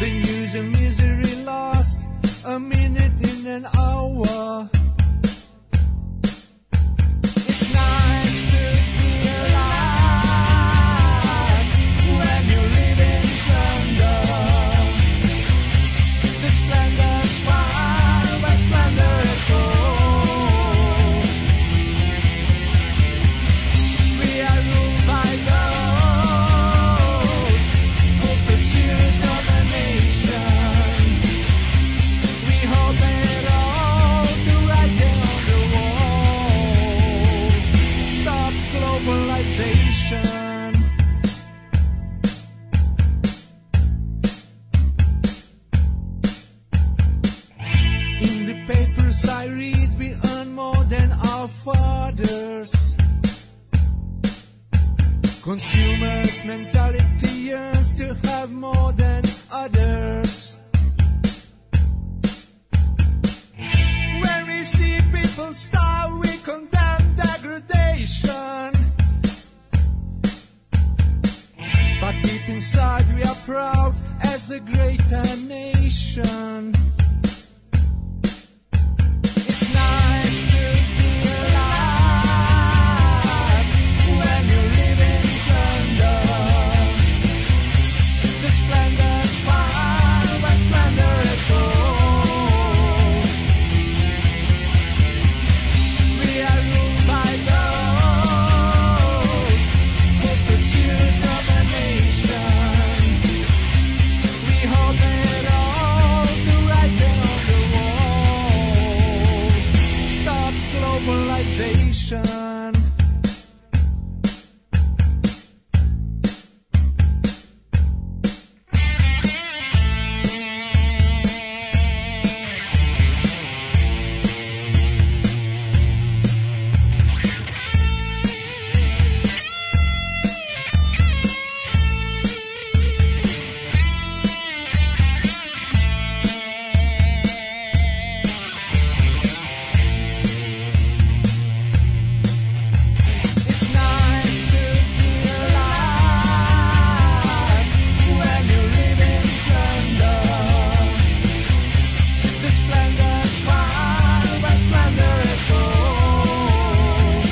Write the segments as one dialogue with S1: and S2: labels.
S1: The news and misery lost a minute in an hour. It's nice to be alive when you live in splendor. The splendor's far, but splendor is gold. We are ruled by those who pursue domination. We hope it all to writing on the wall. Stop globalization. In the papers I read, we earn more than our fathers. Consumers' mentality yearns to have more than others. When we see people starve, we condemn degradation. But deep inside, we are proud as a greater nation. It's nice to be alive when you live in splendor. The splendor's far, but splendor is gold. We are ruled by those who pursue domination. We hope it all to writing on the wall. Stop globalization. It's nice to be alive when you live in splendor. The splendor's far, but splendor is gold.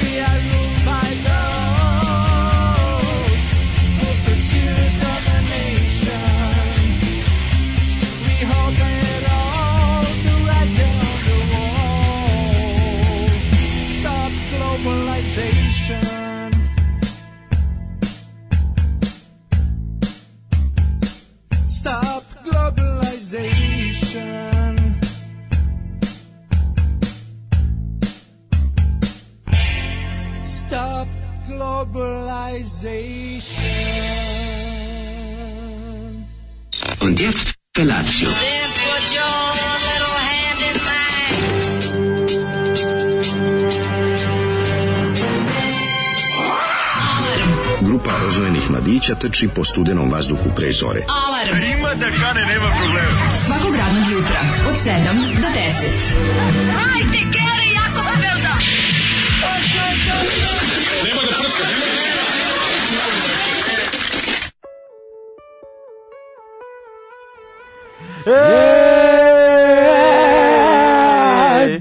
S1: We are ruled by those who pursue domination. We hope it all to writing on the wall. Stop globalization. Stop globalization. Stop globalization.
S2: Und jetzt Felatio.
S3: Then put your little hand in mine.
S4: Grupa rozvojenih mladića trči po studenom vazduhu pre zore.
S5: Alarm. A ima da kane, nema problema. Svakog radnog jutra, od 7 do 10. Hajde, Geri, jako se velda.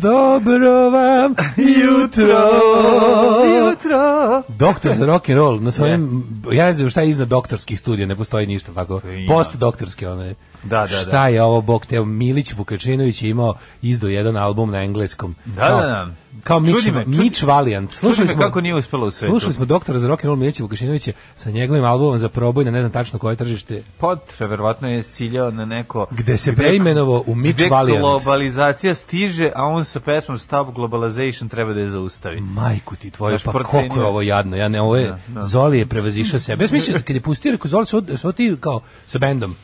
S6: Dobro vam jutro.
S7: Jutro.
S6: Doktor za rock and roll na svojem ja ne znam šta je iznad doktorskih studija, ne postoji ništa tako.
S7: Ima.
S6: Post doktorski ono je.
S7: Da, da, da.
S6: Šta je ovo bog te Milić Vukačinović je imao izdo jedan album na engleskom.
S7: Da,
S6: Kao-
S7: da, da.
S6: Kao Mitch,
S7: Čudi me, čudi-
S6: Mitch Valiant.
S7: me kako nije uspelo u svetu.
S6: Slušali smo doktora za rock and roll Milića Vukašinovića sa njegovim albumom za proboj na ne znam tačno koje tržište.
S7: Potra, verovatno je ciljao na neko...
S6: Gde se preimenovao u Mitch
S7: gde
S6: Valiant.
S7: globalizacija stiže, a on sa pesmom Stop Globalization treba da je zaustavi.
S6: Majku ti tvoju,
S7: Znaš,
S6: pa
S7: procenio.
S6: koliko je ovo jadno. Ja ne, ovo je, Zoli je prevazišao sebe. Ja sam mislio, kad je pustio, rekao, Zoli, su, su ti kao sa bendom.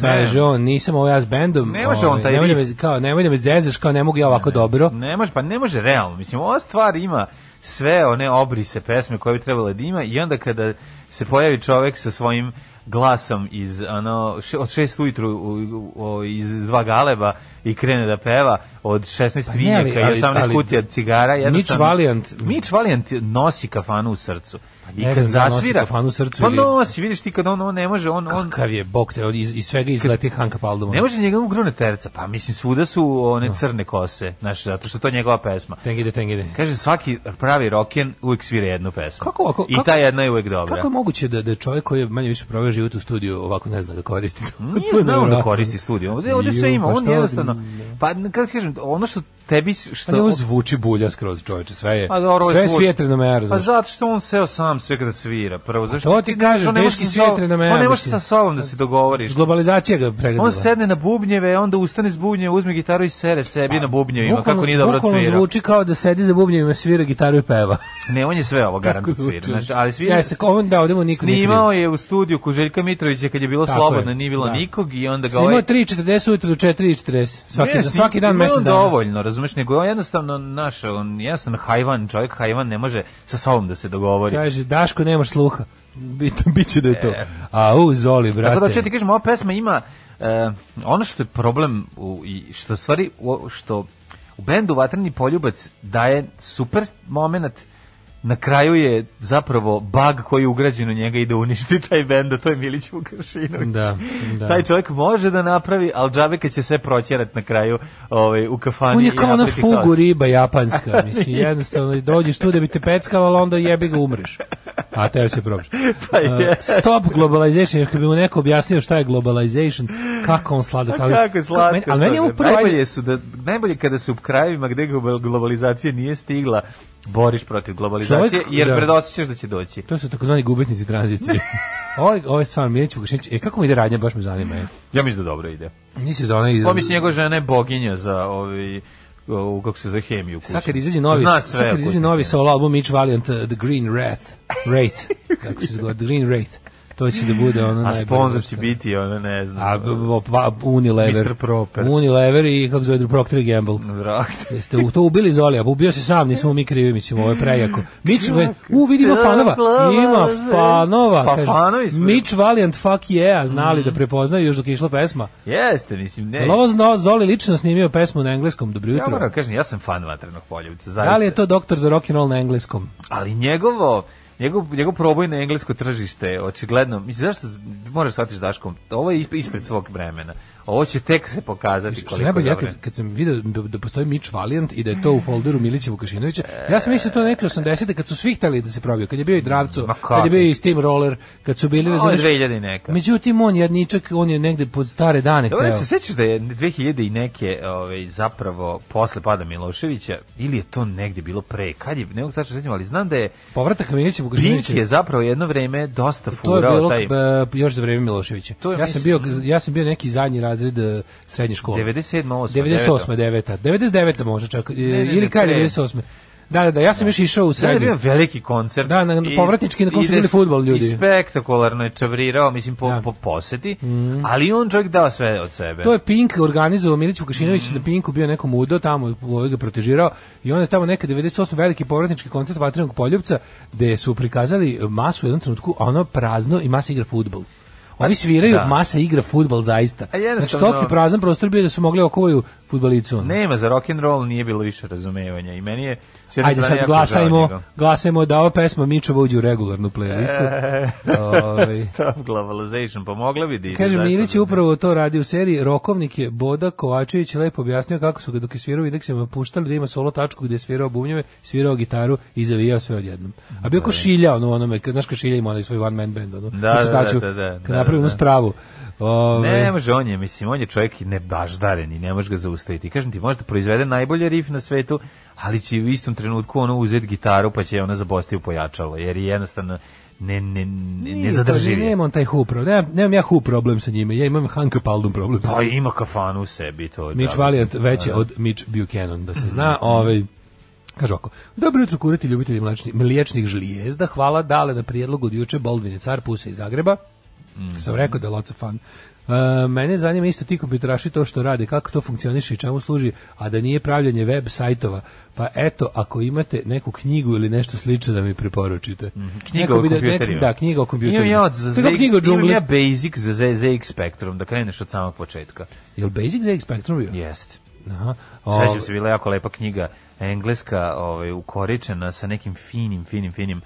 S6: Kaže on, nisam ovo ja s bendom.
S7: Ne može
S6: ovaj,
S7: on taj
S6: nemoj da
S7: riff.
S6: me- Kao, nemoj da me zezaš, kao ne mogu ja ovako dobro.
S7: Ne može, pa ne može realno. Mislim, ova stvar ima sve one obrise pesme koje bi trebala da ima i onda kada se pojavi čovek sa svojim glasom iz ono še- od 6 ujutru u- u- o- iz dva galeba i krene da peva od 16
S6: Pa ne,
S7: vinjaka i
S6: ali-
S7: 18
S6: ali-
S7: kutija cigara. jednostavno-
S6: Mitch Valiant- Pa
S7: Mitch Valiant nosi kafanu u srcu. I
S6: ne
S7: kad
S6: znam da li nosi
S7: zasvira,
S6: kafanu u srcu
S7: pa
S6: ili-
S7: nosi, vidiš ti kad on, on ne može, on, on,
S6: Kakav je bok te, iz, iz svega izleti Hanka Paldoma.
S7: Ne može njega ugrune terca, pa mislim svuda su one crne kose, znaš, zato što to je njegova pesma.
S6: Tengide, tengide.
S7: Kaže, svaki pravi roken uvijek svira jednu pesmu.
S6: Kako ovako-
S7: I
S6: kako-
S7: ta jedna je uvijek dobra.
S6: Kako je moguće da, da čovjek koji je manje više proveo život u studiju ovako ne zna da koristi to?
S7: Nije znao da koristi studio. Ovde, ovde sve
S6: Ju,
S7: ima,
S6: pa
S7: on
S6: šta
S7: jednostavno...
S6: od-
S7: Pa, kako ti kažem, ono što tebi... s-
S6: Pa ovo
S7: Što,
S6: zvuči bulja skroz čoveče, sve je,
S7: Pa dobro, ovo je
S6: sve je
S7: zvuk.
S6: svijetreno me ja
S7: Pa
S6: razumiješ.
S7: zato što on seo sam sve kada svira. Prvo, zašto
S6: to ti kažem,
S7: on ne može
S6: teški
S7: sa sobom-
S6: svijetre na me,
S7: On ne
S6: ja
S7: može sa
S6: mislim.
S7: sobom da se dogovoriš.
S6: Globalizacija ga pregazila.
S7: On sedne na bubnjeve, onda ustane s bubnjeva, uzme gitaru i sere sebi na bubnjevima,
S6: Pa, Bukvalno-
S7: kako nije dobro
S6: bukvalno
S7: svira.
S6: zvuči kao da sedi za bubnjevima, svira gitaru i peva.
S7: Ne, on je sve ovo garantno
S6: Tako zvuči.
S7: svira. Znači, ali svira,
S6: Jeste, kao on da, ovde mu niko nije kriv.
S7: snimao je ovaj- u studiju kod Željka Mitrovića kad je bilo
S6: Tako
S7: slobodno,
S6: je,
S7: nije bilo
S6: da.
S7: nikog i onda ga
S6: Snimao
S7: ovaj...
S6: je 3.40 ujutru do 4.40. Svaki,
S7: Ne,
S6: dan- svaki dan
S7: ima je on
S6: mesec dana.
S7: dovoljno, razumeš, nego on jednostavno naš, on jednostavno hajvan, čovjek hajvan ne može sa sobom da se dogovori.
S6: Kaže, Daško, nemaš sluha. Bit, biće da je to. A, u, Zoli, brate.
S7: E. Tako da hoću ti kažem, ova pesma ima e, ono što je problem u, i što stvari u- što u bendu Vatreni poljubac daje super moment na kraju je zapravo bug koji je ugrađen u njega i da uništi taj bend, a to je Milić Vukašinović.
S6: Da, da.
S7: Taj čovjek može da napravi, ali džabeka će sve proćerat na kraju ovaj, u kafani.
S6: On je
S7: i
S6: kao ona
S7: napraviti
S6: fugu
S7: haos.
S6: riba japanska, mislim, jednostavno dođeš tu da bi te peckala, ali onda jebi ga umreš. A teo se probaš.
S7: Pa je.
S6: Uh, stop globalization, jer kad bi mu neko objasnio šta je globalization, kako on sladak.
S7: A Pa kako je
S6: kako-
S7: slatko.
S6: meni- ali meni je
S7: to,
S6: ovo
S7: da.
S6: prvo, ajde,
S7: najbolje su da najbolje kada se u krajevima gde glo- globalizacija nije stigla boriš protiv globalizacije
S6: Čovjek-
S7: jer
S6: da.
S7: predosećaš da će doći.
S6: to su takozvani gubitnici tranzicije. Ovo, ovo je stvarno Milić Vukašinić. E, kako mi ide radnja, baš me zanima. e. Je.
S7: Ja mislim da dobro ide.
S6: Misliš da ona ide...
S7: Pa mislim njegova žena je boginja za ovaj o, kako se za hemiju kuću.
S6: Sad kad izađe novi,
S7: Zna sve
S6: sad kad
S7: o
S6: izađe
S7: kućnoj
S6: novi
S7: hemiji.
S6: solo album Mitch Valiant, uh, The Green Wrath, Wraith, kako se zove, The Green Wraith, to će da bude ono
S7: A
S6: najbolje.
S7: sponsor će
S6: što-
S7: biti, ona ne znam. ono,
S6: A, b- b- pa, Unilever.
S7: Mr. Proper.
S6: Unilever i kako zove drugo, Procter i Gamble.
S7: Vrak.
S6: Jeste u to ubili Zoli, a ubio se sam, nismo mi krivi, mislim, ovo je prejako. Mitch, Val- u, vidimo fanova, ima fanova.
S7: Pa
S6: kaže.
S7: fanovi smo.
S6: Mitch Valiant, fuck yeah, znali da prepoznaju još dok je išla pesma.
S7: Jeste, mislim, ne.
S6: Jel ovo zna, Zoli lično snimio pesmu na engleskom, dobro
S7: Ja
S6: jutro.
S7: moram kažem, ja sam fan Vatrenog poljubca, zaista.
S6: da li je to doktor za rock'n'roll na engleskom?
S7: ali njegovo njegov, njegov proboj na englesko tržište je očigledno, mislim zašto z- moraš shvatiti Daškom, ovo je isp- ispred svog vremena ovo će tek se pokazati
S6: Što
S7: koliko
S6: je
S7: je
S6: najbolje, ja
S7: dobro.
S6: kad, kad sam vidio da, da postoji Mitch Valiant i da je to u folderu Milića Vukašinovića, ja sam mislio to neke 80-te kad su svi hteli da se probiju, kad je bio i Dravco,
S7: Ma
S6: kad
S7: kako?
S6: je bio i Steam Roller, kad su bili,
S7: Ovo je
S6: razumiješ,
S7: 2000 i neka.
S6: međutim on jadničak, on je negde pod stare dane
S7: Dobro,
S6: hteo.
S7: se sećaš da je 2000 i neke ovaj, zapravo posle pada Miloševića ili je to negdje bilo pre, kad je, ne mogu tačno sećam, ali znam da je
S6: Povratak Milića
S7: Pink
S6: Vukašinovića.
S7: je zapravo jedno vreme dosta
S6: To je
S7: furao
S6: bilo
S7: taj...
S6: e, još za vreme Miloševića.
S7: To je,
S6: ja, sam bio,
S7: mislim,
S6: ja sam bio neki zadnji razred e, srednje škole.
S7: 97. 8.
S6: 98. 9. 99. možda čak, e,
S7: ne, ne,
S6: ili kraj
S7: pre.
S6: 98. Da, da, da, ja sam još išao u
S7: Sad je
S6: srednju.
S7: bio veliki koncert.
S6: Da, na- na
S7: i-
S6: povratnički na kom su
S7: ide
S6: bili
S7: s-
S6: fudbal ljudi.
S7: I spektakularno je čavrirao, mislim, po,
S6: Da. Mhm.
S7: po poseti, ali on čovjek dao sve od sebe.
S6: To je Pink organizovao Milić Vukašinović
S7: Mhm.
S6: na Pinku bio nekom udo tamo ovaj ga protežirao i onda je tamo neka 98 veliki povratnički koncert Vatrenog poljupca gde su prikazali masu u jednom trenutku a ono prazno i masa igra fudbal. Oni sviraju,
S7: Da.
S6: masa igra fudbal zaista.
S7: A
S6: Znači,
S7: jednostavno-
S6: toki prazan prostor bio da su mogli okuvaju fudbalicu. ono.
S7: Nema, za rock and roll nije bilo više razumevanja i meni je... s jedne
S6: Ajde
S7: strane
S6: sad
S7: jako žao njega.
S6: glasajmo, glasajmo da ova pesma Mičova uđe u regularnu playlistu.
S7: E.
S6: Ovaj.
S7: Stop globalization, pomogla bi Didi.
S6: Kaže,
S7: zašto
S6: Milić
S7: da
S6: je
S7: ne?
S6: upravo to radi u seriji Rokovnik je Boda Kovačević lepo objasnio kako su ga dok je svirao u indeksima puštali da ima solo tačku gdje je svirao bubnjeve, svirao gitaru i zavijao sve odjednom. A bio ko šilja ono onome, kad, znaš ko šilja ima onaj svoj one man band, ono,
S7: Da,
S6: kad su
S7: da, da,
S6: taču,
S7: da, da,
S6: kad
S7: da,
S6: napravi onu
S7: da.
S6: spravu. Ove,
S7: Ne može, on je, mislim, on je čovjek i nebaždaren i ne može ga zaustaviti. Kažem ti, možda proizvede najbolje riff na svetu, ali će u istom trenutku ono uzeti gitaru pa će je ona zabosti u pojačalo, jer je jednostavno ne, ne, ne, ne zadrži. je.
S6: pa Nemam taj hu problem, nemam, nemam ja hu problem sa njime, ja imam Hanka Paldum problem sa
S7: Pa ima kafanu u sebi to.
S6: Mitch
S7: da. Mhm.
S6: Valiant veće od Mitch Buchanan, da se zna. Ovaj, kaže ovako, dobro jutro kurati ljubitelji mlečni, mliječnih žlijezda, hvala dale na prijedlog od juče Boldvin je car Puse iz Zagreba.
S7: Mhm.
S6: Sam rekao da je lots of fun. E, mene zanima isto ti kompjuteraši to što rade, kako to funkcioniše i čemu služi, a da nije pravljanje web sajtova. Pa eto, ako imate neku knjigu ili nešto slično da mi preporučite.
S7: Mhm. Knjiga
S6: Neko
S7: o
S6: bi da-
S7: kompjuterima.
S6: nek- Da, knjiga o kompjuterima.
S7: Imam ja, od, za,
S6: To je kao knjiga o
S7: imam
S6: džungli.
S7: ja basic za Z- ZX Spectrum, da kreneš od samog početka.
S6: Jel Basic ZX Spectrum bio?
S7: Jeste.
S6: Aha. O,
S7: Sveća se bila jako lepa knjiga engleska, ovaj ukoričena sa nekim finim, finim, finim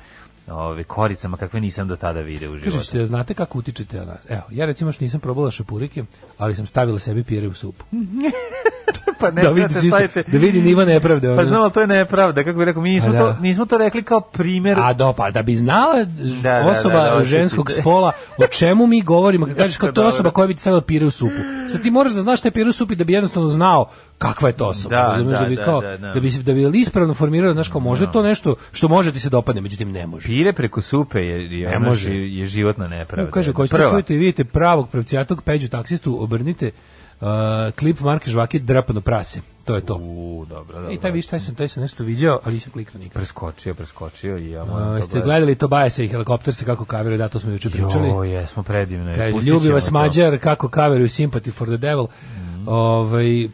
S7: ovaj koricama kakve nisam do tada video u
S6: Kaže,
S7: životu.
S6: ste, znate kako utičete na nas? Evo, ja recimo što nisam probala šapurike, ali sam stavila sebi pire u supu.
S7: pa ne,
S6: da vidi
S7: znate,
S6: čisto,
S7: stavite-
S6: da vidi nivo nepravde.
S7: Pa
S6: ono.
S7: znam, ali to je nepravda, kako bih rekao, mi nismo,
S6: A da.
S7: to, nismo to rekli kao primer
S6: A do, pa da bi znala ž-
S7: Da, da, da,
S6: osoba
S7: da, osjeti.
S6: ženskog spola o čemu mi govorimo, kad kažeš kao to je osoba koja bi ti stavila pire u supu. Sad ti moraš da znaš šta je pire u supi da bi jednostavno znao kakva je to osoba.
S7: Da,
S6: razumeš,
S7: da,
S6: da, bi
S7: da,
S6: kao,
S7: da,
S6: da,
S7: da.
S6: bi, se- da bi ispravno formirao, znaš kao može to nešto što može ti se dopadne, međutim ne može.
S7: pire preko supe je, je,
S6: Ne
S7: ono
S6: može.
S7: ži- je životna nepravda.
S6: Kaže, ko ćete
S7: Prva.
S6: čujete i vidite pravog pravcijatog peđu taksistu, obrnite uh, klip Marke Žvake drapano prase. To je to.
S7: U, dobro, dobro.
S6: I taj viš, taj sam, taj sam nešto viđao, ali nisam kliknuo nikad.
S7: Preskočio, preskočio i ja moram
S6: Uh,
S7: to
S6: ste
S7: gledati.
S6: gledali Tobajasa i helikopter se kako kaviraju, da, to smo juče pričali.
S7: Jo, jesmo predivno. je.
S6: Kaže,
S7: Pustit
S6: ljubi
S7: ćemo
S6: vas
S7: to. Mhm.
S6: Mađar, kako kaveruju Sympathy for the Devil. Ovaj,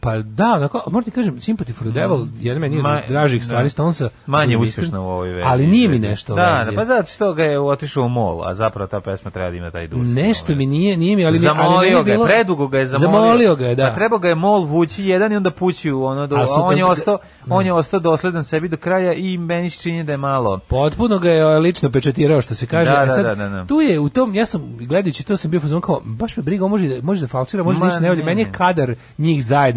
S6: pa da, onako, moram ti kažem, Sympathy for the Devil, jedan meni je
S7: Mhm. Ma-
S6: od dražih
S7: da.
S6: stvari Stonesa.
S7: Manje
S6: budem
S7: uspešno
S6: iskren,
S7: u ovoj verziji.
S6: Ali nije mi nešto
S7: Da,
S6: verzija.
S7: da, pa zato što ga je otišao u mol, a zapravo ta pesma treba da ima taj dusk.
S6: Nešto
S7: ovaj.
S6: mi nije, nije mi, ali mi, ali meni
S7: zamolio ga je,
S6: bilo-
S7: predugo ga je zamolio. Pa
S6: Zamolio ga je, da.
S7: A trebao ga je mol vući jedan i onda pući u ono do,
S6: A
S7: a
S6: su-
S7: on je ostao, on je ostao dosledan sebi do kraja i meni se čini da je malo.
S6: Potpuno ga je ovaj, lično pečatirao što se kaže.
S7: Da,
S6: E sad,
S7: da, da, da, da.
S6: Tu je u tom ja sam gledajući to sam bio fazon kao baš me briga, on može da može da falsira, može
S7: Ma,
S6: da ništa ne valja.
S7: ne,
S6: Meni je
S7: ne.
S6: kadar njih zajedno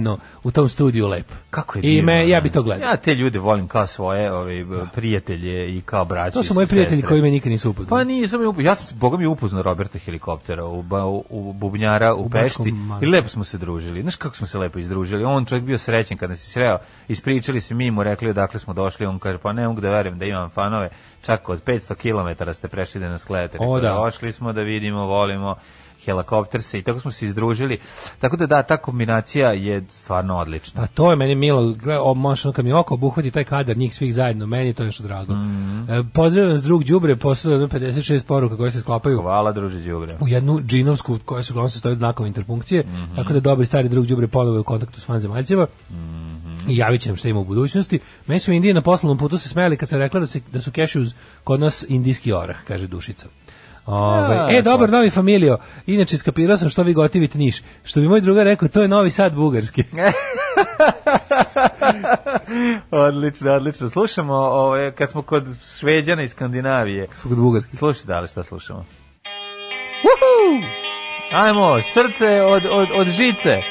S6: u tom studiju lep.
S7: Kako je
S6: I
S7: divno,
S6: me, ja
S7: ne?
S6: bi to gledao.
S7: Ja te ljude volim kao svoje, ovaj prijatelje i kao braće.
S6: to su
S7: i
S6: moji prijatelji
S7: sestre.
S6: koji me nikad nisu upoznali.
S7: Pa nisam je upoznao, ja sam, boga mi je upoznao Roberta Helikoptera, u, ba- u, u Bubnjara, u,
S6: Bačkom
S7: Pešti, i
S6: Manastira.
S7: lepo smo se družili, znaš kako smo se lepo izdružili, on čovjek bio srećen kad nas je sreo, ispričali se mi mu rekli odakle smo došli, on kaže, pa ne mogu da verujem da imam fanove, čak od 500 km ste prešli da nas gledate,
S6: O,
S7: Rekao,
S6: da.
S7: došli smo da vidimo, volimo, helikopter se i tako smo se izdružili, tako da da, ta kombinacija je stvarno odlična.
S6: Pa to je meni milo, gle, o, možda kad mi oko obuhvati taj kadar njih svih zajedno, meni je to nešto drago.
S7: Mhm.
S6: e, pozdravljam s drug đubre, poslao jedno 56 poruka koje se sklapaju
S7: Hvala, druže Đubre.
S6: u jednu džinovsku koja se uglavnom sastoji od znakova interpunkcije, tako da dobri stari drug đubre ponovo je u kontaktu s vanzemaljcima. I javit će nam šta ima u budućnosti. Meni su Indije na poslovnom putu se smijali kad sam rekla da, se, da su cashews kod nas indijski orah, kaže Dušica. Ovaj,
S7: A,
S6: e, dobar
S7: slatko.
S6: novi familijo. Inače, skapirao sam što vi gotivite niš. Što bi moj drugar rekao, to je novi sad bugarski.
S7: Odlično, odlično. Slušamo, ovaj, kad smo kod Šveđana i Skandinavije.
S6: Svog bugarski.
S7: Slušaj da li šta slušamo. Uhu! Ajmo, srce od, od, od žice.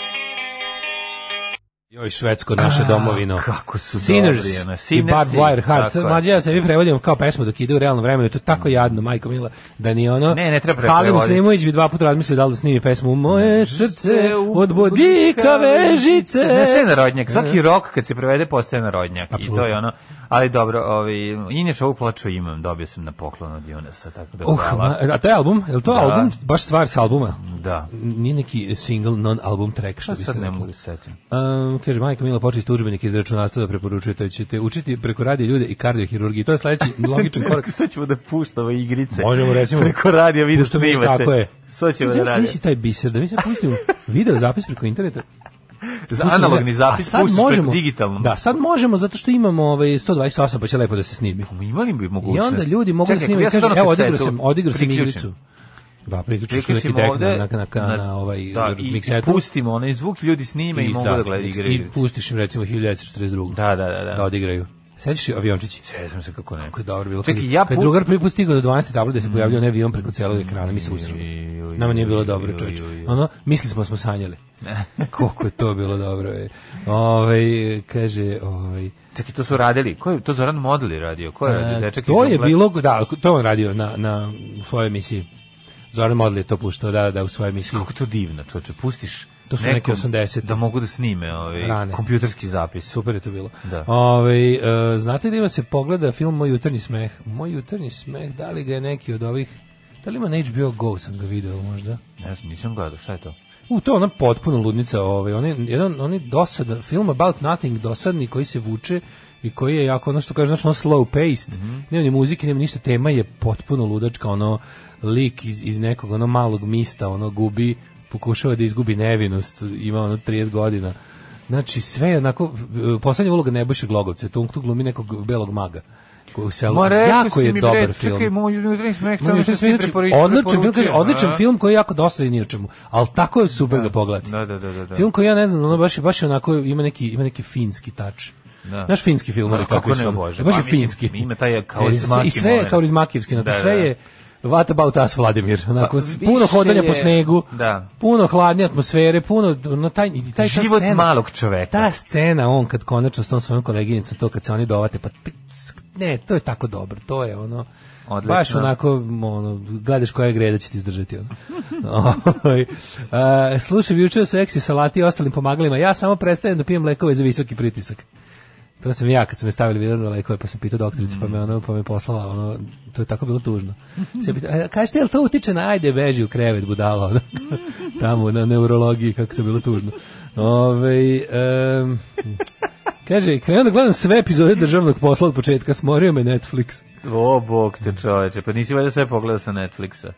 S6: Joj, Švedsko, naše domovino.
S7: kako su
S6: Sinners,
S7: dobri, ono.
S6: i
S7: Sinners
S6: Barbed
S7: i-
S6: Wire Heart.
S7: tako je. Mm.
S6: Mlađe, ja se vi prevodim kao pesmu dok ide u realnom vremenu. To je tako jadno, majko mila, da ni ono...
S7: Ne, ne treba
S6: Halil
S7: prevoditi.
S6: Slimović bi dva puta razmislio da li da snimi pesmu Moje srce od bodika vežice.
S7: Ne, sve je narodnjak. Svaki rok kad se prevede postaje narodnjak. I
S6: Apsolutno.
S7: to je ono. Ali dobro, ovaj, inače ovu ploču imam, dobio sam na poklon od Junesa, tako da
S6: Uh,
S7: hvala.
S6: ma, a taj album, je li to
S7: Da.
S6: album, baš stvar sa albuma?
S7: Da.
S6: Nije neki single, non-album track, što
S7: Šta
S6: bi se
S7: Pa sad ne
S6: reklo.
S7: mogu da se setim.
S6: Um, kaže, majka Mila, počiste učbenik iz računarstva da preporučujete, ćete učiti preko radija ljude i kardiohirurgiji. To je sledeći logičan korak.
S7: Sad ćemo da puštamo igrice.
S6: Možemo, recimo,
S7: Preko radija vi da
S6: Puštamo i
S7: snimate.
S6: Tako je.
S7: Sad ćemo da
S6: Mislim,
S7: radimo.
S6: snisi taj biser, da mi sad pustimo video zapis preko interneta.
S7: Za
S6: Pustimo
S7: analogni
S6: video. A
S7: zapis
S6: sad
S7: puštaš
S6: možemo-
S7: preko digitalnom.
S6: Da, sad možemo, zato što imamo ovaj 128, pa će lepo da se snimi.
S7: Imali bi
S6: I
S7: mogućnost.
S6: onda ljudi mogu da
S7: Čekaj,
S6: snimaju,
S7: ja sad
S6: kažu,
S7: ono
S6: evo,
S7: kasetu
S6: odigrao sam, odigrao sam
S7: priključim.
S6: igriču. Da, priključiš neki
S7: Priključimo
S6: tek na,
S7: ovde
S6: na, na, na, na ovaj
S7: da, i, i
S6: miksetu.
S7: pustimo onaj zvuk, ljudi snime i, mogu da, gledaju igre.
S6: I
S7: igrice.
S6: pustiš im recimo 1942.
S7: Da, da, da, da.
S6: Da odigraju. Sećaš se aviončići?
S7: Sjećam se kako ne.
S6: Kako je dobro bilo.
S7: Čekaj,
S6: Kad-
S7: ja
S6: kad
S7: put-
S6: drugar prvi put stigao do 12 tabla da se pojavljao ne avion preko celog ekrana, mi se
S7: Joj,
S6: usrali.
S7: joj,
S6: Nama nije bilo
S7: joj,
S6: dobro,
S7: joj,
S6: čoveče.
S7: joj, joj.
S6: Ono, mislili smo da smo sanjali. Koliko je to bilo dobro. Je. Ove, kaže, ovaj
S7: Čekaj, to su radili. Ko je to Zoran Modli radio? Ko je radio? Dečak
S6: E, to
S7: iz
S6: je
S7: Dublina?
S6: bilo, da, to je on radio na, na, u svojoj emisiji. Zoran Modli je to puštao, da, da, u svojoj emisiji.
S7: Kako je to divno, čoče, pustiš
S6: To su neki
S7: nekom
S6: 80.
S7: Da mogu da snime ovaj,
S6: Rane.
S7: kompjuterski zapis.
S6: Super je to bilo.
S7: Da.
S6: Ovaj, e, znate da ima se pogleda film Moj jutarnji smeh? Moj jutarnji smeh, da li ga je neki od ovih... Da li ima na HBO Go sam ga video možda?
S7: Ne znam, nisam gledao, šta je to?
S6: U, to je ona potpuno ludnica, ovaj, on je jedan oni dosadan film about nothing dosadni koji se vuče i koji je jako ono što kaže, znači ono slow paced.
S7: Mhm.
S6: Nema ni muzike, nema ništa, tema je potpuno ludačka, ono lik iz, iz nekog ono malog mista, ono gubi, pokušava da izgubi nevinost, ima ono 30 godina. Znači sve je onako, e, poslednja uloga Nebojše Glogovca, tu, tu glumi nekog belog maga. u selu.
S7: Ma rekao
S6: jako
S7: si
S6: je
S7: mi,
S6: dobar
S7: bre,
S6: film.
S7: Čekaj, moj jutri smek,
S6: Ma,
S7: tamo
S6: što
S7: što
S6: sam
S7: si
S6: inače,
S7: preporu-
S6: znači, odličan film, kaže,
S7: preporučio,
S6: odličan
S7: a?
S6: film koji je jako dosta i ni o čemu, ali tako je super ga pogledati.
S7: Da, da, da, da, da.
S6: Film koji ja ne znam, ono baš, je- baš je onako, ima neki, ima neki finski tač.
S7: Da.
S6: Naš finski film,
S7: Da,
S6: ali
S7: kako
S6: kako
S7: ne,
S6: je
S7: Bože,
S6: E, Baš
S7: pa
S6: je
S7: mislim,
S6: finski. E,
S7: ima taj
S6: I
S7: karizmaki
S6: sve je
S7: moment.
S6: karizmakijevski, onako,
S7: Da,
S6: sve
S7: da. Pa,
S6: je What about us, Vladimir? Onako, s-
S7: više
S6: puno hodanja po
S7: je-
S6: snegu,
S7: da.
S6: puno hladne atmosfere, puno, no, taj, i taj, ta
S7: Život
S6: scena-
S7: malog čoveka.
S6: ta scena on kad konačno s tom svojom koleginicom to kad se oni dovate pa pick, ne to je tako dobro to je ono
S7: Odlično.
S6: Baš onako, ono, gledaš koja je greda će ti izdržati. Ono. Ovaj, a, slušaj, juče o seksi salati i ostalim pomagalima, ja samo prestajem da pijem lekove za visoki pritisak. To sam ja kad su me stavili vidjeli lekove, pa sam pitao doktoricu, pa me, ono, pa me poslala, ono, to je tako bilo tužno. Se pita, "A, kažete, jel to utiče na, ajde, beži u krevet, budalo, ono, tamo na neurologiji, kako to je bilo tužno. Ove, em, kaže, krenuo da gledam sve epizode državnog posla od početka, smorio me Netflix.
S7: O, bog te čoveče, pa nisi valjda sve pogledao sa Netflixa.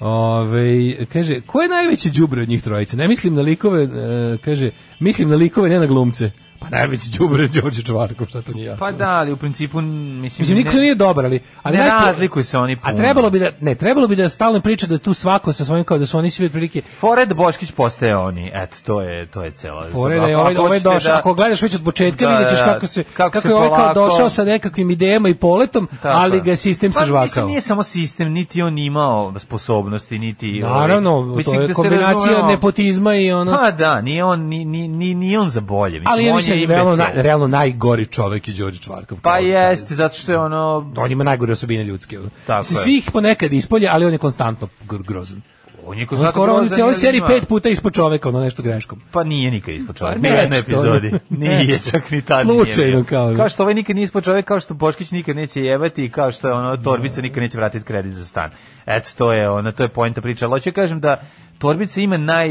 S6: Ove, kaže, ko je najveći đubre od njih trojice? Ne mislim na likove, e, kaže, mislim na likove, ne na glumce. Pa najveći đubre je Đorđe Čvarkov, šta to nije jasno.
S7: Pa da, ali u principu, n- mislim...
S6: Mislim, niko
S7: ne-
S6: nije dobar, ali... ali
S7: ne
S6: najpre-
S7: razlikuju se oni
S6: A
S7: puno.
S6: trebalo bi da, ne, trebalo bi da stalno priča da tu svako sa svojim, kao da su oni svi otprilike...
S7: Fored Boškić postaje oni. Eto, to je, to je cela.
S6: Fore da je
S7: Ako-
S6: ovaj,
S7: ako
S6: ovaj
S7: hoćete
S6: došao,
S7: da-
S6: ako gledaš već od početka,
S7: Da,
S6: vidjet ćeš
S7: da, da.
S6: kako se, kako,
S7: Kako se
S6: je ovaj kao
S7: polako-
S6: došao sa nekakvim idejama i poletom,
S7: Tako
S6: ali
S7: je.
S6: ga je sistem
S7: pa, Mislim,
S6: sažvakao.
S7: nije samo sistem, niti on imao sposobnosti, niti... ovaj,
S6: Naravno, to je
S7: da se
S6: kombinacija
S7: razumemo.
S6: nepotizma i ono...
S7: Pa da, nije on, ni, ni, ni, ni on za bolje. Mislim,
S6: ali ja
S7: on
S6: mislim,
S7: je
S6: da je realno,
S7: imbecil.
S6: na- realno najgori čovek je Đorđe Čvarkov.
S7: Pa
S6: Kao-
S7: jeste, zato što je ono...
S6: On ima najgore osobine ljudske. ono.
S7: Tako
S6: Mislim,
S7: je.
S6: Svi ih ponekad ispolje, ali on je konstantno gr- grozan.
S7: On je
S6: On
S7: konstantno
S6: skoro on je u
S7: grozan,
S6: cijeloj
S7: jer
S6: seriji
S7: ima-
S6: pet puta ispod čoveka, ono nešto greškom.
S7: Pa nije nikad ispod čovjeka,
S6: Pa
S7: ni u jednoj
S6: nešto.
S7: epizodi. Nije,
S6: Nešto.
S7: čak ni tad nije
S6: Slučajno
S7: bio.
S6: kao.
S7: Kao što ovaj nikad nije ispod čovjeka, kao što Boškić nikad neće jebati i kao što ono, Torbica nikad neće vratiti kredit za stan. Eto, to je ono, to je pojenta priča. Ali hoću kažem da Torbica ima naj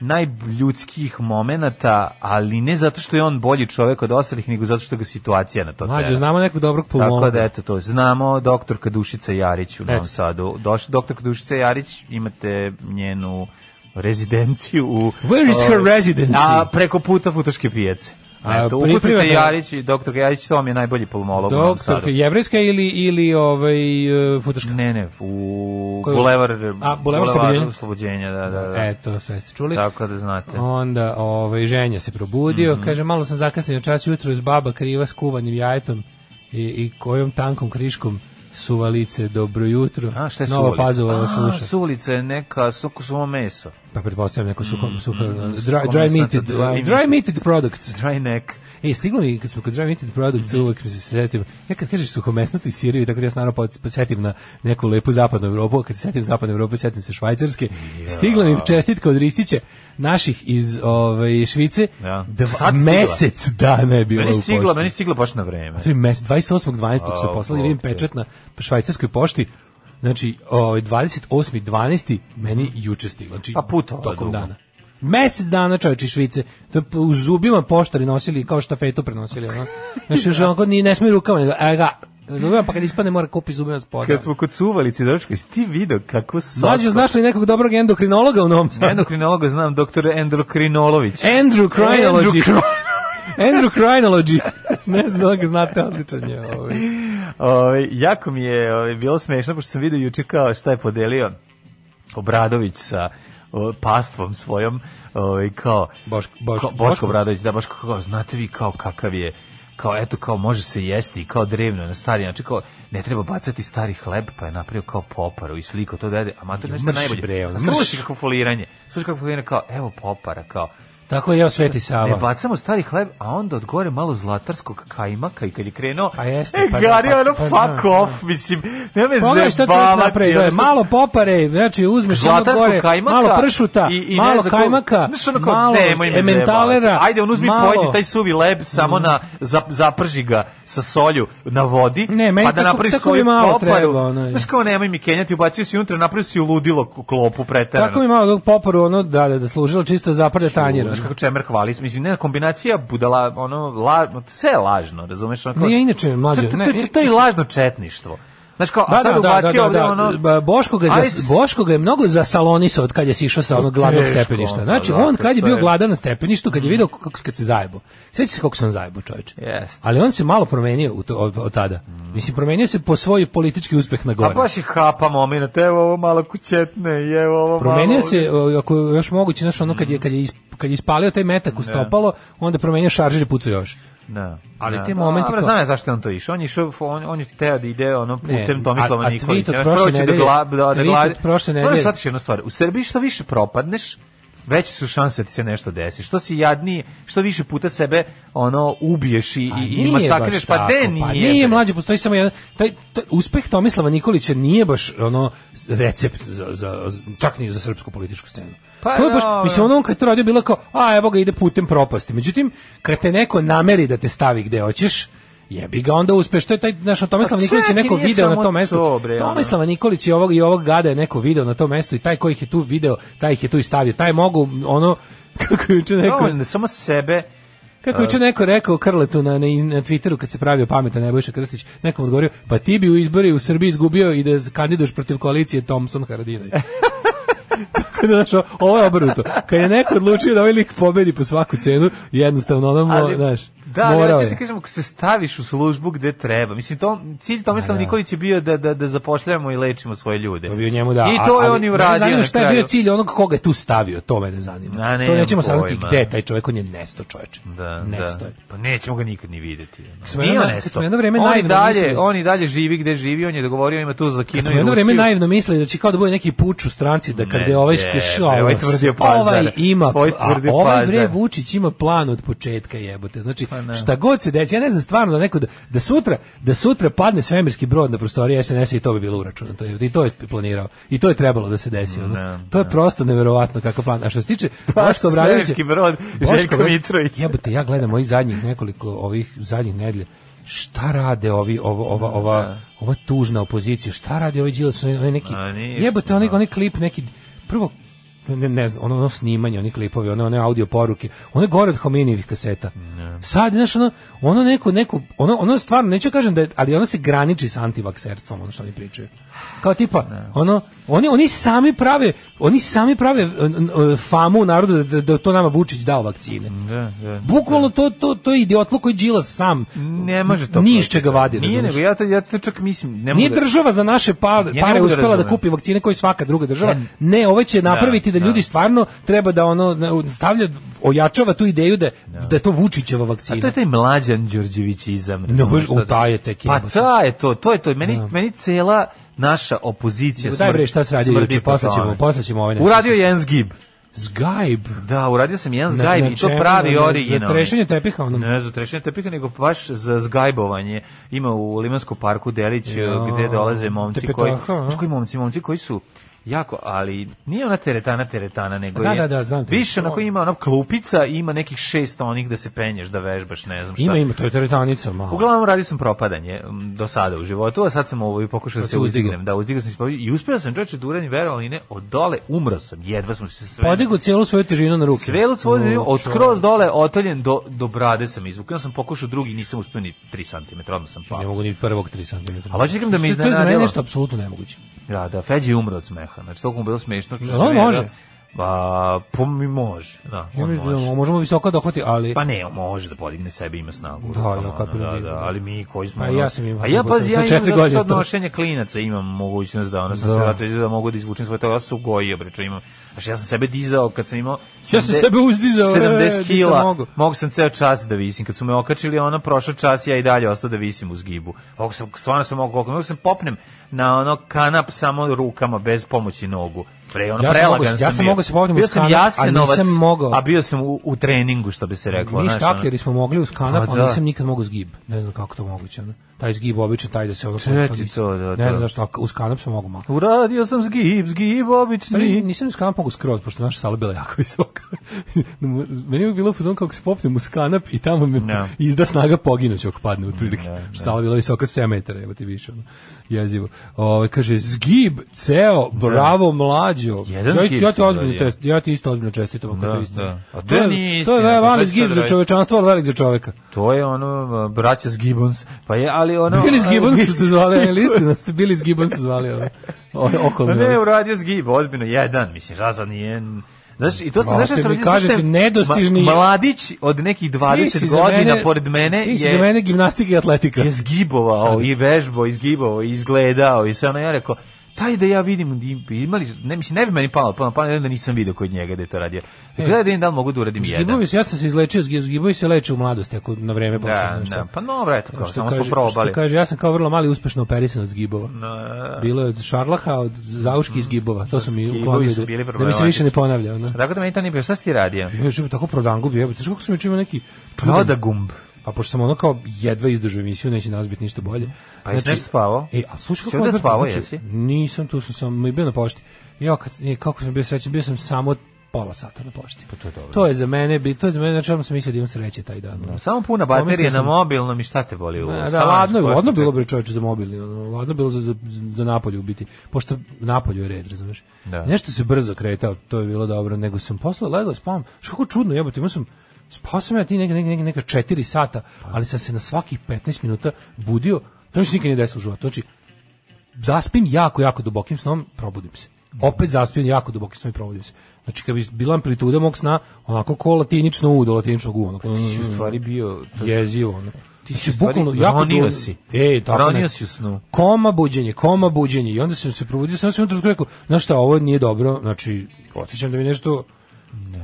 S7: najljudskih momenata, ali ne zato što je on bolji čovjek od ostalih, nego zato što ga situacija na to
S6: Mlađe,
S7: tera.
S6: znamo nekog dobrog
S7: Pa Tako da
S6: pulmologa.
S7: eto to, znamo doktorka Dušica Jarić u Novom
S6: Eto.
S7: Sadu. Doš, doktorka Dušica Jarić, imate njenu rezidenciju u...
S6: Where is her
S7: ovaj,
S6: residency?
S7: A, preko puta Futoške pijace.
S6: A,
S7: Eto,
S6: pri-
S7: ukucite
S6: privatno-
S7: Jarić i doktorka Jarić, to vam je najbolji pulmolog u Novom
S6: Doktor,
S7: Sadu.
S6: jevrejska ili, ili ovaj, e, futoška?
S7: Ne, ne, u
S6: Koji-
S7: Bulevar,
S6: A, Bulevar Oslobođenja.
S7: Oslobođenja, da, da, da.
S6: Eto, E, sve ste čuli.
S7: Tako da znate.
S6: Pa. Onda, ovaj, ženja se probudio,
S7: Mhm.
S6: kaže, malo sam zakasnio čas jutro s baba kriva s kuvanim jajetom i, i kojom tankom kriškom suvalice, dobro jutro.
S7: A, šta je
S6: Nova
S7: Sulica?
S6: Pazova
S7: A,
S6: sluša.
S7: Sulica je neka suko suvo meso.
S6: Pa pretpostavljam neko suho,
S7: Mhm.
S6: suho, dry,
S7: suho
S6: dry,
S7: mesnato,
S6: meated, eh,
S7: dry
S6: dry,
S7: meated.
S6: meated products.
S7: Dry neck.
S6: E, stiglo mi, kad smo kod dry meated products,
S7: Mhm.
S6: uvek mi se setim, ja kad kažeš suhomesnato i siriju, tako da ja se naravno pod- setim na neku lepu zapadnu Evropu, a kad se setim zapadne Evrope, setim se Švajcarske, stigla mi čestitka od Ristića, naših iz ovaj, Švice,
S7: Ja.
S6: dva,
S7: Sad stigla?
S6: mesec dana je bila
S7: Meni
S6: u pošti.
S7: stigla, meni stigla baš na vreme.
S6: Tri mese- 28.12. su
S7: A,
S6: poslali, vidim
S7: ok.
S6: pečat na švajcarskoj pošti, Znači, ovaj 28.12. meni juče stiglo. Znači,
S7: Pa putovala
S6: tokom
S7: dugo.
S6: dana. Mesec dana čoveče iz Švice. To je p- u zubima poštari nosili kao štafetu prenosili, ono. Znači, još onako ni ne smije rukama, nego e ga, zubima pa kad ispadne mora kupi zubima spoda.
S7: Kad smo kod suvalice, dočko, jesi ti video kako sosko...
S6: Mlađo, znaš li nekog dobrog endokrinologa u Novom Sadu?
S7: Endokrinologa znam, doktor Endokrinolović.
S6: Andrew Crinology.
S7: Andrew Cri-
S6: Andrew Crinology. ne znam da ga znate, odličan je ovaj.
S7: Ovaj, jako mi je ovaj, bilo smešno, pošto sam vidio juče kao šta je podelio Obradović sa o, pastvom svojom, ovaj, kao...
S6: Boško- Boško-
S7: kao- Boško
S6: Boško?
S7: Obradović, da, Boško, kao, znate vi kao kakav je kao eto kao može se jesti i kao drevno na stari znači kao ne treba bacati stari hleb pa je napravio kao poparu i sliko to dede a mater nešto
S6: Mrš,
S7: najbolje
S6: bre, ono,
S7: A slušaj
S6: mrš.
S7: kako foliranje slušaj kako foliranje kao evo popara kao
S6: Tako je jeo Sveti Sava.
S7: Ne E, bacamo stari hleb, a onda od gore malo zlatarskog kajmaka i kad je krenuo,
S6: Pa jeste,
S7: e,
S6: pa da,
S7: gari
S6: pa-
S7: ono
S6: pa
S7: fuck
S6: da, Pa ono
S7: off, mislim, ne me
S6: Pogledaj šta čovjek napravi,
S7: zebavati.
S6: gledaj,
S7: ono što-
S6: malo popare, znači uzmeš ono
S7: Zlatarskog
S6: gore,
S7: kajmaka
S6: malo pršuta,
S7: i- i ne
S6: malo
S7: znam ko-
S6: kajmaka,
S7: znaš, ono kao,
S6: malo
S7: nemoj me
S6: ementalera,
S7: zebavati. Ajde, on uzmi
S6: malo-
S7: pojedi taj suvi leb, samo na, za, zaprži ga sa solju na vodi,
S6: Ne, meni
S7: pa da
S6: tako-
S7: napravi
S6: tako
S7: svoju
S6: mi malo
S7: poparu.
S6: treba, ono je.
S7: Znaš kao, nemoj mi kenjati, ubacio si unutra, napravio si ludilo k- klopu preterano.
S6: Tako mi malo dok poparu, ono, da, da, da služilo čisto zaprde tanjir.
S7: Znaš kako čemer hvali, mislim, ne, kombinacija budala, ono, la, sve je lažno, razumeš? Ono, kao-
S6: Nije inače mlađe.
S7: To- to-
S6: ne, e,
S7: to- to je lažno četništvo. Znaš kao, a sad ubacio ovdje ono...
S6: Ba, Boško ga,
S7: Aj,
S6: za,
S7: s-
S6: Boško ga je mnogo zasalonisao od kad je sišao sa onog gladnog
S7: Teško,
S6: stepeništa. Znači,
S7: pa da,
S6: on kad je bio
S7: to je-
S6: gladan na stepeništu, kad je video kako kad se zajebo. Sjeća se kako se on zajebo, čovječe.
S7: Jeste.
S6: Ali on se malo promenio u to, od, od tada. Mislim, promenio se po svoj politički uspeh na
S7: A
S6: gore.
S7: baš ih hapa moment, evo ovo malo kućetne, i evo ovo
S6: Promenio
S7: malo...
S6: se, o, ako je još moguće, znaš, ono kad je, kad je, is- kad je ispalio taj metak u stopalo, onda promenio šaržer i pucao još.
S7: Da.
S6: Ali
S7: da.
S6: ti momenti
S7: Dobro,
S6: kao-
S7: znam ja zašto je on to išao. On je išao, on, on je teo da ide ono putem
S6: Ne,
S7: Tomislava
S6: a- a tweet
S7: Nikolića.
S6: od
S7: Znaš,
S6: prošle
S7: prvo će
S6: nedelje-
S7: da gla, da, da
S6: tweet
S7: gladi-
S6: od proshte
S7: Moraš
S6: nedelje.
S7: shvatiti jednu stvar. U Srbiji što više propadneš, veće su šanse da ti se nešto desi. Što si jadniji, što više puta sebe ono ubiješ i, i,
S6: Pa
S7: i
S6: nije
S7: masakriš.
S6: baš
S7: Pa
S6: tako,
S7: de nije.
S6: Pa nije,
S7: bre?
S6: mlađe, postoji samo jedan... Taj, taj uspeh Tomislava Nikolića nije baš ono recept za, za, za- čak ni za srpsku političku scenu.
S7: Pa
S6: to je baš,
S7: dobro.
S6: mislim, ono on kad je to radio bilo kao, a evo ga ide putem propasti. Međutim, kad te neko nameri da te stavi gde hoćeš, jebi ga onda uspeš. To je taj, znaš, ono, Tomislav
S7: Pa
S6: Nikolić je
S7: čak i
S6: neko
S7: nije
S6: video na
S7: samo
S6: tom mestu.
S7: to, bre, ono.
S6: Tomislava Nikolić i ovog, i ovog gada je neko video na tom mestu i taj koji ih je tu video, taj ih je tu i stavio. Taj mogu, ono, kako je juče neko...
S7: Dovoljno da samo sebe
S6: Kako je juče neko rekao Krletu na, na, na Twitteru kad se pravio pametan Nebojša Krstić, nekom odgovorio, pa ti bi u izbori u Srbiji izgubio i da kandiduješ protiv koalicije Thompson Haradinaj. Tako da, znaš, ovo je obrnuto. Kad je neko odlučio da ovaj lik pobedi po svaku cenu, jednostavno ono, mo,
S7: Ali,
S6: znaš,
S7: da, ali
S6: morao
S7: hoću ti
S6: je.
S7: kažem, ako se staviš u službu gde treba. Mislim, to, cilj Tomislava Nikolić je bio da, da, da zapošljavamo i lečimo svoje ljude.
S6: To bi u njemu da.
S7: I to je
S6: ali
S7: on i
S6: mene
S7: uradio
S6: zanima
S7: na
S6: šta je bio
S7: kraju.
S6: cilj onog koga je tu stavio, to mene zanima.
S7: A, nemam
S6: to nećemo saznati
S7: pojma.
S6: gde je taj čovjek, on je nesto čovječ.
S7: Da,
S6: nesto
S7: da.
S6: je.
S7: Pa nećemo ga nikad ni vidjeti. ono.
S6: smo
S7: Nije
S6: jedno-
S7: on
S6: kad
S7: nestao.
S6: smo jedno vreme
S7: on i
S6: naivno
S7: dalje,
S6: mislili-
S7: on i dalje živi gde živi, on je dogovorio ima tu za Kino i
S6: Kad smo
S7: Rusiju.
S6: jedno vreme naivno mislili da će kao da bude neki puč u stranci, da kad
S7: Ne,
S6: je ovaj
S7: ne,
S6: škeš,
S7: bre, ovaj tvrdio pazar.
S6: ovaj ima,
S7: Ovaj
S6: a
S7: tvrdio
S6: ovaj bre
S7: pazar. Pa
S6: Vučić ima plan od početka jebote. Znači, šta god se desi, ja ne znam stvarno da neko, da, da sutra, da sutra padne svemirski brod na prostorije SNS i to bi bilo uračunato. I to je planirao. I to je trebalo da se desi. ono. to je prosto neverovatno kakav plan. A što se tiče
S7: Pa,
S6: Boško Obradovića...
S7: svemirski brod,
S6: Boško
S7: Željko
S6: Obradović-
S7: Mitrović.
S6: Jebote, ja gledam ovih zadnjih nekoliko ovih zadnjih nedelja. Šta rade ovi ovo ova ova ova tužna opozicija? Šta radi ovaj Đilas onaj onaj neki
S7: A, ništa,
S6: jebote onaj
S7: da.
S6: onaj klip neki prvo ne, ne znam, ono, ono snimanje, oni klipovi, one, one audio poruke, one gore od Hominijevih kaseta. Sad, znaš, ono, ono neko, neko, ono, ono stvarno, neću kažem da je, ali ono se graniči s antivakserstvom, ono što oni pričaju. Kao tipa, ono, oni, oni sami prave, oni sami prave n- n- famu u narodu da, da je to nama Vučić dao vakcine.
S7: Da, da.
S6: Bukvalno to, to, to je idiotluk koji Đilas sam
S7: Ne može to.
S6: ni iz
S7: proći,
S6: čega
S7: da.
S6: vadi.
S7: Nije,
S6: razumeš?
S7: nego ja to, ja to čak mislim, ne mogu
S6: Nije
S7: da-
S6: država za naše pa-
S7: ne
S6: pare
S7: mogu da
S6: uspela da
S7: razumem.
S6: kupi vakcine koji svaka druga država. Ne, ovaj će napraviti da,
S7: da.
S6: ljudi stvarno treba da ono na- stavlja ojačava tu ideju da da je to Vučićeva
S7: A to
S6: vakcina.
S7: je taj mlađan Đorđevićizam.
S6: Ne,
S7: razumeš
S6: u,
S7: šta-
S6: taj je tek
S7: Pa
S6: jebote.
S7: ta je to, to je to. Meni, meni cela naša opozicija
S6: Daj bre
S7: smrdi-
S6: šta se radi
S7: smrdi
S6: juče,
S7: po
S6: posle ćemo,
S7: tome.
S6: posle ćemo ovaj nešto.
S7: Uradio je Zgib.
S6: Skype.
S7: Da, uradio sam jedan
S6: Na-
S7: zgajb
S6: na
S7: i to
S6: čemu?
S7: pravi
S6: Na- na-
S7: originalni.
S6: Za trešenje tepiha ono, onom.
S7: Ne za trešenje tepika, nego baš za zgajbovanje. Ima u Limanskom parku Delić
S6: Ja,
S7: gde dolaze momci koji,
S6: tepetaha, a?
S7: znaš koji momci, momci koji su jako, ali nije ona teretana teretana, nego
S6: Da,
S7: je
S6: da, da, znam te.
S7: više onako ima ona klupica i ima nekih šest onih da se penješ, da vežbaš, ne znam šta.
S6: Ima, ima, to je teretanica, malo.
S7: Uglavnom radio sam propadanje m, do sada u životu, a sad sam ovo i pokušao da
S6: Sad
S7: se
S6: si uzdigao.
S7: uzdignem. Da, uzdigao sam se i uspeo sam čoveče da uradim verovali ili ne, od dole umro sam, jedva smo se sve.
S6: Podigu cijelu svoju težinu na ruke.
S7: Svelu svoju zemlju, od
S6: Čovječe.
S7: skroz dole otoljen do, do brade sam izvukao. Ja sam pokušao drugi, nisam uspio ni 3 cm, odmah sam
S6: Ne
S7: pao.
S6: mogu ni prvog 3 cm.
S7: Ali hoćeš da kažem da me
S6: To je za mene
S7: iznenadilo?
S6: nešto apsolutno nemoguće.
S7: Da, da, Feđi je umro od smeha. Znači, toliko mu bilo smešno. što
S6: Jel
S7: sam
S6: on
S7: ja-
S6: može?
S7: Pa, po mi može. Da,
S6: Ja
S7: on
S6: mislim da
S7: može.
S6: možemo visoko dohvati, ali...
S7: Pa ne, on može da podigne sebe, ima snagu.
S6: Da,
S7: Ono,
S6: ja kapiram da
S7: da, da,
S6: ima.
S7: ali mi koji smo...
S6: Pa
S7: ono-
S6: ja sam imao
S7: A ja,
S6: sam
S7: pa,
S6: posle-
S7: ja
S6: sa
S7: imam
S6: četiri
S7: zato što
S6: godine to.
S7: odnošenje klinaca imam mogućnost da ono sam
S6: Da.
S7: se vratio da mogu da izvučem svoje toga. Ja sam se ugojio, bre, čo imam. Znači, ja sam sebe dizao kad sam imao...
S6: Ja sam sebe uzdizao, e,
S7: 70
S6: nisam
S7: kila.
S6: mogao.
S7: Mogu sam ceo čas da visim. Kad su me okačili, ono, prošao čas, ja i dalje ostao da visim u zgibu. Mogu sam, stvarno sam mogu, mogu sam popnem na ono kanap samo rukama, bez pomoći nogu. Pre, ono,
S6: Ja sam
S7: prelagan
S6: mogao- ja
S7: sam
S6: sam
S7: bio.
S6: mogao se popnem
S7: Bio
S6: uz
S7: sam
S6: kanap, a
S7: jasenovac,
S6: nisam mogao.
S7: a bio sam u, u treningu, što bi se reklo.
S6: Mi
S7: znaš, ono.
S6: štakljeri smo mogli uz kanap,
S7: Pa
S6: ali
S7: da.
S6: nisam nikad mogao zgib. Ne znam kako to moguće. Ono. Taj zgib običan, taj da se ono...
S7: Te ti
S6: nisam-
S7: to, da,
S6: ne
S7: da.
S6: znam zašto, a uz kanap sam mogao malo.
S7: Uradio sam zgib, zgib
S6: Stari,
S7: obični.
S6: nisam uz kanap mogao skroz, pošto naša sala bila jako visoka. Meni je uvijek bilo fazon kako se popnem uz kanap i tamo me
S7: Ne.
S6: izda snaga poginuću ako padne otprilike. Što Sala bila visoka 7 metara, evo ti više. Ono. Jezivo. Ove, kaže, zgib, ceo, bravo, mlađo.
S7: Jedan
S6: ja,
S7: zgib
S6: ja, ti
S7: sam
S6: ozbiljno,
S7: uradio.
S6: test, ja ti isto ozbiljno čestitam. ako
S7: Da,
S6: to je istina.
S7: da. A to
S6: To je,
S7: nije
S6: to
S7: istina,
S6: je
S7: pa
S6: mali
S7: bez
S6: zgib za
S7: sadržaja.
S6: čovečanstvo, ali velik za čoveka.
S7: To je ono uh, braća Gibbons. Pa je, ali ali ono...
S6: Bili s Gibbons su te zvali, ne listi, da ste bili s Gibbons su zvali, ono, o-
S7: Pa
S6: okolni.
S7: ne,
S6: ono.
S7: uradio zgib, ozbiljno, jedan, mislim, razan nije... Znaš, i to se
S6: Znate
S7: znaš, ja sam
S6: mi,
S7: vidio,
S6: kažete,
S7: znaš, te-
S6: nedostižni-
S7: Ma- mladić od nekih
S6: Ti si
S7: 20
S6: za
S7: godina
S6: mene-
S7: pored mene
S6: Ti si
S7: je-
S6: za mene gimnastika i atletika.
S7: je zgibovao i vežbao, i zgibovao, i izgledao i sve ono. Ja rekao, taj da ja vidim, i- i imali, ne, mislim, ne bi meni palo, palo, palo, da nisam vidio kod njega da je to radio. Gledaj da vidim da li mogu da uradim jedan.
S6: E. Zgibovi se, ja sam se izlečio, zgi- zgibovi se leče u mladosti, ako na vreme počne.
S7: Da,
S6: znaš
S7: da,
S6: šta.
S7: pa no, eto, kao,
S6: Što
S7: samo
S6: kaže-
S7: smo probali.
S6: Što kaže, ja sam kao vrlo mali uspešno operisan od zgibova.
S7: Da. Mhm.
S6: Bilo je od šarlaha, od zauški i zgibova. To su mi
S7: Zgibovi
S6: uklonili
S7: su
S6: da,
S7: bili
S6: da mi se više
S7: problematični.
S6: ne ponavlja. Ono.
S7: Tako da meni to nije bilo, šta si ti radio?
S6: Ja živim tako prodangu bio, jebote, znaš kako sam još imao neki čudan,
S7: Roda gumb.
S6: pa pošto sam ono kao jedva izdržao emisiju, neće danas biti ništa bolje.
S7: Pa jesi nešto spavao?
S6: E, a slušaj
S7: Si
S6: kako
S7: ovde
S6: odvratno
S7: spavao,
S6: zvuči.
S7: jesi?
S6: Nisam, tu sam sam, bio na pošti. Ja, kad, e, kako sam bio srećan, bio sam samo pola sata na pošti. Pa to je dobro. To je za mene, bi- to je za mene, znači, odmah sam mislio da imam sreće taj dan. ono.
S7: Samo puna baterije
S6: Pomislio
S7: na
S6: sam-
S7: mobilnom i šta te boli u
S6: Ma, Da,
S7: stanu,
S6: ladno, je,
S7: pošto
S6: ladno
S7: te-
S6: bilo bre čoveče za mobilni, ono, ladno bilo za, za, za napolju biti, pošto napolju je red, razumeš?
S7: Da.
S6: Nešto se brzo kretao, to je bilo dobro, nego sam posle legao, spavam, što kako čudno, jebote, imao sam, spao sam ja ti neka, neka, neka, neka četiri sata, ali sam se na svakih 15 minuta budio, to mi se nikad nije desilo u životu, znači, zaspim jako, jako dubokim snom, probudim se. Opet zaspim jako dubokim snom i probudim se. Znači, kad bi bila amplituda mog sna, onako ko latinično u do latiničnog u, ono, onako,
S7: Ti si u stvari bio... to-
S6: jezivo ono. Ti
S7: Ti si
S6: si
S7: u stvari
S6: bukvalno jako
S7: ronio
S6: dugo-
S7: si.
S6: Ej, tako
S7: Ronio
S6: ne.
S7: si u snu.
S6: Koma buđenje, koma buđenje. I onda sam se probudio, sam se u trenutku rekao, znaš šta, ovo nije dobro, znači, osjećam da mi nešto...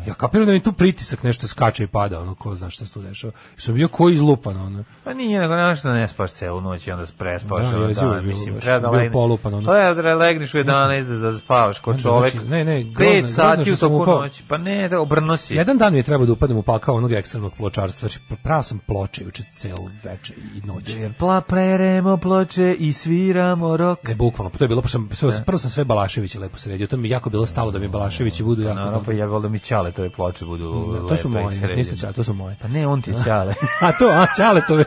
S6: Ja kapiram da mi tu pritisak nešto skače i pada, ono, ko zna šta se tu dešava. I sam bio ko izlupan, ono.
S7: Pa nije, nego nemaš da ne spaš celu noć i onda se prespavaš.
S6: Da,
S7: ono,
S6: jezivo je bilo,
S7: mislim,
S6: baš
S7: treba da
S6: bio
S7: legne-
S6: polupan, ono.
S7: Treba da legneš u 11 da, da spavaš ko
S6: Znači,
S7: čovek.
S6: znači, ne, ne, grozno-
S7: Pet
S6: grozno
S7: sati
S6: što
S7: u
S6: sam
S7: toku
S6: upao.
S7: noći. Pa ne, da obrno si.
S6: Jedan dan mi je trebao da upadnem u pakao onog ekstremnog pločarstva. Znači, pravo sam ploče juče celo večer i noć.
S7: Jer pla preremo ploče i sviramo rok.
S6: Ne, bukvalno, pa to je bilo, pa sam, sve, prvo sam sve Balaševiće lepo sredio, to mi je jako bilo stalo da mi Balaševići budu jako...
S7: Naravno, pa ja volim i ćale, to je ploče budu
S6: Da, to
S7: lepe
S6: su
S7: i
S6: moje,
S7: sređene.
S6: nisu ćale, to su moje.
S7: Pa ne, on ti je ćale.
S6: A to, a Ćale to je...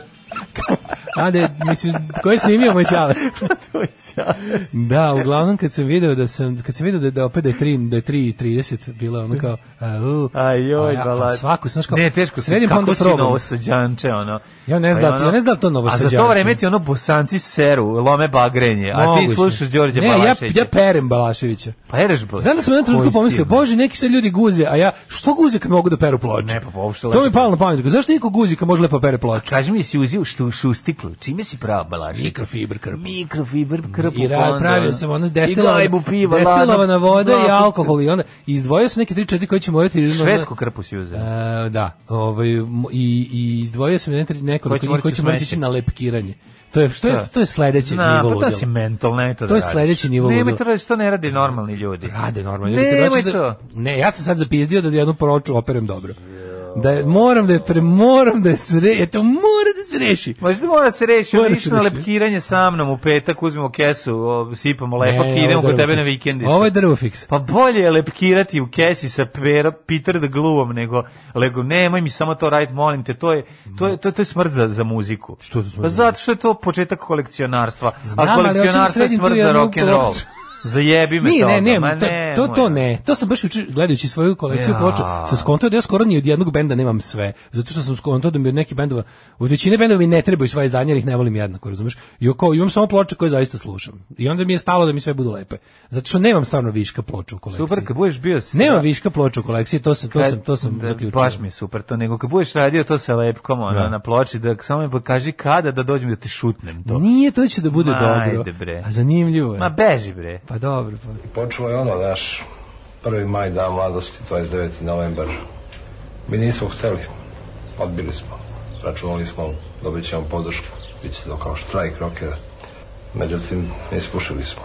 S6: A ne, mislim, ko je snimio moj Ćale?
S7: to je ćale.
S6: Da, uglavnom kad sam video da sam kad sam video da, da opet da je 3 da je 3:30 bila ono kao au,
S7: Aj, joj,
S6: a Pa ja-
S7: balad.
S6: a svaku znaš kao
S7: Ne, teško si,
S6: sredim pa
S7: kako
S6: onda
S7: si
S6: probam.
S7: novosađanče, ono.
S6: Ja ne znam
S7: Pa je
S6: da ti- ja ne znam da li to
S7: A za to
S6: Novosađanče.
S7: vreme ti ono bosanci seru, lome bagrenje, a ti
S6: Moguće.
S7: slušaš Đorđe
S6: ne,
S7: Balaševića.
S6: ja, ja perem Balaševića.
S7: Pa jereš bol.
S6: Znam da sam u jednom trenutku
S7: Koji
S6: pomislio,
S7: stil?
S6: bože, neki se ljudi guze, a ja, što guze kad mogu da peru ploče?
S7: Ne, pa, pa, uopšte
S6: To
S7: lepo.
S6: mi je palo na pamet, zašto niko guzi kad može lepo pere ploče?
S7: Kaži mi, si uzio što šustiklu, čime si pravo Balašević?
S6: Mikrofiber krpa.
S7: Mikrofiber, krpu, pa
S6: I ra, pravio sam ono destilovana,
S7: I gajbu piva,
S6: destilovana
S7: ladno.
S6: voda i
S7: Ladno.
S6: alkohol i onda izdvojio sam neke tri četiri koje će morati
S7: Švedsku krpu si uzeo.
S6: E, da, ovaj mo- i i izdvojio sam ne
S7: Koje
S6: nekoliko njih
S7: će
S6: koji
S7: morati
S6: će morati
S7: smeće.
S6: ići na lepkiranje. To je što je to je sledeći
S7: Na,
S6: nivo
S7: pa
S6: ludila.
S7: to si mental, ne to da
S6: To je
S7: radiš.
S6: sledeći nivo
S7: Nemoj
S6: ludila.
S7: to radiš, to ne rade normalni ljudi.
S6: Rade normalno. Ljudi, kad
S7: Nemoj
S6: hoćeš da,
S7: to.
S6: ne, ja sam sad zapizdio da jednu poroču operem dobro. Da je, moram da je pre, moram da je sre, eto, mora da se reši.
S7: Možda mora da se reši,
S6: Mora
S7: ono
S6: se
S7: išli na
S6: reši.
S7: lepkiranje sa mnom u petak, uzmemo kesu, o, sipamo lepak
S6: Ne,
S7: i idemo
S6: ovo je
S7: kod
S6: drvo
S7: tebe na
S6: fiks.
S7: vikendicu.
S6: Ovo je drvo fiks.
S7: Pa bolje je lepkirati u kesi sa pera, Peter the Glueom nego lego nemoj mi samo to raditi, molim te, to je to je to, je- to je smrt za, za muziku.
S6: Što je to smrt
S7: Pa
S6: za
S7: zato što je to početak kolekcionarstva.
S6: Znam,
S7: a
S6: ali hoću da
S7: kolekcionarstvo je
S6: sredim tu
S7: smrt za
S6: jednu
S7: rock and roll.
S6: ploču.
S7: Zajebi me
S6: Nije,
S7: toga,
S6: ne, ne,
S7: ma
S6: to, to,
S7: nemoj.
S6: to ne. To sam baš uči, gledajući svoju kolekciju
S7: Ja.
S6: ploča, sam skontao da ja skoro ni od jednog benda nemam sve. Zato što sam skontao da mi od nekih bendova, od većine bendova mi ne trebaju sva izdanja, jer ih ne volim jednako, razumeš? I oko, imam samo ploče koje zaista slušam. I onda mi je stalo da mi sve budu lepe. Zato što nemam stvarno viška ploča u kolekciji.
S7: Super, kad budeš bio...
S6: Nema viška ploča u kolekciji, to sam, to sam, to sam
S7: da,
S6: zaključio.
S7: Baš mi je super to, nego kad budeš radio to sa lepkom ono, na ploči, da samo mi pokaži kada da dođem da te šutnem to.
S6: Nije to će da bude
S7: Ma, ajde,
S6: dobro.
S7: bre.
S6: A zanimljivo je.
S7: Ma beži bre.
S6: Pa dobro, pa.
S8: Počelo je ono, znaš, 1. maj, dan mladosti, 29. novembar. Mi nismo hteli, odbili smo. Računali smo, dobit ćemo podršku, bit će to kao štrajk rokera. Međutim, ispušili smo.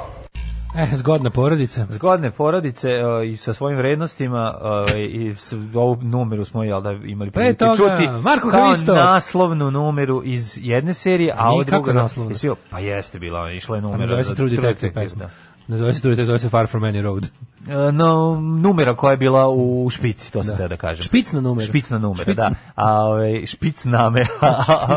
S6: E, zgodna porodica.
S7: Zgodne porodice e, i sa svojim vrednostima e, i s, ovu numeru smo jel da imali
S6: Pre
S7: prilike
S6: toga,
S7: čuti
S6: Marko
S7: kao
S6: Hristo.
S7: naslovnu numeru iz jedne serije, a od
S6: Nikako
S7: druga
S6: naslovnu.
S7: Jesi joj- Pa jeste bila, išla je
S6: Pa
S7: numera.
S6: nazove se
S7: za
S6: True
S7: True
S6: Detective
S7: Detective,
S6: pesma. Nazove se True Detective, zove se Far From Any Road.
S7: e, no, numera koja je bila u špici, to sam da, da kažem.
S6: Špicna numera.
S7: Špicna numera,
S6: Špicna.
S7: da. A, ovaj, ove, špicname.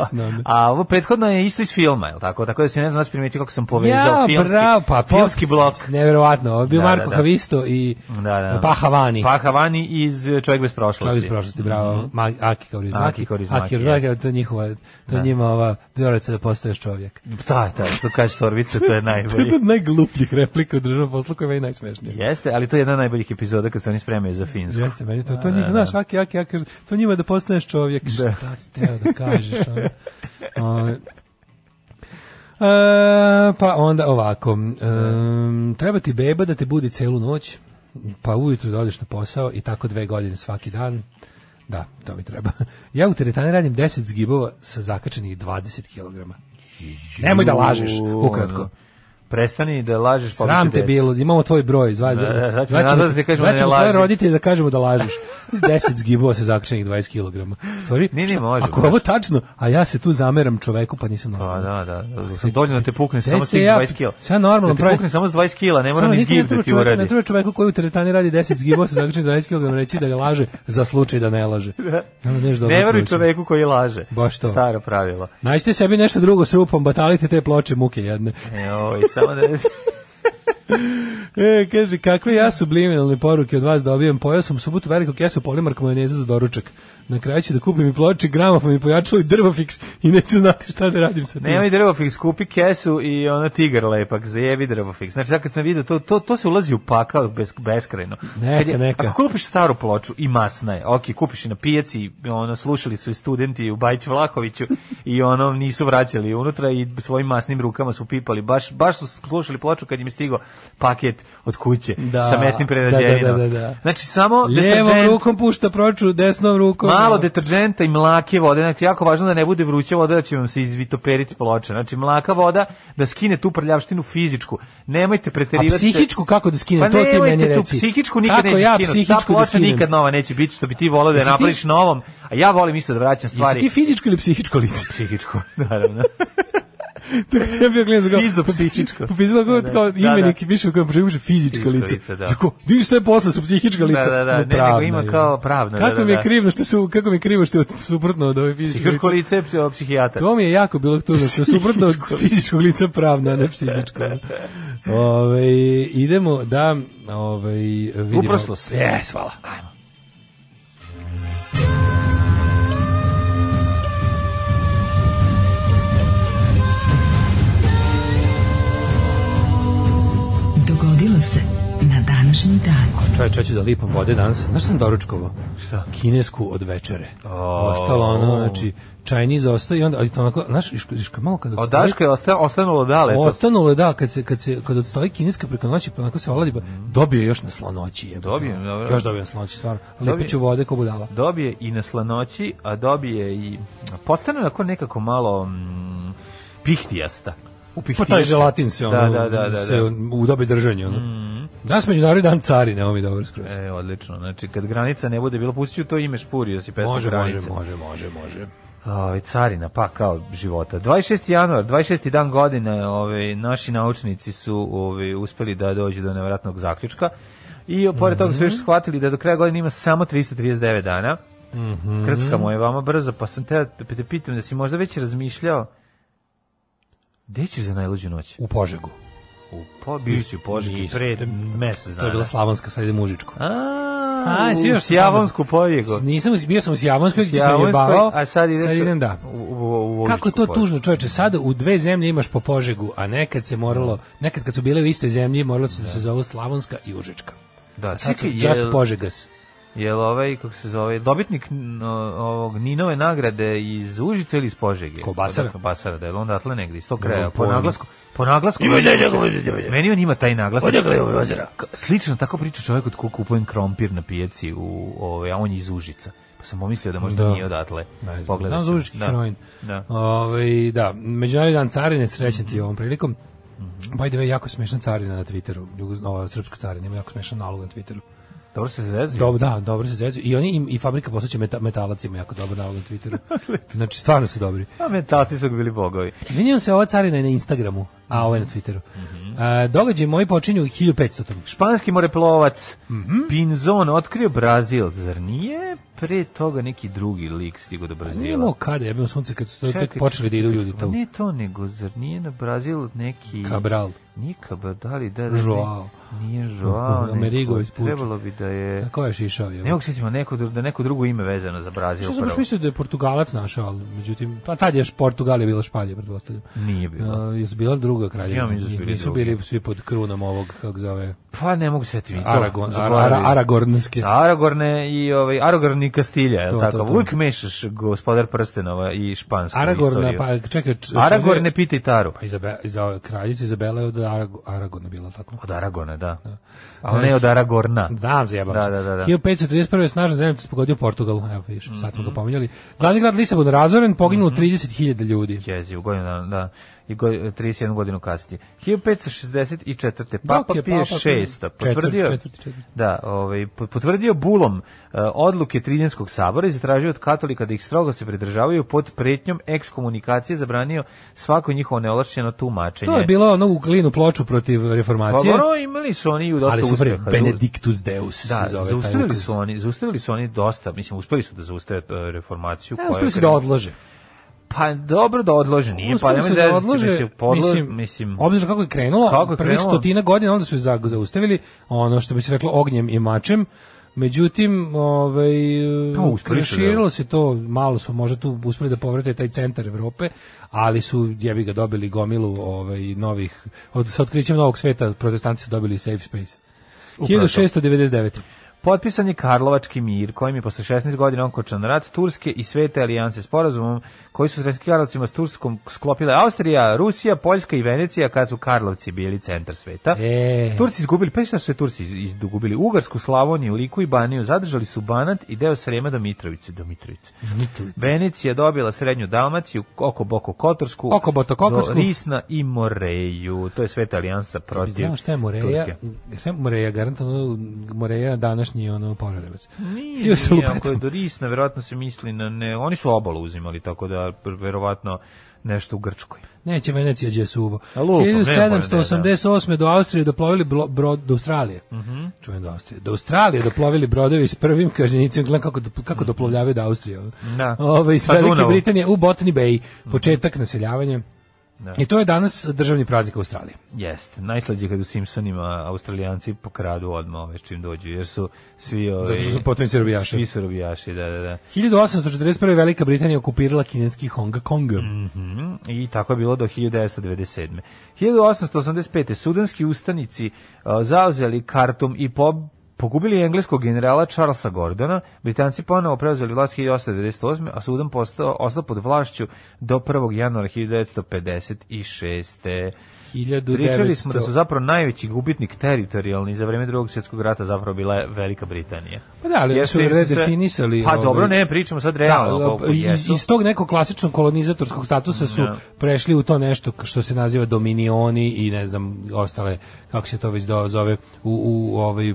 S6: Špicname.
S7: A ovo prethodno je isto iz filma, je li tako? Tako da se ne znam da si primetio kako sam povezao filmski,
S6: bravo, pa
S7: filmski
S6: pop-
S7: blok.
S6: Neverovatno, ovo je bio
S7: Da, da,
S6: Marko
S7: da.
S6: Havisto i
S7: Da, da.
S6: Pahavani.
S7: Pa Havani iz e, Čovjek bez prošlosti.
S6: Čovjek iz prošlosti, bravo. Ma- Aki Kaurismaki.
S7: Aki Kaurismaki,
S6: Aki Kaurismaki, to je njihova, to je njima ova bioraca da postaješ čovjek.
S7: Da, da, što kaže Torbica, to je
S6: To je
S7: najbolje.
S6: jedna od najglupljih replika u državnom poslu koja je meni najsmešnija.
S7: Jeste, ali to je jedna od najboljih epizoda kad se oni spremaju za Finsku.
S6: Jeste, meni to, to njima, znaš, aki, aki, aki, to njima da postaneš čovjek, šta si teo da kažeš, ono. Ovaj. E, pa onda ovako, em, treba ti beba da te budi celu noć, pa ujutru da odeš na posao i tako dve godine svaki dan, da, to mi treba. Ja u teretani radim 10 zgibova sa zakačenih 20 kg. Nemoj da lažeš, ukratko.
S7: Prestani da lažeš pa
S6: Sram te bilo, imamo tvoj broj, zvaj,
S7: Da, da,
S6: zvaj,
S7: sad ćemo nazad da ti kažemo da ne lažeš.
S6: roditelje da kažemo da lažeš. S 10 zgibova se zakačenih 20 kg. Sorry,
S7: Ni, ni, može,
S6: ako je
S7: može.
S6: ovo tačno, a ja se tu zameram čoveku, pa nisam
S7: Pa
S6: normalan.
S7: da, da, da. Dovoljno da te pukne
S6: Te
S7: samo
S6: se
S7: tih
S6: ja-
S7: 20 kila.
S6: sve normalno
S7: Da te
S6: pravi.
S7: pukne samo s 20 kila, ne mora
S6: Stvarno,
S7: ni
S6: niko
S7: zgib da
S6: treba
S7: ti
S6: čoveku-
S7: uradi.
S6: Ne treba čoveku koji u teretani radi 10 zgibova sa zakačenih 20 kg reći da ga laže, zaslučaj da ne laže. Nema nešto dobro
S7: Ne veruj
S6: proučeno.
S7: čoveku koji laže.
S6: Baš to.
S7: Staro pravilo.
S6: Nađite sebi nešto drugo s rupom, batalite te ploče muke jedne.
S7: Joj, ovaj, samo da...
S6: E, kaže, kakve ja subliminalne poruke od vas dobijem? Pojao sam u subotu veliku kesu polimark majoneza za doručak. Na kraju ću da kupim i ploče, gramofon i pojačalo i drvofiks i neću znati šta da radim sa tim.
S7: Nemoj drvofiks, kupi kesu i ona tigar lepak, zajebi drvofiks. Znači, sad kad sam vidio, to, to, to se ulazi u pakao bes, beskrajno.
S6: Neka,
S7: Kad je-
S6: neka.
S7: Ako kupiš staru ploču i masna je, ok, kupiš i na pijaci, ono, slušali su i studenti u Bajić Vlahoviću i ono, nisu vraćali unutra i svojim masnim rukama su pipali. Baš, baš su slušali ploču kad im je stigao paket od kuće
S6: Da,
S7: sa mesnim
S6: da, da, da,
S7: prerađevinom.
S6: da, da.
S7: Znači, samo
S6: Lijevom
S7: deterđent-
S6: rukom pušta proču, desnom rukom.
S7: Malo deterđenta i mlake vode, znači jako važno da ne bude vruća voda, da će vam se izvitoperiti ploča. Znači mlaka voda da skine tu prljavštinu fizičku. Nemojte
S6: A
S7: preterivati.
S6: psihičku kako da skinem,
S7: Pa
S6: to ti
S7: nemojte
S6: meni
S7: tu
S6: reci.
S7: psihičku nikad
S6: Kako
S7: neće
S6: ja
S7: skinuti. Ta
S6: psihičku da
S7: ploča
S6: skinem?
S7: nikad nova neće biti, što bi ti volao da je
S6: Jesi ti-
S7: napraviš novom. A ja volim isto da vraćam
S6: Jesi
S7: stvari.
S6: ti fizičko ili psihičko lice?
S7: psihičku, naravno.
S6: Tako sam ja bio klinac. kao,
S7: Fizopsihičko.
S6: Popisalo kao,
S7: Da, da.
S6: kao
S7: Da,
S6: ime
S7: da.
S6: neki piše u kojem piše fizička
S7: Fizičko
S6: lice.
S7: lice, da.
S6: Jako, vidiš šta je posle, su psihička lica.
S7: da,
S6: ono,
S7: da, ne, nego
S6: pravna
S7: ima
S6: je.
S7: kao pravna, da,
S6: Kako
S7: da,
S6: mi je
S7: da.
S6: krivo što su, kako mi je krivo što je od- suprotno od ove fizičke
S7: Psihičko lice je psi- psihijatar.
S6: To mi je jako bilo tužno, što je suprotno od fizičkog lica pravna, a ne psihičko. Ove, idemo da ove, vidimo.
S7: Uproslos.
S6: Jes, hvala.
S5: Dogodilo se na današnji dan.
S6: Čovječ, ja ću da lipam vode danas. Znaš šta sam doručkovao?
S7: Šta?
S6: Kinesku od večere. Ostalo ono, znači, Chinese ostao i onda, ali to onako, znaš, iš, iš, malo kad
S7: Od Daška Pa je osta, ostanulo dale. to.
S6: Ostanulo je, da, kad se, kad se kad odstoji kineska preko noći, pa onako se oladi, pa dobio je još na slanoći. jebote.
S7: Dobio, Mm. dobro.
S6: Još dobio na slanoći, stvarno.
S7: Dobio.
S6: Lipaću vode ko budala.
S7: dobije i na slanoći, a dobije i postane onako nekako malo mm, pihtijasta. U
S6: Pa taj želatin se ono,
S7: da, da, da, da,
S6: se
S7: da. Mm.
S6: u dobi držanju. Ono. Danas međunarodni dan carine, ovo mi je dobro skroz.
S7: E, odlično. Znači, kad granica ne bude bila, pustit ću to ime špurio si pesmu
S6: može, može,
S7: granice.
S6: može, može, može.
S7: Ovaj, carina, pa kao života. 26. januar, 26. dan godine, ovaj, naši naučnici su ovaj, uspeli da dođu do nevratnog zaključka i pored toga su još shvatili da do kraja godine ima samo 339 dana. Krckamo je vama brzo, pa sam te, da te pitam da si možda već razmišljao gde ćeš za najluđu noć?
S6: U Požegu.
S7: U pobiću Požegi
S6: Nisam.
S7: pre mesec dana.
S6: To je bila Slavonska, sad idem u Užičku.
S7: A,
S6: A,
S7: u
S6: si još
S7: Sjavonsku pobjegu.
S6: Nisam, bio sam u Sjavanskoj, gdje sam
S7: Javanskoj,
S6: jebavao,
S7: a sad ideš u-
S6: idem da.
S7: u- u- u
S6: Kako je to
S7: Užičku
S6: tužno, čoveče, sada u dve zemlje imaš po Požegu, a nekad se moralo,
S7: Mm.
S6: nekad kad su bile u istoj zemlji, moralo se da se zovu Slavonska i Užička.
S7: Da,
S6: A sad su
S7: čekaj,
S6: just
S7: jel-
S6: Požegas.
S7: Jel ovaj, kako se zove, dobitnik n- ovog Ninove nagrade iz Užica ili iz Požege?
S6: Kobasara.
S7: Od Kobasara, da je on datle negde, iz tog kraja,
S6: Nemam
S7: po
S6: pojma.
S7: naglasku. Po naglasku. Meni on ima taj naglasak. Odakle je ozera? Slično tako priča čovjek od koga kupujem krompir na pijaci, u, ovaj, a on je iz Užica. Pa sam pomislio da možda
S6: Da.
S7: nije odatle.
S6: Ne znam,
S7: Pogledat
S6: znam za
S7: ću.
S6: užički
S7: Da.
S6: heroin.
S7: Da.
S6: Ovaj, da, Međunarodni dan carine, srećan
S7: Mhm.
S6: ti ovom prilikom. By the way, jako smešna carina na Twitteru, Jugo- ova srpska carina, ima jako smešan nalog na Twitteru.
S7: Dobro se zezio.
S6: Dobro, da, dobro se zezu. I oni im, i fabrika poslaće meta, metalac ima jako dobar nalog na Twitteru. znači, stvarno su dobri.
S7: A mentalci Pa su bili bogovi. Mhm.
S6: Izvinjam se, ova carina je na Instagramu, a ovo je na Twitteru. A, događaj moji počinju u 1500.
S7: Španski moreplovac
S6: Mhm.
S7: Pinzon otkrio Brazil, zar nije pre toga neki drugi lik stigo do Brazila?
S6: Pa Nije imao kada, jebimo sunce, kad su to tek
S7: Čekaj,
S6: počeli da idu
S7: čekaj, pa
S6: ljudi tamo.
S7: Ne to, nego zar nije na Brazilu neki...
S6: Cabral.
S7: Nije Cabral, da li da... da
S6: Joao.
S7: ne- Nije Joao.
S6: Amerigo
S7: nego
S6: iz Puča.
S7: Trebalo bi da je...
S6: Na ko je šišao?
S7: Ne mogu se sjetiti, neko, dru- da je neko drugo ime vezano za Brazil.
S6: Što sam baš
S7: prvo.
S6: mislio da je Portugalac našao, ali međutim, pa tad je Portugalija bila Španija, pretpostavljam.
S7: Nije bilo.
S6: A, jesu bila druga kraljevina?
S7: Ja mislim da su bili
S6: Nisu
S7: drugi.
S6: bili svi pod krunom ovog, kako zove,
S7: Pa ne mogu se sjetiti. ni to.
S6: Aragon, Ara,
S7: Zaboravio.
S6: Ara, Aragornske.
S7: Aragorne i ovaj Aragorn i Kastilja, je
S6: To,
S7: li tako?
S6: to, to.
S7: Uvijek mešaš gospodar prstenova i špansku
S6: Aragorna,
S7: istoriju.
S6: pa čekaj... č-
S7: Aragorn ne
S6: čekaj-
S7: pitaj Taru.
S6: Pa Izabe, iza, kraljica Izabela je od Arago, Aragona bila, tako?
S7: Od Aragona, da. Ali
S6: Znači-
S7: ne od Aragorna.
S6: Znam, zajebam
S7: Da,
S6: se.
S7: da, da, da.
S6: 1531. je snažan zemljotres pogodio Portugal, evo viš, sad
S7: Mhm.
S6: smo ga pominjali. Glavni grad Lisabon razoren, poginulo 30.000 ljudi.
S7: Jezi, u godinu dana, da. I go, 31 godinu kasnije. 1564. Papa
S6: Dok je
S7: Pije
S6: Papa
S7: VI.
S6: Pije-
S7: Potvrdio,
S6: četvrti, četvrti, četvrti.
S7: Da, ovaj, po- potvrdio bulom eh, odluke Tridenskog sabora i zatražio od katolika da ih strogo se pridržavaju pod pretnjom ekskomunikacije zabranio svako njihovo neolašćeno tumačenje.
S6: To je bilo ono u klinu ploču protiv reformacije.
S7: Pa, ono, imali su oni i dosta
S6: ali su pre
S7: uspeha.
S6: Benedictus Deus
S7: Da,
S6: se zove taj
S7: zaustavili
S6: ukaz.
S7: su oni, zaustavili su oni dosta, mislim, uspeli su da zaustave eh, reformaciju.
S6: E,
S7: koja je
S6: uspeli su da
S7: krenula-
S6: odlože.
S7: Pa dobro da odlože, nije, pa
S6: Uspeli
S7: nemoj
S6: su da odlože,
S7: mislim, podlo,
S6: mislim,
S7: mislim,
S6: obzirom kako je krenulo,
S7: Kako je
S6: prvih
S7: krenulo?
S6: stotina godina, onda su je za- zaustavili, ono što bi se reklo, ognjem i mačem, Međutim, ovaj
S7: Pa, uspeli su da-
S6: proširilo se to, malo su možda tu uspeli da povrate taj centar Evrope, ali su jebi ga dobili gomilu ovaj novih od sa otkrićem novog sveta protestanti su dobili safe space.
S7: to.
S6: 1699.
S7: Potpisan je Karlovački mir, kojim je posle 16 godina okončan rat Turske i Svete alijanse sporazumom koji su srpskim Karlovcima s Turskom sklopile Austrija, Rusija, Poljska i Venecija kad su Karlovci bili centar sveta.
S6: E.
S7: Turci izgubili, pa šta su se Turci iz- izgubili? Ugarsku, Slavoniju, Liku i Baniju zadržali su Banat i deo Srema do Mitrovice. Do Mitrovice. Venecija dobila srednju Dalmaciju, oko Boko Kotorsku,
S6: Oko Botokotorsku.
S7: do Risna i Moreju. To je Sveta alijansa protiv
S6: Znamo šta je Moreja,
S7: Turske.
S6: sve Moreja, garantovno Moreja današnji ono požarevac.
S7: Nije,
S6: Bio se
S7: nije,
S6: lupetom.
S7: ako je do Risna, verovatno se misli na ne, oni su obalu uzimali, tako da verovatno nešto u Grčkoj.
S6: Neće Venecija gdje su uvo.
S7: A lupam, nema
S6: 1788. do Austrije doplovili blo- brod do Australije.
S7: Mhm.
S6: Čujem do Austrije. Do Australije doplovili brodovi s prvim kažnjenicima. Gledam kako, dopl- kako doplovljavaju do Austrije. ono.
S7: Mhm. Da.
S6: Ove, iz
S7: Pa
S6: Velike
S7: Dunavu. Mhm.
S6: Britanije u Botany Bay. Početak naseljavanja. I to je danas državni praznik Australije.
S7: Jeste, najslađe kad u Simpsonima Australijanci pokradu odmah ove čim dođu, jer su svi... Ove,
S6: Zato što su potomci robijaša.
S7: Svi su robijaši, da, da, da.
S6: 1841. Velika Britanija okupirala kineski Honga Konga.
S7: Mhm, I tako je bilo do 1997. 1885. sudanski ustanici uh, zauzeli Kartum i po- pogubili engleskog generala Charlesa Gordona. Britanci ponovo preuzeli vlast 1898. a Sudan postao, ostao pod vlašću do 1. januara 1956.
S6: 1900...
S7: Pričali smo da su zapravo najveći gubitnik teritorijalni za vreme drugog svjetskog rata zapravo bila je Velika Britanija.
S6: Pa da, ali
S7: Jer
S6: su
S7: im se sve-
S6: redefinisali,
S7: Pa
S6: ovaj-
S7: dobro, ne, pričamo sad realno
S6: Da, pa
S7: koliko
S6: iz,
S7: jesu.
S6: iz tog nekog klasičnog kolonizatorskog statusa su prešli u to nešto k- što se naziva dominioni i ne znam ostale kako se to već do- zove u u ovaj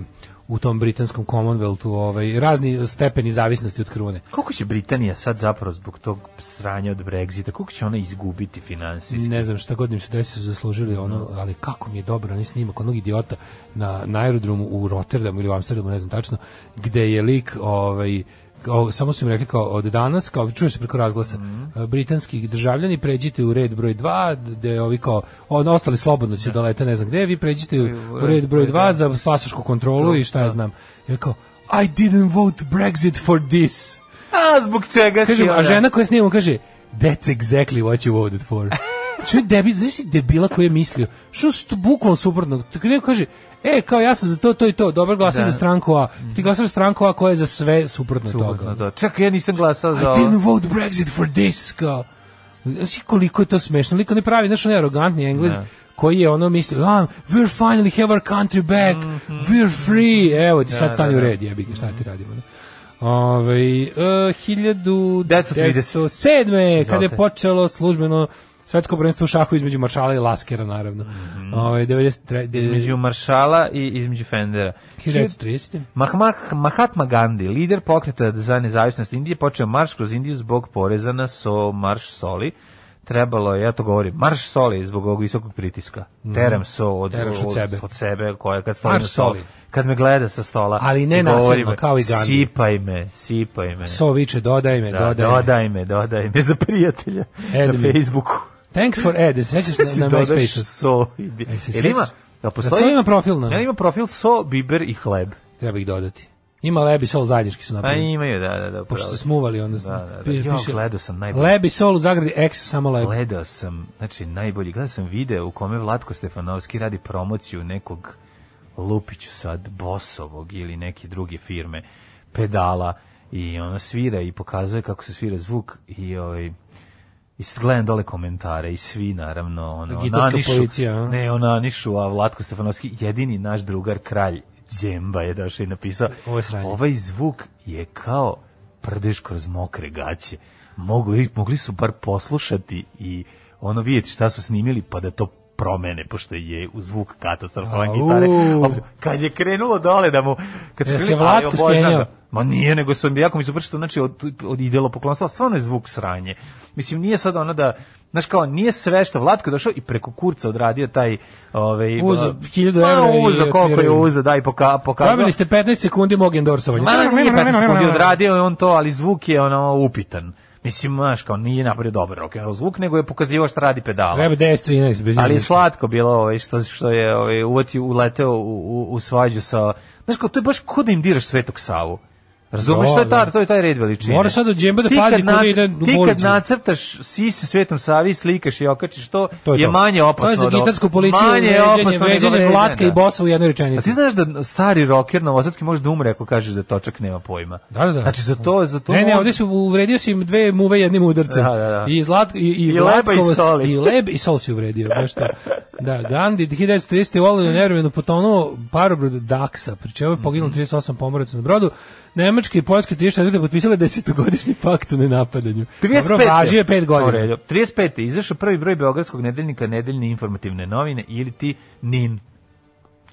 S6: u tom britanskom Commonwealthu, ovaj razni stepeni zavisnosti od krune.
S7: Koliko će Britanija sad zapravo zbog tog sranja od Brexita, koliko će ona izgubiti finansijski?
S6: Ne znam šta god im se desi su zaslužili ono, ali kako mi je dobro onaj snimak onog idiota na, na aerodromu u Rotterdamu ili u Amsterdamu, ne znam tačno, gde je lik ovaj kao- samo su im rekli kao od danas, kao čuješ se preko razglasa, britanskih britanski državljani pređite u red broj 2, gde ovi kao, on, ostali slobodno će da lete, ne znam gde, vi pređite u, u red broj 2 za pasošku kontrolu i šta ja znam. I kao, I didn't vote Brexit for this.
S7: A, zbog čega si
S6: Mm. Kažem, a
S7: ona?
S6: žena koja snima kaže, that's exactly what you voted for. Čuj, debil, znaš si debila koji je mislio, što su to bukvalno suprotno, tako neko kaže, e, kao ja sam za to, to i to, dobro glasaj za stranku A, ti glasaš za stranku A koja je za sve suprotno,
S7: No,
S6: toga.
S7: da. Čak ja nisam glasao za
S6: I didn't
S7: ovo.
S6: vote Brexit for this, kao. Znaš li koliko je to smešno, liko ne pravi, znaš onaj arogantni englez, koji je ono mislio, ah, we're finally have our country back,
S7: Mhm.
S6: we're free, evo ti sad stani u red, jebi ga, šta ti radimo, da? Ove, e, 1937. kada je
S7: Izvolite.
S6: počelo službeno svetsko prvenstvo u šahu između Maršala i Laskera, naravno. Ovaj, Ove, 93,
S7: Mhm. Između Maršala i između Fendera.
S6: 1930.
S7: Mahmah, Mahatma Gandhi, lider pokreta za nezavisnost Indije, počeo marš kroz Indiju zbog poreza na so, marš soli, trebalo je, ja to govorim, marš soli zbog ovog visokog pritiska. Teram so od,
S6: Mhm. Teraš od
S7: od,
S6: sebe.
S7: od sebe, koja kad stoji
S6: Marš
S7: na stolu,
S6: soli.
S7: Kad me gleda sa stola,
S6: Ali ne
S7: i govori
S6: nasilno,
S7: me,
S6: kao i Gandhi.
S7: Sipaj me, sipaj me.
S6: So viče, dodaj me,
S7: Da,
S6: dodaj, me.
S7: dodaj me, dodaj me za prijatelja
S6: Add me.
S7: na Facebooku.
S6: Thanks for ad, sećaš se
S7: Si
S6: na, na
S7: dodaš
S6: MySpace-u?
S7: So i bi-
S6: Ej, se
S7: Jel ima?
S6: sjećaš?
S7: Da
S6: Da so ima profil na-
S7: Ja ima profil so, biber i hleb.
S6: Treba ih dodati. Ima Lebi Sol zajednički su
S7: A
S6: napravili.
S7: imaju, da, da, da.
S6: Pa Pošto
S7: upravo.
S6: se smuvali onda.
S7: Pa Da, da, da. Jo, gledao sam najbolje.
S6: Lebi Sol u Zagradi X samo Lebi.
S7: Gledao sam, znači najbolji, gledao sam video u kome Vlatko Stefanovski radi promociju nekog Lupiću sad Bosovog ili neke druge firme pedala i ono svira i pokazuje kako se svira zvuk i ovaj i sad gledam dole komentare i svi naravno ono
S6: Gitarska
S7: nanišu-
S6: policija, a?
S7: ne ona nišu a Vlatko Stefanovski jedini naš drugar kralj Džemba je došao i napisao
S6: Ovo je sranje.
S7: ovaj zvuk je kao prdeš kroz mokre gaće. Mogu, mogli su bar poslušati i ono vidjeti šta su snimili pa da to promene, pošto je u zvuk katastrofalan
S6: Au.
S7: gitare. A Kad je krenulo dole da mu... Kad su
S6: Jel se
S7: krenuli,
S6: Vlatko
S7: ali obožavam
S6: skenjao?
S7: ga. Ma nije, nego sam jako mi super što znači od, od idelo poklonstva, stvarno je zvuk sranje. Mislim, nije sad ono da... Znaš kao, nije sve što Vlatko je došao i preko kurca odradio taj... Ovaj,
S6: Uzeo
S7: ba-
S6: 1000
S7: Ma,
S6: evra i
S7: uzeo, koliko je
S6: otvirao.
S7: uzeo, da, i poka, pokazao.
S6: Pravili ste 15 sekundi mog endorsovanja.
S7: Ma ne, nije 15 sekundi odradio je on to, ali zvuk je ono upitan. Mislim, znaš, kao nije napravio dobar rock and roll zvuk, nego je pokazivao šta radi pedala.
S6: Treba 10-13 bez
S7: Ali je
S6: njega.
S7: slatko bilo ovaj, što, što je ovaj, uvati, uleteo u, u, u svađu sa... Znaš, kao, to je baš ko da im diraš Svetog Savu. Razumeš,
S6: Da,
S7: to, je ta,
S6: da.
S7: to je taj red veličine.
S6: Mora sad od džemba da
S7: Ti kad
S6: pazi kuda
S7: nac-
S6: ide u
S7: Ti kad
S6: ulicu.
S7: nacrtaš sise Svetom Savi, slikaš i okačiš, to,
S6: To je
S7: je,
S6: to.
S7: manje opasno.
S6: To je
S7: od
S6: za
S7: ovog-
S6: gitarsku policiju,
S7: manje je
S6: vređenje,
S7: opasno nego
S6: vređenje
S7: vređenje,
S6: Vlatka i
S7: da.
S6: Bosa u jednoj
S7: A ti
S6: rečenici.
S7: znaš da stari roker novosadski može da umre ako kažeš da točak nema pojma.
S6: Da, da, da.
S7: Znači za to, za to
S6: Ne, ne,
S7: on-
S6: ovdje su uvredio si im dve muve jednim udarcem.
S7: Da, da, da.
S6: I Zlat i i,
S7: I leba i
S6: Vlatkovo-
S7: soli.
S6: I leb i sol si uvredio, baš to. Da, Gandhi 1930 u Olinu nevremenu potonuo parobrod Daksa, pri čemu je
S7: Mhm.
S6: poginulo 38 pomoraca na brodu. Nemačke i poljske 34 potpisale 10-godišnji pakt o nenapadanju.
S7: 35.
S6: Dobro, važio je 5
S7: U
S6: godina.
S7: redu. 35. je izašao prvi broj Beogradskog nedeljnika Nedeljne informativne novine ili ti NIN.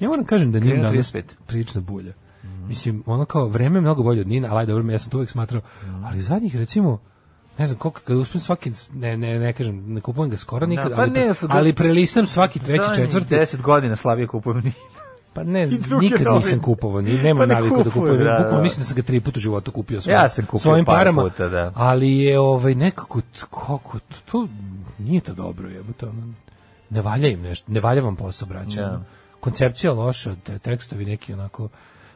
S6: Ja moram kažem da Nin
S7: Krenuo
S6: danas
S7: 35.
S6: prilično bulja. Mislim, ono kao vreme je mnogo bolje od Nina, ali aj, dobro, ja sam to uvek smatrao.
S7: Mhm.
S6: Ali zadnjih, recimo, ne znam koliko, kad uspijem svaki, ne, ne, ne kažem, ne kupujem ga skoro nikad,
S7: pa
S6: ali,
S7: ne,
S6: pre-
S7: sad-
S6: ali prelistam svaki treći,
S7: Zadnjih
S6: četvrti,
S7: 10 godina slabije kupujem NIN.
S6: pa ne,
S7: i druge
S6: nikad
S7: novine.
S6: nisam kupovao, ni, nemam
S7: Pa ne
S6: naviku da
S7: kupujem,
S6: kupujem,
S7: da, da.
S6: bukvalno mislim da sam ga tri puta u životu kupio svojim,
S7: Ja sam kupio
S6: svojim
S7: par
S6: parama,
S7: puta, da.
S6: ali je ovaj, nekako, t- kako, to, to nije to dobro, jebote, ono, ne valja im nešto, ne valja vam posao, braće,
S7: Da.
S6: ono. koncepcija loša, te, tekstovi neki onako,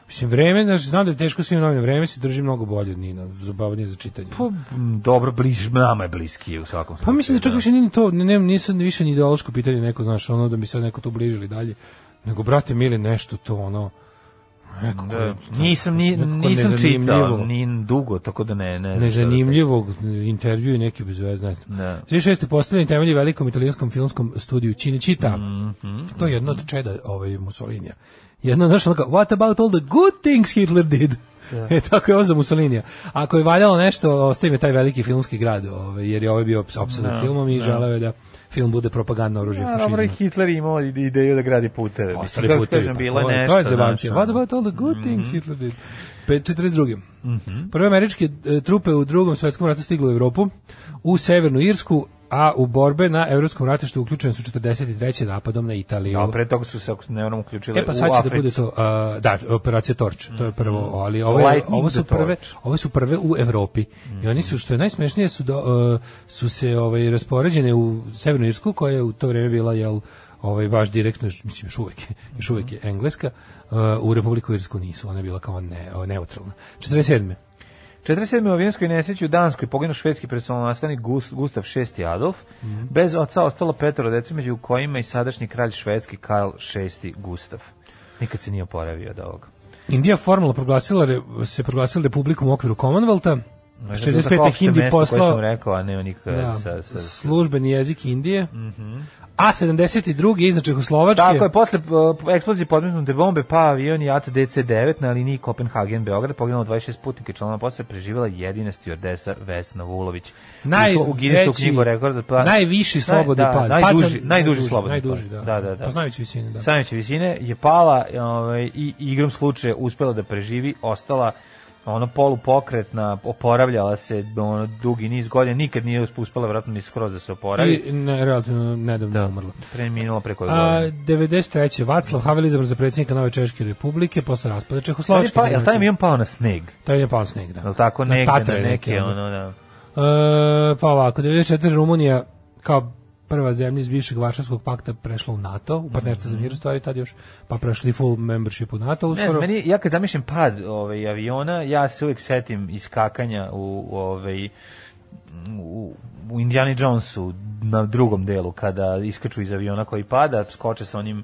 S6: Mislim, vreme, znaš, znam da je teško svim novim vreme, se drži mnogo bolje od Nina, zabavnije za čitanje.
S7: Pa, m, dobro, bliž, nama je bliski u svakom slučaju.
S6: Pa mislim da čak
S7: da.
S6: više nije ni to, ne, ne, nije sad više ni ideološko pitanje neko, znaš, ono da bi sad neko to bližili dalje, nego, brate, mili, nešto to, ono, nekako,
S7: Da. Nisam, ni,
S6: nekako
S7: nisam čitao
S6: nezanimljivo.
S7: NIN dugo, tako da ne... ne znam šta da
S6: Nezanimljivog intervju i neki bez veze, ne znam.
S7: Da.
S6: 36. postavljeni temelji velikom italijanskom filmskom studiju Cinecittà.
S7: Mhm.
S6: To je jedno od čeda ovaj, Mussolinija. Jedno, znaš, ono kao, what about all the good things Hitler did? E, tako je ovo za Mussolinija. Ako je valjalo nešto, ostavim je taj veliki filmski grad, ovaj, jer je ovaj bio opsanut filmom i želeo je da film bude propagandno oružje
S7: A, dobro, i
S6: fašizma.
S7: Hitler je imao ide- ideju da gradi puteve.
S6: Ostali
S7: Mislim, kako
S6: putevi,
S7: kažem,
S6: pa
S7: bilo
S6: to, je-
S7: nešto,
S6: to je zebancija.
S7: znaš,
S6: What
S7: ono.
S6: about all the good things Hitler did? Pe- 42.
S7: Mhm.
S6: Prve američke e, trupe u drugom svetskom ratu stiglo u Evropu, u Severnu Irsku, a u borbe na Evropskom ratištu uključene su 43. napadom na Italiju.
S7: A pre toga su se, ako se ne varam, uključile
S6: E pa sad će
S7: u
S6: da
S7: Africi. Mm.
S6: bude to, a, da, operacija Torč, to je prvo, ali ovo, je-
S7: Lightning Mm-hmm.
S6: ovo su
S7: the
S6: prve,
S7: Torch.
S6: ove su prve u Evropi. I oni su, što je najsmešnije, su, do, e, su se ovaj, raspoređene u Severnu Irsku, koja je u to vrijeme bila, jel, ovaj, baš direktno, još- mislim, još uvijek, je- još uvijek
S7: Mm-hmm.
S6: je Engleska, e, u Republiku Irsku nisu, ona je bila kao ne, o, neutralna. 47.
S7: 47. u avijanskoj nesreći u Danskoj poginuo švedski nastavnik Gustav VI Adolf.
S6: Mhm.
S7: Bez oca ostalo petoro dece, među kojima i sadašnji kralj švedski Karl VI Gustav. Nikad se nije oporavio od ovoga.
S6: Indija formalno proglasila, re- se proglasila republikom u okviru Commonwealtha,
S7: Možda je to tako
S6: 65.
S7: opšte
S6: Hindi
S7: mesto koje sam
S6: poslao
S7: rekao, a ne nikad
S6: Da,
S7: sa, sa, sa-
S6: službeni jezik Indije. A 72. iznad Čehoslovačke.
S7: Tako je, posle uh, eksplozije podmetnute bombe pa avion i DC-9 na liniji Kopenhagen-Beograd poginulo 26 putnika i članova posle preživjela jedina stjordesa Vesna Vulović. Ušla u Guinnessovu
S6: Najveći,
S7: knjigu rekorda. pla-
S6: najviši slobodni
S7: pa- Naj- da,
S6: pad.
S7: Najduži,
S6: Pad sam-
S7: najduži, slobodni
S6: najduži, da.
S7: pad. da, da, da.
S6: Poznajući visinu, da.
S7: Sanjaće visine je pala ovaj, i igrom slučaja uspela da preživi, ostala ono polupokretna, oporavljala se ono, dugi niz godina, nikad nije uspela vratno ni skroz da se oporavi.
S6: I ne, relativno nedavno da. umrla.
S7: Preminula preko
S6: A,
S7: godine.
S6: 93. Vaclav Havel izabran za predsjednika Nove Češke republike posle raspada Čehoslovačke.
S7: Pa, jel taj avion pao na sneg?
S6: To je pao sneg, da.
S7: Jel tako
S6: Na
S7: negde
S6: Tatra
S7: na
S6: je
S7: neke,
S6: neki,
S7: ono, da.
S6: E, pa ovako, 94. Rumunija kao prva zemlja iz bivšeg Varšavskog pakta prešla u NATO, u partnerstvo za mir u stvari tad još, pa prešli full membership u NATO
S7: Mhm. Ne
S6: uskoro.
S7: znam, meni, ja kad zamišljam pad ovaj, aviona, ja se uvijek setim iskakanja u, u, ovaj, u, u Indiana Jonesu na drugom delu, kada iskaču iz aviona koji pada, skoče sa onim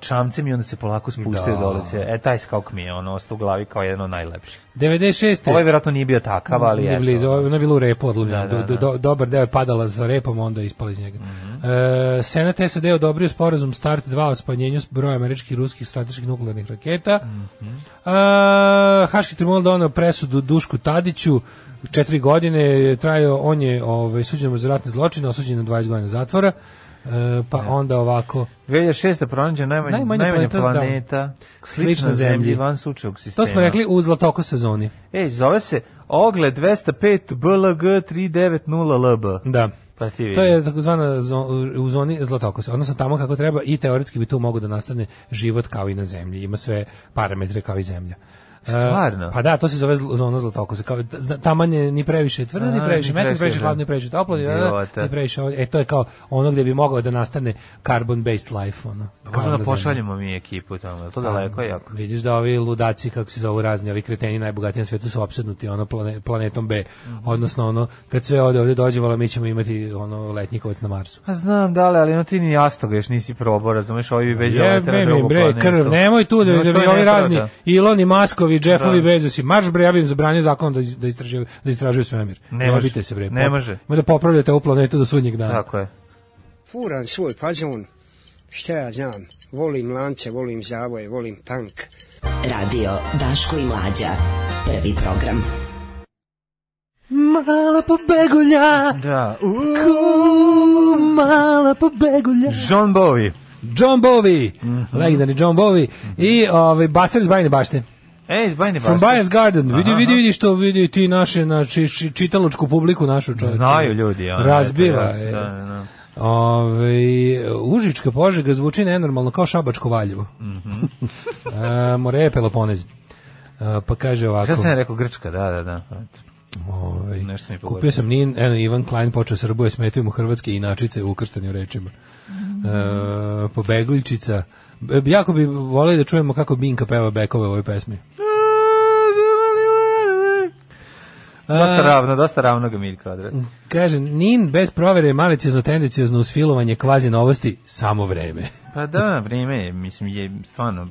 S7: čamcem i onda se polako spuštaju
S6: Da.
S7: dole. Se. E, taj skok mi je ono, ostao u glavi kao jedan od najlepših.
S6: 96.
S7: Ovaj vjerojatno nije bio takav, ali
S6: Nije blizu,
S7: eto.
S6: ovo- ona je bila u repu odlomljena.
S7: Da, Mhm.
S6: Do-
S7: da,
S6: do- dobar deo je padala za repom, onda je ispala iz njega. E, Senat SAD je odobrio sporazum START 2 o spanjenju broja američkih i ruskih strateških nuklearnih raketa.
S7: Mhm.
S6: E, Haški tribunal donao presudu Dušku Tadiću, četiri godine je trajao, on je ovaj, suđen za ratne zločine, osuđen na 20 godina zatvora, E, pa onda ovako...
S7: 2006. pronađen najmanja,
S6: Najmanja
S7: najmanja, planeta,
S6: planeta, da.
S7: slična,
S6: Slična
S7: zemlji,
S6: Zemlji.
S7: van sučevog sistema.
S6: To smo rekli u Zlatoko sezoni.
S7: Ej, zove se Ogle 205 BLG 390 LB.
S6: Da.
S7: Pa ti vidi.
S6: To je takozvana zo- u zoni zlatokosa, odnosno tamo kako treba i teoretski bi tu mogo da nastane život kao i na zemlji, ima sve parametre kao i zemlja. E,
S7: Stvarno?
S6: pa da, to se zove zl- zona zlatokosa. Kao, zna- taman je ni previše tvrdo, ni
S7: A,
S6: previše
S7: ni
S6: metno, ni
S7: previše,
S6: previše
S7: da.
S6: hladno, ni previše toplo, ni, da, da,
S7: Idiota.
S6: ni previše ovo- E, to je kao ono gdje bi mogao da nastane carbon-based life. Ono, kao na
S7: Možda
S6: zemlji.
S7: pošaljemo mi ekipu tamo, je li to
S6: Pa,
S7: daleko je jako.
S6: Vidiš da ovi ludaci, kako se zovu razni, ovi kreteni najbogatiji na svetu su opsednuti ono plane- planetom B.
S7: Mhm.
S6: Odnosno ono, kad sve ode ovde dođe, vola, mi ćemo imati ono letnjikovac na Marsu.
S7: Pa znam, da li, ali no ti ni jastoga još nisi probao, razumeš, ovi već
S6: Jebe mi bre, krv, nemoj tu da, da, da ovi razni Iloni Maskovi, Jeffovi Bezosi, marš bre, ja bih im zabranio zakon da, iz- da, istražuju, da istražuju svemir.
S7: Ne može.
S6: Jebite se bre.
S7: Ne
S6: Pop-
S7: može.
S6: Ima da popravljate ovu planetu do sudnjeg dana.
S7: Tako je.
S9: furam svoj fazon, šta ja znam, volim lance, volim zavoje, volim tank.
S5: Radio Daško i Mlađa. Prvi program.
S6: Mala pobegulja,
S7: Da.
S6: mala pobegulja.
S7: John Bowie.
S6: John Bowie,
S7: Mhm.
S6: legendarni John Bowie i ovaj basar iz Bajne bašte.
S7: Ej, iz Bajne
S6: From
S7: Bašte.
S6: Bias Garden, vidi,
S7: Aha.
S6: vidi, vidi što vidi ti naše, znači, či- čitaločku publiku našu čovječe.
S7: Znaju ljudi, ono,
S6: Razbiva
S7: eto, ono-
S6: je.
S7: Da, da, da.
S6: Ove, Užička požega zvuči nenormalno kao Šabačko Valjevo.
S7: Mhm.
S6: E, more je Peloponez. E, pa kaže ovako.
S7: Šta sam ja rekao, Grčka, da, da, da.
S6: ovaj,
S7: Nešto mi
S6: kupio
S7: pogodio.
S6: sam Nin, eno, Ivan Klein počeo srbuje, smetaju mu hrvatske inačice ukrštene u rečima. E, pobeguljčica. E, Jako bi volio da čujemo kako Binka peva bekove u ovoj pesmi.
S7: Dosta ravno, dosta ravno ga Miljka odred.
S6: Kaže, Nin bez provere malicijezno tendencijezno usfilovanje kvazi novosti, samo vreme.
S7: Pa da, vreme je, mislim, je stvarno,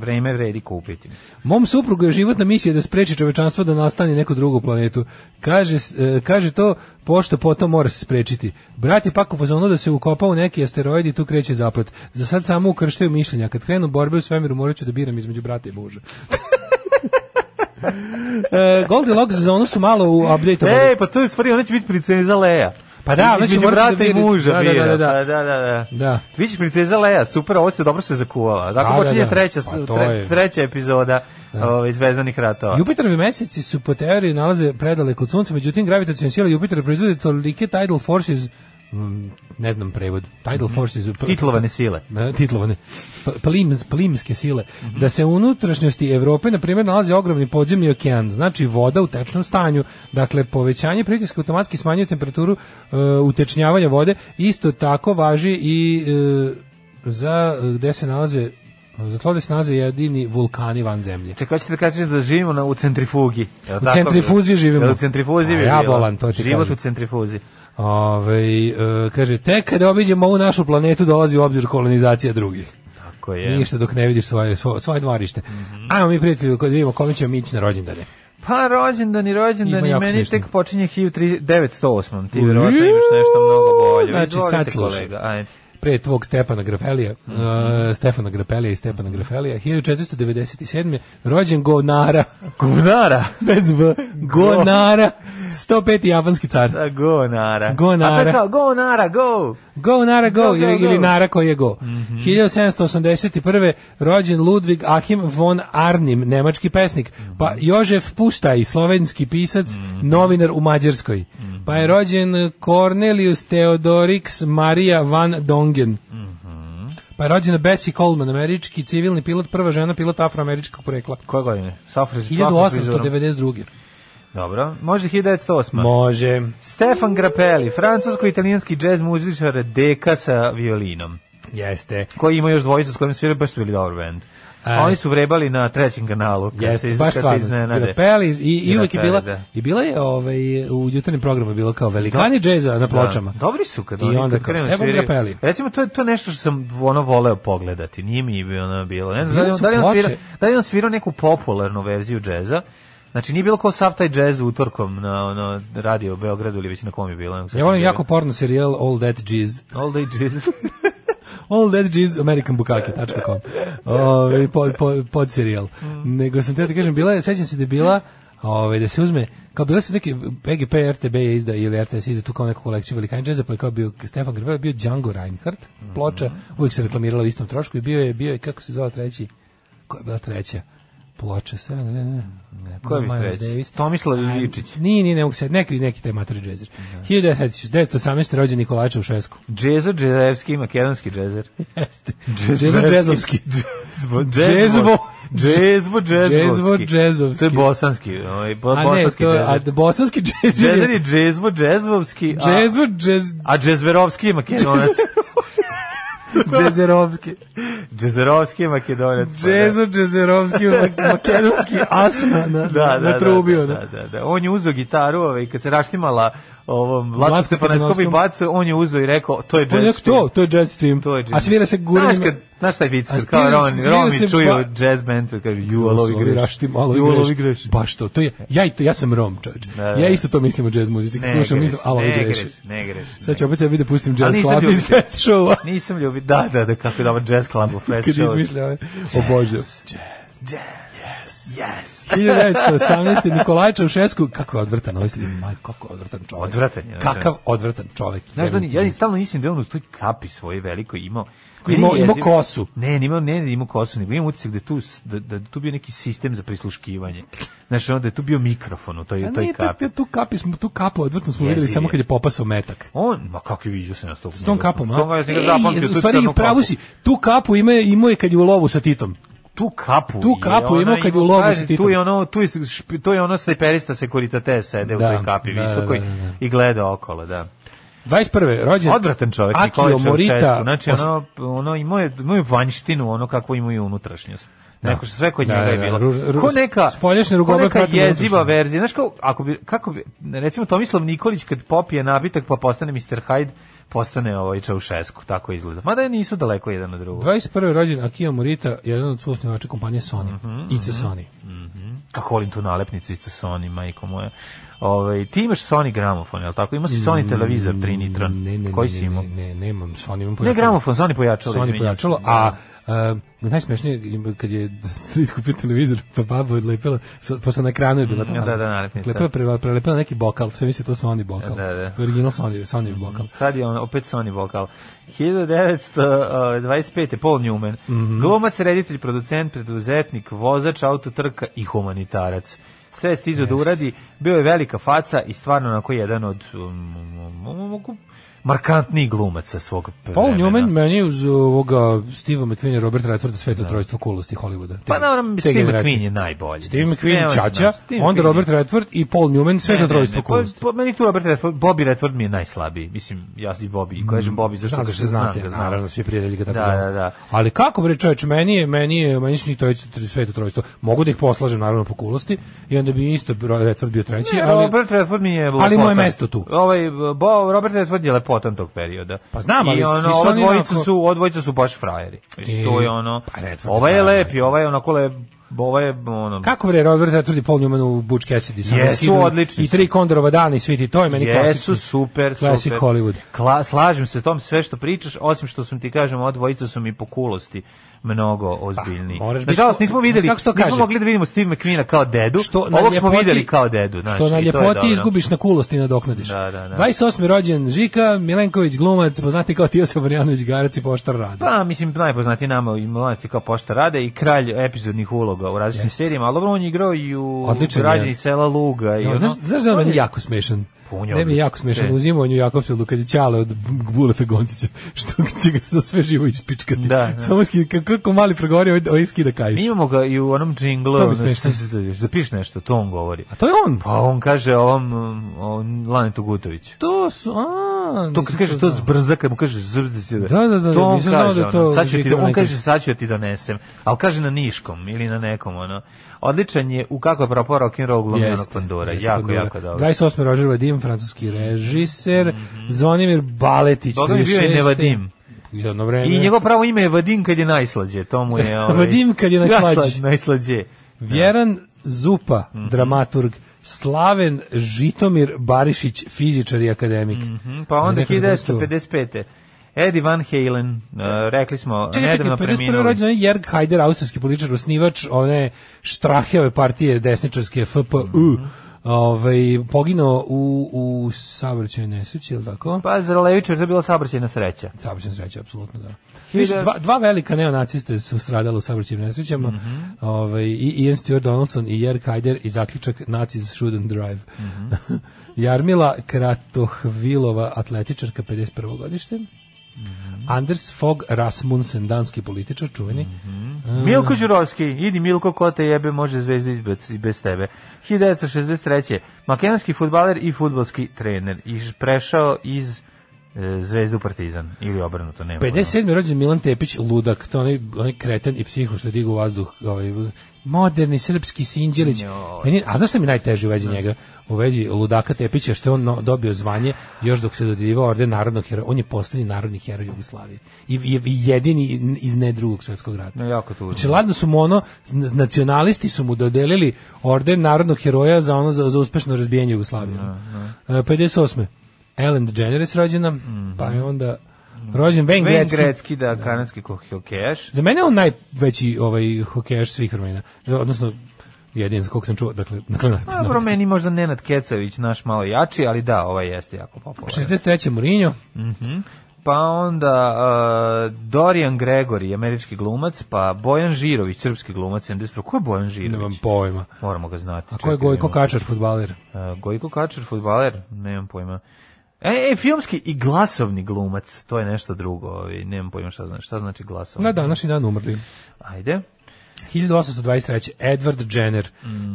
S7: vreme vredi kupiti.
S6: Mom suprugu je životna misija da spreči čovečanstvo da nastane neku drugu planetu. Kaže, s- e, kaže to, pošto potom mora se sprečiti. Brat je pak u fazonu da se ukopa u neki asteroid i tu kreće zaplet. Za sad samo ukrštaju mišljenja. Kad krenu borbe u svemiru, morat ću da biram između brata i muža. e, Goldilocks za ono su malo u update
S7: Ej, pa to je u stvari, ona će biti princeza Leja.
S6: Pa da, ona će
S7: Između
S6: morati da
S7: brata i
S6: bira.
S7: muža
S6: Da, da,
S7: bira.
S6: da, da.
S7: Pa da, da, da.
S6: Da.
S7: Vidiš princeza Leja, super, ovo se dobro se zakuvala. Dakle,
S6: Da, da,
S7: počinje
S6: da.
S7: treća,
S6: Pa to
S7: tre-
S6: je.
S7: treća epizoda ovaj, Zvezdanih ratova.
S6: Jupiterovi meseci su po teoriji nalaze predaleko od Sunca, međutim gravitacijna sila Jupitera proizvodi tolike tidal forces mm, ne znam prevod, tidal forces
S7: Titlovane sile.
S6: E, titlovane P- plims, plimske sile da se u unutrašnjosti Evrope na primjer nalazi ogromni podzemni okean znači voda u tečnom stanju dakle povećanje pritiska automatski smanjuje temperaturu e, utečnjavanja vode isto tako važi i e, za e, gde se nalaze za to gde se nalaze jedini vulkani van zemlje
S7: Čekaj, hoćete da kažeš da živimo na, u centrifugi. Je li
S6: U centrifuzi živimo.
S7: Jel u centrifuzi
S6: A
S7: bi
S6: ja
S7: bilo?
S6: bolan, to ti
S7: Život
S6: kažem.
S7: u centrifuzi.
S6: Ove, e, kaže, tek kada obiđemo ovu našu planetu dolazi u obzir kolonizacija drugih.
S7: Tako je.
S6: Ništa dok ne vidiš svoje, svoje, svoje dvorište. Ajmo mi prijatelji, kad vidimo kome ćemo mi ići na rođendane.
S7: Pa rođendan i rođendan
S6: Ima
S7: i
S6: jako
S7: meni
S6: smišno.
S7: tek počinje 1908. Ti vjerojatno imaš nešto mnogo bolje.
S6: Znači,
S7: Izvolite,
S6: sad slušaj.
S7: kolega, ajde.
S6: pre tvog Stepana Grafelija, e, Stefana Grapelija i Stepana Grafelija, 1497. rođen Govnara,
S7: Govnara.
S6: bez V, Govnara, 105. japanski car.
S7: Da, go, Nara.
S6: Go, Nara.
S7: A to je kao, go, Nara, go.
S6: Go, Nara, go,
S7: Go, go,
S6: ili,
S7: go. Mhm.
S6: ili Nara koji je go. 1781. rođen Ludvig Achim von Arnim, nemački pesnik.
S7: Mhm.
S6: Pa Jožef Pustaj, slovenski pisac, novinar u Mađarskoj.
S7: Mhm.
S6: Pa je rođen Cornelius Theodorix Maria van Dongen.
S7: Mhm.
S6: Pa je rođena Bessie Coleman, američki civilni pilot, prva žena pilot afroameričkog porekla.
S7: Koje godine? Safri,
S6: 1892.
S7: Dobro, možda 1908.
S6: Može.
S7: Stefan Grappelli, francusko-italijanski džez muzičar deka sa violinom,
S6: Jeste.
S7: koji ima još dvojicu s kojim svira, baš su bili dobar bend.
S6: E.
S7: A oni su vrebali na trećem kanalu. kad
S6: Jeste,
S7: se iz-
S6: baš
S7: kad se
S6: stvarno.
S7: iznenade.
S6: Grapeli i, i uvek je bila,
S7: Grappelli, da.
S6: i bila je ovaj, u jutarnjem programu je bilo kao velikani džeza na pločama.
S7: Da, dobri su kad
S6: I
S7: oni
S6: onda
S7: kad
S6: kao
S7: krenu
S6: Stefan
S7: sviraju.
S6: Grappelli.
S7: Recimo to je to je nešto što sam ono voleo pogledati. Nije mi bi ono bilo. Ne znam da li,
S6: Bile
S7: on-
S6: su
S7: da li on
S6: ploče.
S7: svira, da li on svira neku popularnu verziju džeza. Znači nije bilo kao sav taj džez utorkom na ono radio Beogradu ili već na kom je bilo. nego sad
S6: Ja volim
S7: bilo.
S6: jako porno serijal All That Jizz.
S7: All day jazz.
S6: All That Jizz americanbukake.com Ove, pod, pod, Ovaj, pod serijal. Nego sam teo da kažem, bila je, sećam se da je bila Ove, da se uzme, kao bilo su neki EGP, RTB je izda ili RTS je izda tu kao neku kolekciju velikani džeza, pa je kao bio Stefan Grbel, bio Django Reinhardt, ploča, uvijek se reklamirala u istom trošku i bio je, bio je, kako se zvao treći, koja je bila treća, ploča, sve, ne, ne, ne.
S7: Ko je bi
S6: Miles
S7: treći?
S6: Davis.
S7: Tomislav
S6: A,
S7: Iličić.
S6: Nije, nije, ne mogu se, neki, neki taj matori džezer. 1918. rođen Nikolaja Čaušesku.
S7: Džezo džezevski, makedonski džezer.
S6: Jeste. Džezo džezovski.
S7: Džezvo,
S6: Džezvo.
S7: džezvo. Džezvo, džezovski.
S6: Džezvo džezovski.
S7: To je bosanski. Ovaj, bo,
S6: A ne,
S7: bosanski
S6: to je,
S7: džezer.
S6: a d- bosanski džez
S7: Džezer
S6: je...
S7: je džezvo, džezvovski. a-
S6: Džezvo džez...
S7: A Džezverovski je makedonac.
S6: Džezerovski.
S7: Pa Džezverovski je makedonac. pa da.
S6: Džezo džezerovski, mak- makedonski asna na,
S7: da, da,
S6: na trubi.
S7: da,
S6: ono.
S7: da, da, da. On je uzeo gitaru ovaj, kad se raštimala ovom Latko
S6: Latko
S7: Stefanovskom i
S6: Stefanovskom.
S7: bacio, on je uzeo i rekao, to je
S6: On je
S7: jazz
S6: rekao, to, to je jazz stream.
S7: To je jazz.
S6: A svira se
S7: Znaš,
S6: guranima...
S7: kad, znaš taj vic,
S6: A
S7: kad kao
S6: svira
S7: Roman,
S6: se-
S7: Roman
S6: svira
S7: mi
S6: se
S7: čuju
S6: ba-
S7: jazz band, pa kaže, ju, alovi
S6: Ovi
S7: greš.
S6: rašti, malo
S7: Ju,
S6: greš.
S7: alovi greš.
S6: Baš to, to je, ja, i to, ja sam Rom, čovječ.
S7: da, da.
S6: Ja isto to mislim o jazz muzici. Kad
S7: Ne
S6: slušam,
S7: greš,
S6: mislim, ali
S7: ne
S6: ovi greš.
S7: greš, ne greš.
S6: Sad ću opet sebi da pustim
S7: Ali
S6: jazz
S7: nisam
S6: club iz
S7: ljubitelj.
S6: fest showa.
S7: Nisam ljubi, da, da, da, kako je dobar jazz club u fest
S6: Kad
S7: show.
S6: izmišlja ovaj. ove. Obožio.
S7: Yes.
S6: 1918. Nikolaj Čaušesku, kako je odvrtan ovaj slim, maj, kako je odvrtan čovjek.
S7: Odvratan je, da.
S6: Kakav odvrtan čovjek.
S7: Znaš da ni- ja ni stalno mislim da je on u toj kapi svoje veliko imao
S6: Koji imao-
S7: Meni je
S6: imao
S7: jezivo-
S6: kosu.
S7: Ne, ne imao, ne, imao kosu, nego imam utisak da je tu, s- da, da, je tu bio neki sistem za prisluškivanje. Znaš, onda je tu bio mikrofon u toj,
S6: A
S7: u toj
S6: nije, tu-
S7: kapi.
S6: tu kapi smo, tu kapu odvrtno smo videli
S7: Jeziv
S6: samo
S7: je.
S6: kad je popasao metak.
S7: On, ma kako je viđu se na stopu.
S6: S tom kapom, a?
S7: S tom, ja sam ga
S6: Ej,
S7: zapamtio,
S6: u
S7: tu
S6: stvari,
S7: crnu
S6: pravu
S7: kapu.
S6: si, tu kapu ima, imao je kad je u lovu sa Titom.
S7: Tu kapu.
S6: Tu
S7: je
S6: kapu
S7: ona
S6: imao kad je u lovu sa
S7: kaže,
S6: Titom.
S7: Tu je ono, tu je, šp- to je ono snajperista sekuritate sede
S6: Da,
S7: u toj kapi
S6: da,
S7: visoko i-
S6: da, da, da.
S7: i gleda okolo, da.
S6: 21. rođen.
S7: Odvratan čovjek, Nikolaj
S6: Akio
S7: Čaušesku.
S6: Morita.
S7: Znači,
S6: Os-
S7: ono, ono imao je, imao je vanjštinu, ono kako imaju i unutrašnjost. Neko što sve kod
S6: Da,
S7: njega je
S6: da,
S7: bilo.
S6: ruž- ruž-
S7: ko neka,
S6: spoljašnje
S7: ko
S6: rugobe
S7: neka
S6: prati
S7: jeziva
S6: unutrašnje.
S7: verzija. Znaš, kao, ako bi, kako bi, recimo Tomislav Nikolić kad popije nabitak pa postane Mr. Hyde, postane ovaj Čaušesku, tako izgleda. Mada nisu daleko jedan od drugog.
S6: 21. rođen Akio Morita, jedan od suosnivača kompanije Sony.
S7: Mhm,
S6: IC Sony.
S7: Kako volim tu nalepnicu isto Sony, majko moja. Ovaj ti imaš Sony gramofon, jel tako? Ima si Sony televizor trinitron.
S6: Ne, ne, ne,
S7: Koji
S6: ne,
S7: si
S6: ne,
S7: imao?
S6: Ne, ne, nemam Sony, imam
S7: Ne
S6: pojačalo.
S7: gramofon, Sony pojačalo.
S6: Sony
S7: izvinjavam se.
S6: pojačalo, a um, najsmešnije je kad je stric kupio televizor, pa baba odlepila, sa- pošto na ekranu je bila ta
S7: Mm, Da,
S6: nalepnica.
S7: da, nalepnica.
S6: Lepila pre, prelepila neki bokal, sve misli to Sony bokal.
S7: Da, da. Mm.
S6: To je Original Sony, Sony bokal.
S7: Mhm. Sad je on opet Sony vokal. 1925. Paul Newman.
S6: Mhm.
S7: Glumac, reditelj, producent, preduzetnik, vozač, autotrka i humanitarac. Sve je stizao da uradi. Bio je velika faca i stvarno onako jedan od um, um, um, um, markantniji glumaca svog
S6: Paul
S7: vremena.
S6: Newman meni uz ovoga Steve McQueen i Robert Redforda sveto trojstvo kulosti Hollywooda. Te-
S7: Pa naravno,
S6: te
S7: Steve
S6: generacije.
S7: McQueen je najbolji.
S6: Steve
S7: Ne, on
S6: McQueen
S7: je
S6: Čača,
S7: naš- Steve
S6: onda
S7: McQueen
S6: Robert
S7: je-
S6: Redford i Paul Newman sveto
S7: Ne, ne,
S6: trojstvo
S7: ne, pa-
S6: kulosti.
S7: pa meni tu Robert Redford, Bobby Redford mi je najslabiji. Mislim, ja i Bobby. I kažem Bobby, zašto?
S6: Zato
S7: Zato
S6: što
S7: što
S6: Mm, znate,
S7: znam ga, znam
S6: naravno,
S7: ga.
S6: svi prijatelji ga tako
S7: Da,
S6: zovu.
S7: da, da.
S6: Ali kako bre čoveče, meni je, meni je, meni su njih trojica, tri- sveto trojstvo. Mogu da ih poslažem, naravno, po kulosti, i onda bi isto Redford bio treći,
S7: Ne,
S6: Znači, ali...
S7: Robert Redford mi je lepotan.
S6: mu je mesto tu.
S7: Ovaj, bo, Robert Redford je lepotan tog perioda.
S6: Pa znam, ali
S7: I ono,
S6: svi su
S7: ova
S6: oni
S7: dvojica
S6: onako-
S7: su, ova dvojica su baš frajeri. Mislim,
S6: I-
S7: to je ono,
S6: pa Redford je
S7: ovaj je
S6: frajer.
S7: lepi, ovaj je onako lep, ovaj je ono...
S6: Kako bre Robert Redford i Paul Newman u Butch Cassidy? Samo
S7: Jesu,
S6: skidali
S7: odlični
S6: I tri Kondorova dana i svi ti, to je meni klasični.
S7: Jesu, super,
S6: Classic
S7: super.
S6: Hollywood.
S7: Kla, slažem se tom sve što pričaš, osim što sam ti kažem, ova dvojica su mi po kulosti mnogo ozbiljniji.
S6: Pa, moraš biti-
S7: Nažalost, nismo videli,
S6: Znaš kako se to
S7: nismo
S6: kaže?
S7: mogli da vidimo Steve McQueena kao dedu,
S6: Što na
S7: ovog smo
S6: ljepoti-
S7: videli kao dedu. Znaš,
S6: što na
S7: i to je
S6: ljepoti
S7: dobro.
S6: izgubiš na kulosti nadoknadiš.
S7: Da, da, da.
S6: 28. rođen Žika, Milenković glumac, poznati kao Tio Savarjanović Garac i Poštar Rada.
S7: Pa, mislim, najpoznatiji nama i mladosti kao pošta rade i kralj epizodnih uloga u različitim
S6: Jeste.
S7: serijama, ali dobro, on je igrao i u
S6: Odličan je.
S7: Građani sela Luga. i
S6: Ja,
S7: ono-
S6: znaš, znaš da je meni jako smešan?
S7: Pa on
S6: Ne
S7: je
S6: mi je
S7: odličan,
S6: jako smešan
S7: bre.
S6: u zimanju Jakobselu kad je Ćale od Buleta Goncića, što će ga za sve živo ispičkati.
S7: Da, da.
S6: Samo skida, kako, kako mali progovori, ovaj, ovaj skida
S7: Mi
S6: kajš.
S7: imamo ga i u onom džinglu,
S6: To mi
S7: ono,
S6: smešno.
S7: šta se to- da piše nešto, to on govori.
S6: A to je on.
S7: Pa on kaže ovom um, on Lanetu Gutoviću.
S6: To su, a...
S7: To
S6: nisam
S7: kad kaže to
S6: znao.
S7: zbrza, kad mu kaže zbrza se.
S6: Da, da, da,
S7: to on
S6: nisam znao
S7: kaže,
S6: da je to
S7: ono, sad ću ti,
S6: Žigmanov
S7: on
S6: neki.
S7: kaže sad ću ja ti donesem, ali kaže na niškom ili na nekom, ono. Odličan je u kako je propao rock'n'roll glavnog
S6: Jeste,
S7: pandora.
S6: jeste
S7: Jako,
S6: Pandora.
S7: jako dobro.
S6: 28. Roger Vadim, francuski režiser, Zvonimir Baletić,
S7: Dobro je bio i
S6: 36..
S7: Nevadim.
S6: Jedno vreme.
S7: I njegovo pravo ime je Vadim kad je najslađe, to mu je... Ovaj,
S6: Vadim kad je najslađe.
S7: Najslađe, najslađe.
S6: Vjeran Zupa,
S7: Mhm.
S6: dramaturg, Slaven Žitomir Barišić, fizičar i akademik.
S7: Mhm, Pa onda
S6: Neko za koga čuo.
S7: 1955. Eddie Van Halen, uh, rekli smo,
S6: Čekaj, čekaj,
S7: nedavno
S6: 51.
S7: preminuli.
S6: rođen je Jerg Haider, austrijski političar, osnivač one štraheve partije desničarske FPU.
S7: Mhm.
S6: Ovaj, poginuo u, u saobraćaju nesreći, ili tako?
S7: Pa za levičar to je bila saobraćajna sreća.
S6: Saobraćajna sreća, apsolutno da.
S7: Hiljada-
S6: Viš, dva, dva velika neonaciste su stradali u saobraćajnim nesrećama,
S7: Mhm.
S6: ovaj, i Ian Stewart Donaldson i Jer Kajder i zaključak Nazis shouldn't drive.
S7: Mhm.
S6: Jarmila Kratohvilova, atletičarka 51. godište.
S7: Mhm.
S6: Anders Fogh Rasmussen, danski političar, čuveni. Mm.
S7: Milko Đurovski, idi Milko, ko te jebe, može zvezda izbec i bez tebe. 1963. Makedonski futbaler i futbolski trener. I ž- prešao iz e, Zvezdu u Partizan ili obrnuto, nema.
S6: 57. rođen Milan Tepić Ludak, to je onaj, onaj kreten i psiho što digu u vazduh, ovaj moderni srpski Sinđelić. Meni, a znaš šta mi najteže u vezi njega? U vezi Ludaka Tepića što je on no- dobio zvanje još dok se dodeljivao orden narodnog heroja, on je poslednji narodni heroj Jugoslavije i, i, i jedini iz ne drugog svetskog rata.
S7: No, jako tužno.
S6: Znači, ladno su mu ono, n- nacionalisti su mu dodelili orden narodnog heroja za ono za, za uspešno razbijanje Jugoslavije. E, 58. Ellen DeGeneres rođena, pa je onda rođen Wayne,
S7: Wayne
S6: Gretzky.
S7: Gretzky, da, kanadski ko- hokejaš.
S6: Za mene je on najveći ovaj, hokejaš svih vremena, odnosno jedin, za koliko sam čuo, dakle, dakle naj-
S7: Pa, Dobro, meni možda Nenad Kecavić, naš malo jači, ali da, ovaj jeste jako popularan.
S6: 63. Mourinho,
S7: Pa onda uh, Dorian Gregory, američki glumac, pa Bojan Žirović, srpski glumac, 71. Ko je Bojan
S6: nemam
S7: Žirović?
S6: pojma.
S7: Moramo ga znati.
S6: A ko je
S7: čekaj,
S6: Gojko
S7: nemam-
S6: Kačar, futbaler?
S7: Uh, Gojko Kačar, futbaler, nemam pojma. E, e, filmski i glasovni glumac, to je nešto drugo, ovaj, nemam pojma šta znači, šta znači glasovni.
S6: Na današnji dan umrli.
S7: Ajde.
S6: 1823. Edward Jenner,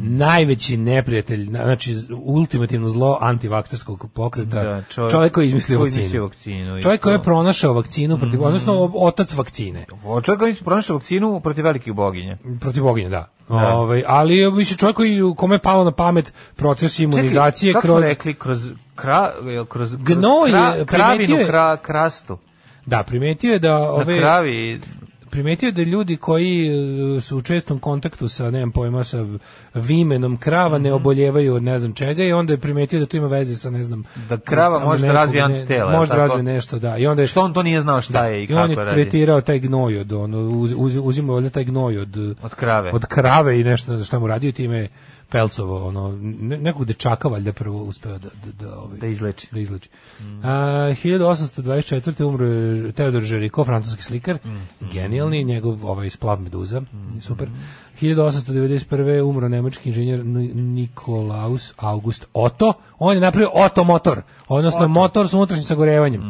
S6: najveći neprijatelj, na- znači ultimativno zlo antivakserskog pokreta,
S7: Da, čovjek-
S6: čovjek, koji je izmislio
S7: koji je izmislio
S6: vakcinu.
S7: vakcinu i
S6: čovjek koji
S7: to. Mhm.
S6: je pronašao vakcinu, protiv, odnosno otac vakcine,
S7: Od čega mi smo pronašli vakcinu protiv velikih boginja?
S6: protiv boginja, da. Ovaj, ali je više čovjek koji, kome je palo na pamet proces imunizacije
S7: Čekaj, kako smo
S6: kroz...
S7: rekli, kroz, kra, jel kroz, kroz
S6: Gnoj je,
S7: kra- kravinu,
S6: primetio je-
S7: kra, krastu.
S6: Da, primetio je da
S7: Na
S6: ove,
S7: kravi,
S6: primetio je da ljudi koji e, su u čestom kontaktu sa, nemam pojma, sa vimenom krava
S7: Mhm.
S6: ne oboljevaju od ne znam čega i onda je primetio da to ima veze sa, ne znam...
S7: Da krava
S6: tamo
S7: može da
S6: nekog,
S7: razvije
S6: ne-
S7: antitela, je
S6: Može da
S7: tako?
S6: razvije nešto, da. I onda je
S7: što on to nije znao šta je i
S6: I on
S7: kako
S6: je
S7: radi.
S6: tretirao taj gnoj od ono uz, uz, uzimao valjda taj gnoj od
S7: Od krave.
S6: od krave i nešto šta mu radio i time je Pelcovo ono ne, nekog dečaka valjda prvo uspeo da da da, ovaj,
S7: Da izleči. Mm.
S6: da izleči. A, 1824. umro je Teodor Žeriko, francuski slikar,
S7: Mm.
S6: genijalni, njegov ovaj splav meduza, super. 1891. umro nemački inženjer Ni- Nikolaus August Otto, on je napravio Otto motor, odnosno motor sa unutrašnjim
S7: Mm.
S6: sagorevanjem.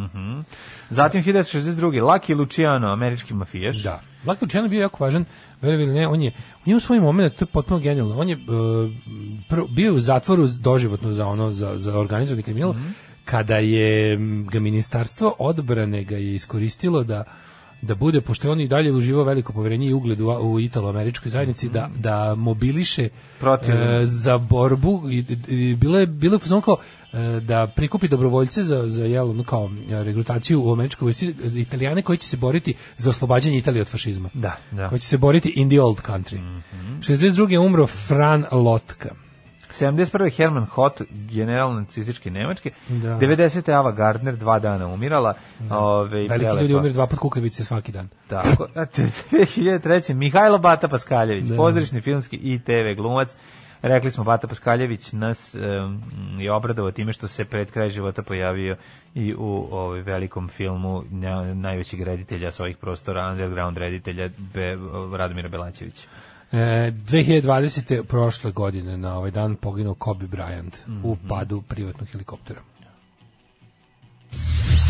S7: Zatim 1962. Lucky Luciano, američki mafijaš.
S6: Da. Lucky Luciano je bio jako važan, verovali ili ne, on je, on je u svoj moment, to je potpuno genijalno, on je e, prvo- bio je u zatvoru doživotno za ono, za, za organizovani kriminal, kada je m, ga ministarstvo odbrane ga je iskoristilo da da bude, pošto je on i dalje uživao veliko poverenje i ugled u, u italo-američkoj zajednici, da, da mobiliše
S7: Protiv.
S6: e, za borbu i, i, bilo je bilo je fazon kao e, da prikupi dobrovoljce za za jel ono kao e, regrutaciju u američkoj vojsci za Italijane koji će se boriti za oslobađanje Italije od fašizma.
S7: Da, da. Mhm.
S6: Koji će se boriti in the old country. 62. je umro Fran Lotka.
S7: 71. Herman Hot, general nacističke Nemačke.
S6: Da.
S7: 90. Ava Gardner, dva dana umirala. Ove,
S6: Veliki
S7: prelepa.
S6: ljudi umiru dva put kukavice svaki dan.
S7: Tako. A te- 2003. Mihajlo Bata Paskaljević,
S6: Da.
S7: pozorišni filmski i TV glumac. Rekli smo, Bata Paskaljević nas em, je obradovao time što se pred kraj života pojavio i u ovaj velikom filmu nja- najvećeg reditelja s ovih prostora, underground reditelja Be, Radomira Belačevića.
S6: E, 2020. prošle godine na ovaj dan poginuo Kobe Bryant u
S7: Mhm.
S6: padu privatnog helikoptera.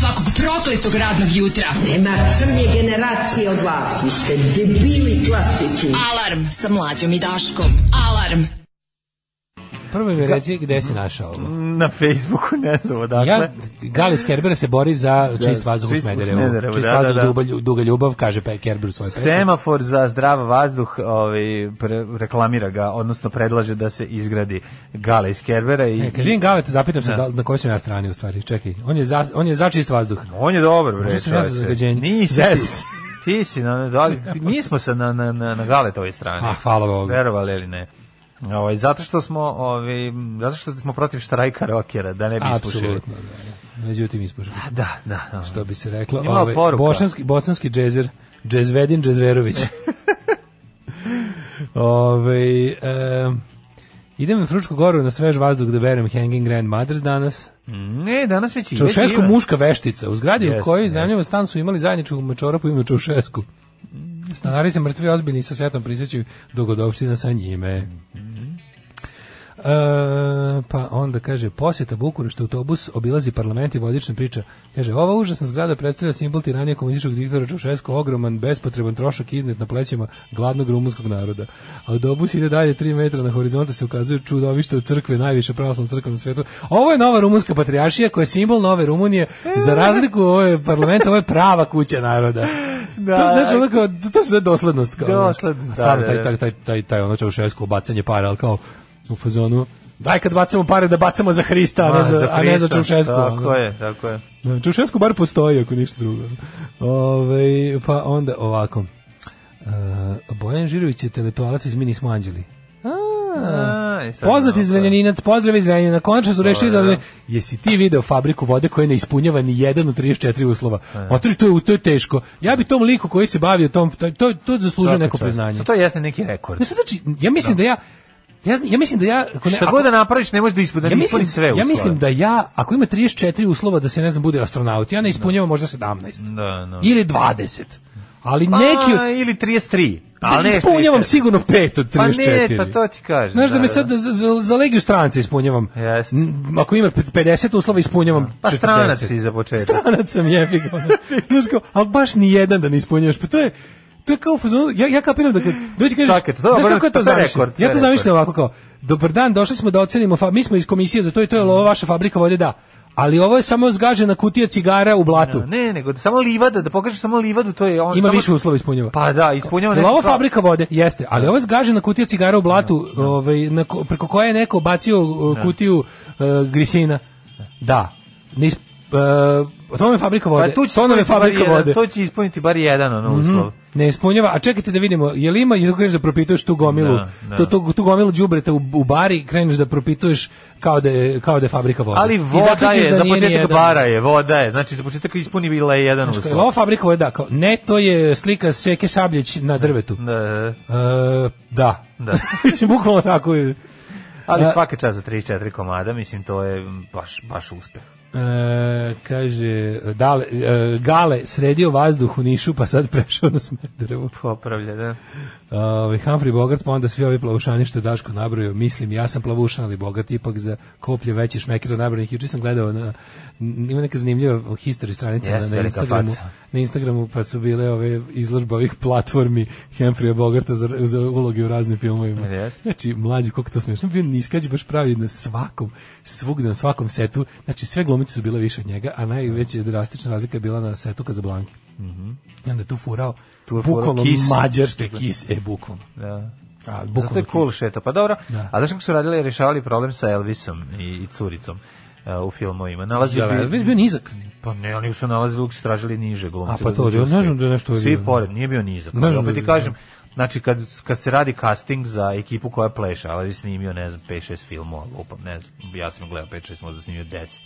S5: Svakog prokletog radnog jutra.
S10: Nema crnje generacije od vas. Vi ste debili klasični.
S5: Alarm sa mlađom i Daškom. Alarm.
S6: Prvo mi reci gde si našao ono, ovo.
S7: Na Facebooku, ne znam odakle.
S6: Ja, Galis Kerber se bori za čist vazduh u
S7: Dakle, čist u
S6: Smederevu.
S7: Smederevu,
S6: Čist
S7: da, da,
S6: vazduh,
S7: da.
S6: duba lju- duga ljubav, kaže Pe Kerber u svojoj pesmi.
S7: Semafor za zdrav vazduh ovaj, pre- reklamira ga, odnosno predlaže da se izgradi gala iz Kerbera i
S6: E, kad vidim Galeta, zapitam se da, li- na kojoj sam ja strani u stvari. Čekaj, on je za, on je za čist vazduh.
S7: On je dobar, bre.
S6: Možda sam ja za
S7: čoveče.
S6: zagađenje.
S7: Nisi.
S6: Zez.
S7: Ti, ti si, na, da, ali ti- mi smo se na, na, na, na Galetovoj strani.
S6: Ah, hvala Bogu.
S7: Verovali ili ne. Ovaj, zato što smo ovaj, zato što smo protiv štrajka rokera, da ne bi ispušili.
S6: Apsolutno, da. da. Međutim, ispušili.
S7: Da, da. da.
S6: Što bi se reklo. ovaj,
S7: Ima poruka.
S6: bosanski, bosanski džezer, džezvedin Džezverović. Ove, Ovaj, em, idem na Frušku goru na svež vazduh da berem Hanging Grandmothers danas.
S7: Ne, danas već ide.
S6: Mm. Čaušesku
S7: Ivan.
S6: muška veštica. U zgradi
S7: Jeste,
S6: u kojoj iznajemljava stan su imali zajedničkog mačora po imenu Čaušesku.
S7: Mm.
S6: Stanari se mrtvi ozbiljni sa setom prisjećaju dogodovština sa njime. E, pa onda kaže posjeta Bukurešta autobus obilazi parlament i vodična priča. Kaže ova užasna zgrada predstavlja simbol tiranije komunističkog diktatora Čaušesku, ogroman bespotreban trošak iznet na plećima gladnog rumunskog naroda. Autobus ide dalje 3 metra na horizontu se ukazuje čudovište od crkve, najviše pravoslavna crkva na svetu. Ovo je nova rumunska patrijaršija koja je simbol nove Rumunije. Za
S7: E.
S6: razliku od ovog parlamenta, ovo je prava kuća naroda.
S7: Da.
S6: to, znači, ono kao, to- to su sve doslednost. Kao, ono.
S7: Doslednost,
S6: A
S7: da,
S6: Samo
S7: da,
S6: taj,
S7: da.
S6: taj, taj, taj, taj ono Čaušesko bacanje para, ali kao u fazonu daj kad bacamo pare da bacamo za Hrista, a, ne za, a ne za
S7: Hrista.
S6: Čaušesku. ono.
S7: Tako je, tako je.
S6: Da, Čaušesku bar postoji ako ništa drugo. Ove, pa onda ovako. Uh, Bojan Žirović je intelektualac iz Mini smo anđeli.
S7: A, i sad
S6: Poznati
S7: znamo ko je.
S6: zrenjaninac, pozdrav iz Zrenjanina. Konačno su rešili da
S7: Dobro.
S6: ne- jesi ti video fabriku vode koja ne ispunjava ni jedan od 34 uslova.
S7: E.
S6: Otori to je to je teško. Ja bi tom liku koji se bavio tom to to, to zaslužuje
S7: Svaka
S6: neko
S7: čast.
S6: priznanje.
S7: To jeste neki rekord.
S6: Ne, sad znači, ja mislim da, ja, ja, ja mislim da ja... Ako ne,
S7: Šta
S6: ako-
S7: god da napraviš, ne možeš da ispuni, da
S6: ja
S7: ne
S6: mislim,
S7: ispuni sve
S6: ja
S7: uslove.
S6: mislim da ja, ako ima 34 uslova da se, ne znam, bude astronaut, ja ne ispunjavam možda 17.
S7: Da, da.
S6: Ili 20. Ali
S7: Pa,
S6: neki od...
S7: ili 33.
S6: Da
S7: ne,
S6: ispunjavam
S7: 34.
S6: sigurno 5 od 34.
S7: Pa ne, pa to ti kažem.
S6: Znaš da me sad za, za, za legiju stranca ispunjavam.
S7: Jeste.
S6: N- Ako ima 50 uslova ispunjavam
S7: Pa
S6: 40.
S7: stranac si za početak.
S6: Stranac sam jebi ga. ono. Znaš kao, ali baš ni jedan da ne ispunjavaš. Pa to je to je kao u fazonu, ja, ja kapiram da kad dođe kažeš,
S7: Čekaj, to je
S6: znaš
S7: dobro,
S6: kako ja
S7: to
S6: to
S7: je
S6: zamišljam?
S7: rekord, to je
S6: Ja to
S7: rekord.
S6: zamišljam ovako kao, dobar dan, došli smo da ocenimo, fa- mi smo iz komisije za to i to je ova vaša fabrika vode, da. Ali ovo je samo zgažena kutija cigara u blatu.
S7: Ne, nego da samo livada, da pokažeš samo livadu, to je on
S6: Ima
S7: samo-
S6: više uslova ispunjava.
S7: Pa da, ispunjava
S6: Jel
S7: nešto.
S6: ovo
S7: kao-
S6: fabrika vode? Jeste, ali ova zgažena kutija cigara u blatu, ovaj, na ko- preko koje je neko bacio uh, kutiju uh, grisina. Da. Nis, uh, to nam je fabrika
S7: Pa
S6: vode.
S7: tu će
S6: to nam je
S7: ispuniti bar
S6: fabrika
S7: jedan,
S6: vode. Mhm.
S7: To će ispuniti bar jedan ono uslov.
S6: Ne ispunjava, a čekajte da vidimo, je li ima, i tu kreneš da propituješ tu gomilu,
S7: Da, da.
S6: Tu, tu, tu gomilu đubreta u, u bari, kreneš da propituješ kao da je, kao da je fabrika vode.
S7: Ali
S6: Pa I
S7: voda
S6: zaključiš
S7: je,
S6: da
S7: za
S6: nije ni
S7: početak
S6: jedan.
S7: bara je, voda je. Znači, za početak ispuni bila je jedan
S6: Znači, jel ovo
S7: uslov.
S6: fabrika vode, da, kao, ne, to je slika Seke Sabljeć na drvetu.
S7: Da, da, da.
S6: E, da.
S7: Da.
S6: Mislim, bukvalno tako je.
S7: Ali
S6: Da.
S7: svaka čast za 3-4 komada, mislim, to je baš, baš uspeh.
S6: E, kaže, dale, e, Gale sredio vazduh u Nišu, pa sad prešao na Smederevo.
S7: Popravlja, da.
S6: Ovaj Humphrey Bogart, pa onda svi ovi plavušani što je Daško nabrojao, mislim, ja sam plavušan, ali Bogart ipak za koplje veći šmeker od nabrojenih. Juče sam gledao na, n- ima neka zanimljiva history stranica
S7: Jeste,
S6: na, na
S7: velika
S6: Instagramu,
S7: faca.
S6: na Instagramu, pa su bile ove izložbe ovih platformi Humphrey Bogarta za, za uloge u raznim filmovima.
S7: Jeste.
S6: Znači, mlađi, koliko to smiješno. Bio niskađi baš pravi na svakom, svugde na svakom setu. Znači, sve glumice su bile više od njega, a najveća drastična razlika je bila na setu Kazablanke. I onda je tu furao,
S7: Tu je furao
S6: bukvalno
S7: Kiss.
S6: mađarske kis, e, bukvalno.
S7: da.
S6: A,
S7: Zato je cool šeto. Pa dobro,
S6: Da.
S7: a znaš kako su radili, rešavali problem sa Elvisom i, i curicom e, u filmovima. Nalazili
S6: Jel,
S7: bi-
S6: Elvis bio nizak.
S7: Pa ne, oni su nalazili, uvijek su tražili niže glumce.
S6: A, pa to,
S7: da bi
S6: ja ne znam da je nešto
S7: Svi
S6: bio.
S7: pored, nije bio nizak.
S6: Ne znam da
S7: Opet ti
S6: je
S7: kažem, Znači, kad, kad se radi casting za ekipu koja pleša, ali je snimio, ne znam, 5-6 filmova, lupam, ne znam, ja sam gledao 5-6, možda snimio 10.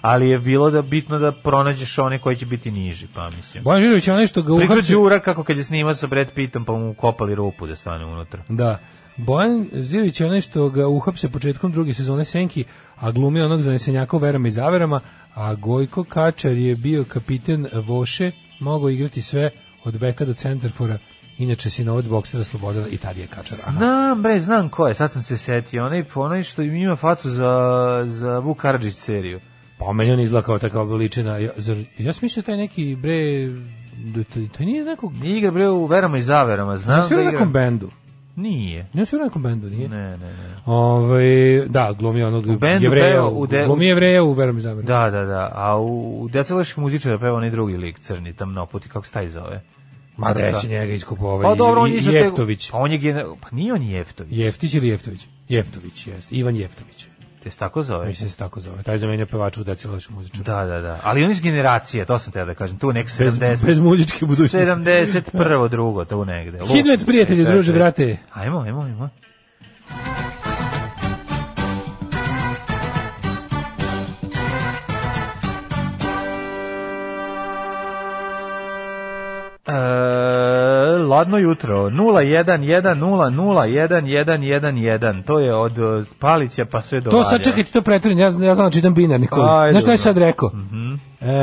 S7: Ali je bilo da bitno da pronađeš one koji će biti niži, pa mislim.
S6: Bojan Žirović je onaj što ga
S7: Priča
S6: uhapsi...
S7: Đura kako kad je snimao sa Brad Pittom, pa mu kopali rupu da stane unutra.
S6: Da. Bojan Zirović je onaj što ga uhapse početkom druge sezone Senki, a glumi onog zanesenjaka u verama i zaverama, a Gojko Kačar je bio kapiten Voše, mogao igrati sve od beka do centarfora, inače sinovac boksera Slobodana i Tarije Kačara. Aha.
S7: Znam, bre, znam ko je, sad sam se setio, onaj, onaj što ima facu za, za Vuk Karadžić seriju.
S6: Pa meni on izgleda kao takav veličina. Ja, zar, ja sam mislio taj neki, bre, da taj, taj nije iz nekog...
S7: Nije igra, bre, u verama i zaverama,
S6: Ja
S7: znam
S6: sam
S7: da
S6: u
S7: igra.
S6: nekom bendu.
S7: Nije.
S6: Ne sam u nekom bendu, nije?
S7: Ne, ne, ne.
S6: Ove, da, glumi onog
S7: U bendu
S6: jevreja,
S7: peva,
S6: u
S7: u de-
S6: glumi jevreja u verom i zaverom.
S7: Da, da, da. A u, u Decelaških muzičara peva onaj drugi lik, crni, tamnoputi, kako se taj zove?
S6: Ma
S7: Marka.
S6: desi njega iskupovao.
S7: Pa dobro, on
S6: i,
S7: je
S6: i
S7: isto te-
S6: Jeftović.
S7: Pa on je gener- pa nije on Jeftović.
S6: Jeftić ili Jeftović? Jeftović, jest. Ivan Jeftović. Pa
S7: Te se tako zove?
S6: Mislim se tako zove. Taj zamenja pevača u decilašu muzičara.
S7: Da, da, da. Ali on je iz generacije, to sam te da kažem. Tu nek
S6: Bez,
S7: 70.
S6: bez muzičke budućnosti.
S7: 71. drugo, tu negde. Lup.
S6: Hidmet, prijatelji,
S7: E, čekaj.
S6: druže, brate.
S7: Ajmo, ajmo, ajmo. E, ladno jutro 01100011111 to je od e, Palića pa sve do
S6: To
S7: Valja.
S6: sad čekajte, to pretvorim. Ja, znam- ja znam da čitam binar, Nikola.
S7: Ajde, Mhm.
S6: Znaš šta je
S7: dobro.
S6: sad rekao? e,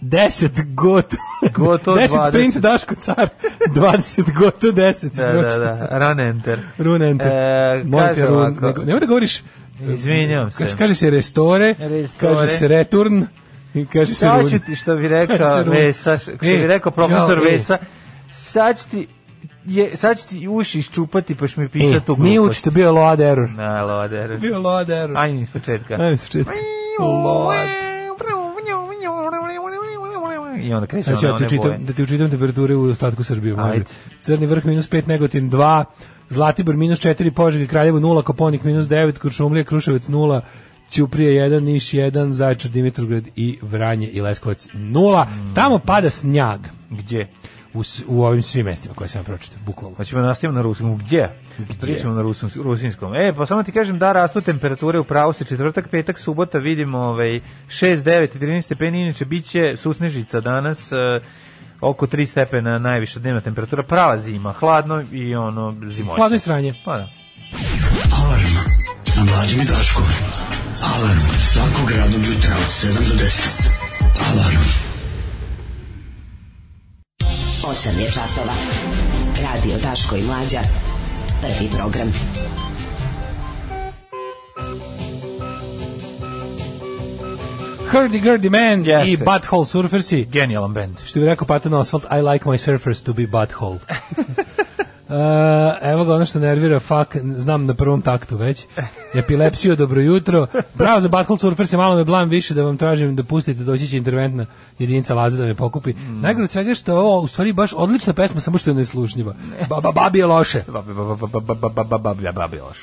S6: 10 goto.
S7: Goto
S6: 10
S7: 20.
S6: print Daško car. 20 goto 10.
S7: da, da, da, run enter
S6: Run enter.
S7: E,
S6: Molim te,
S7: kaže
S6: run,
S7: ovako.
S6: nego- nemoj da govoriš...
S7: Izvinjam
S6: Kaže,
S7: se.
S6: kaže se restore,
S7: Restore.
S6: kaže se return, i kaže se
S7: Sad
S6: run.
S7: ću ti, što bi rekao
S6: Kaže se
S7: Vesa,
S6: run.
S7: što bi
S6: E,
S7: rekao profesor
S6: jao, e.
S7: Vesa, sad ću ti, je, sad ću ti uši iščupati pa ću mi
S6: E,
S7: pisati u grupu.
S6: Nije učite, bio je load error.
S7: Na, loder.
S6: Bio je load error.
S7: Ajde, iz početka.
S6: Ajde se čitati. Load.
S7: I onda kreće
S6: Sad ću
S7: ona
S6: Znači, ja ti
S7: Ono, one boje.
S6: učitam, da ti učitam temperature u ostatku Srbije. može.
S7: Ajde.
S6: Crni vrh minus 5, Negotin 2, Zlatibor minus 4, Požega i Kraljevo 0, Koponik minus 9, Kuršumlija, Kruševac 0, Ćuprije 1, Niš 1, Zaječar, Dimitrovgrad i Vranje i Leskovac 0. Tamo pada snjag
S7: Gdje?
S6: u, s- u ovim svim mestima koje sam vam pročitao, bukvalno.
S7: Hoćemo da nastavimo na rusinskom. Gdje? Pričamo na rusins, rusinskom. E, pa samo ti kažem da rastu temperature u pravu se četvrtak, petak, subota vidimo ovaj 6, 9 i 13 stepeni, inače biće susnežica danas e, oko 3 stepena najviša dnevna temperatura, prava zima, hladno i ono zimoće.
S6: Hladno je sranje.
S7: Pa da.
S2: Alarm sa mlađim i Daškom. Alarm svakog radnog jutra od 7 do 10. Alarm.
S10: 8 je časova. Radio Daško i Mlađa. Prvi program.
S6: Hurdy Gurdy Man
S7: Jeste.
S6: i Butthole Surfersi.
S7: Genijalan bend.
S6: Što bi rekao Patton Oswalt, I like my surfers to be butthole. Uh, evo ga ono što nervira fuck, znam na prvom taktu već epilepsiju, dobro jutro bravo za Butthole Surfer, se malo me blam više da vam tražim da pustite, doći će interventna jedinica Laza da me pokupi
S7: Mm.
S6: najgore od svega je što je ovo u stvari baš odlična pesma samo što je neslušnjiva ba, ba, babi je loše
S7: Ba- ba- ba- ba- ba- ba- ba- ba- ba- ba- ba- ba- ba- loš.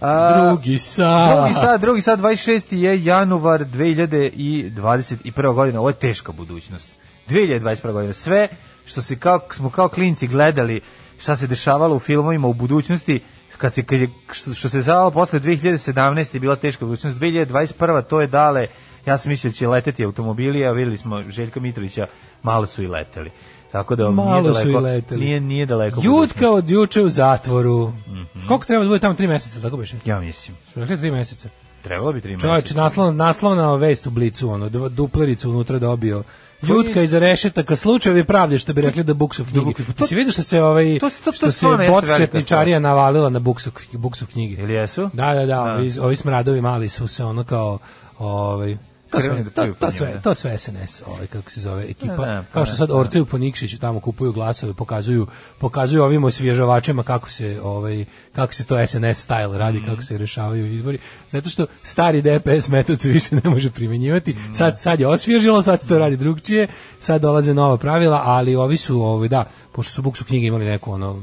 S7: A,
S6: drugi sa
S7: Drugi sad, drugi sad, 26. je januar 2021. godina. Ovo je teška budućnost. 2021. godina. Sve što se kao, smo kao klinci gledali šta se dešavalo u filmovima u budućnosti, kad se, kad je, što, što se zavalo posle 2017. je bila teška budućnost. 2021. to je dale, ja sam mislio da će leteti automobili, a videli smo Željka Mitrovića, malo su i leteli. Tako da
S6: Malo
S7: nije
S6: su
S7: daleko,
S6: i leteli.
S7: Nije, nije daleko. budućnost.
S6: Jutka od juče u zatvoru
S7: Mhm.
S6: koliko treba da bude tamo tri meseca, tako biš?
S7: Ja mislim.
S6: Rekli tri meseca
S7: Trebalo bi tri
S6: Čovječ,
S7: meseca.
S6: naslov, naslovna vest u blicu, ono, dv- duplericu unutra dobio.
S7: Pa
S6: Ljutka iza rešetaka, slučajevi pravde, što bi rekli da buksu knjigi.
S7: buksu-
S6: To,
S7: to-
S6: si vidio što se, ovaj,
S7: to- to- to
S6: što se
S7: stvarno jeste velika
S6: botčetničarija navalila na buksu, k- buksu knjige.
S7: Ili jesu?
S6: Da, da, da, ovi, ovi smradovi mali su se ono kao, ovaj, to sve,
S7: Krenuli da
S6: to,
S7: pljuju
S6: to
S7: po
S6: sve,
S7: njima.
S6: to sve SNS, ovaj, kako se zove, ekipa.
S7: Ne, ne, pa
S6: kao što
S7: ne.
S6: sad Orce u Ponikšiću tamo kupuju glasove, pokazuju, pokazuju ovim osvježavačima kako se, ovaj, kako se to SNS style radi, kako se rešavaju izbori. Zato što stari DPS metod se više ne može primjenjivati. Sad, sad je osvježilo, sad se to radi drugčije, sad dolaze nova pravila, ali ovi su, ovaj, da, pošto su Buksu knjige imali neku, ono,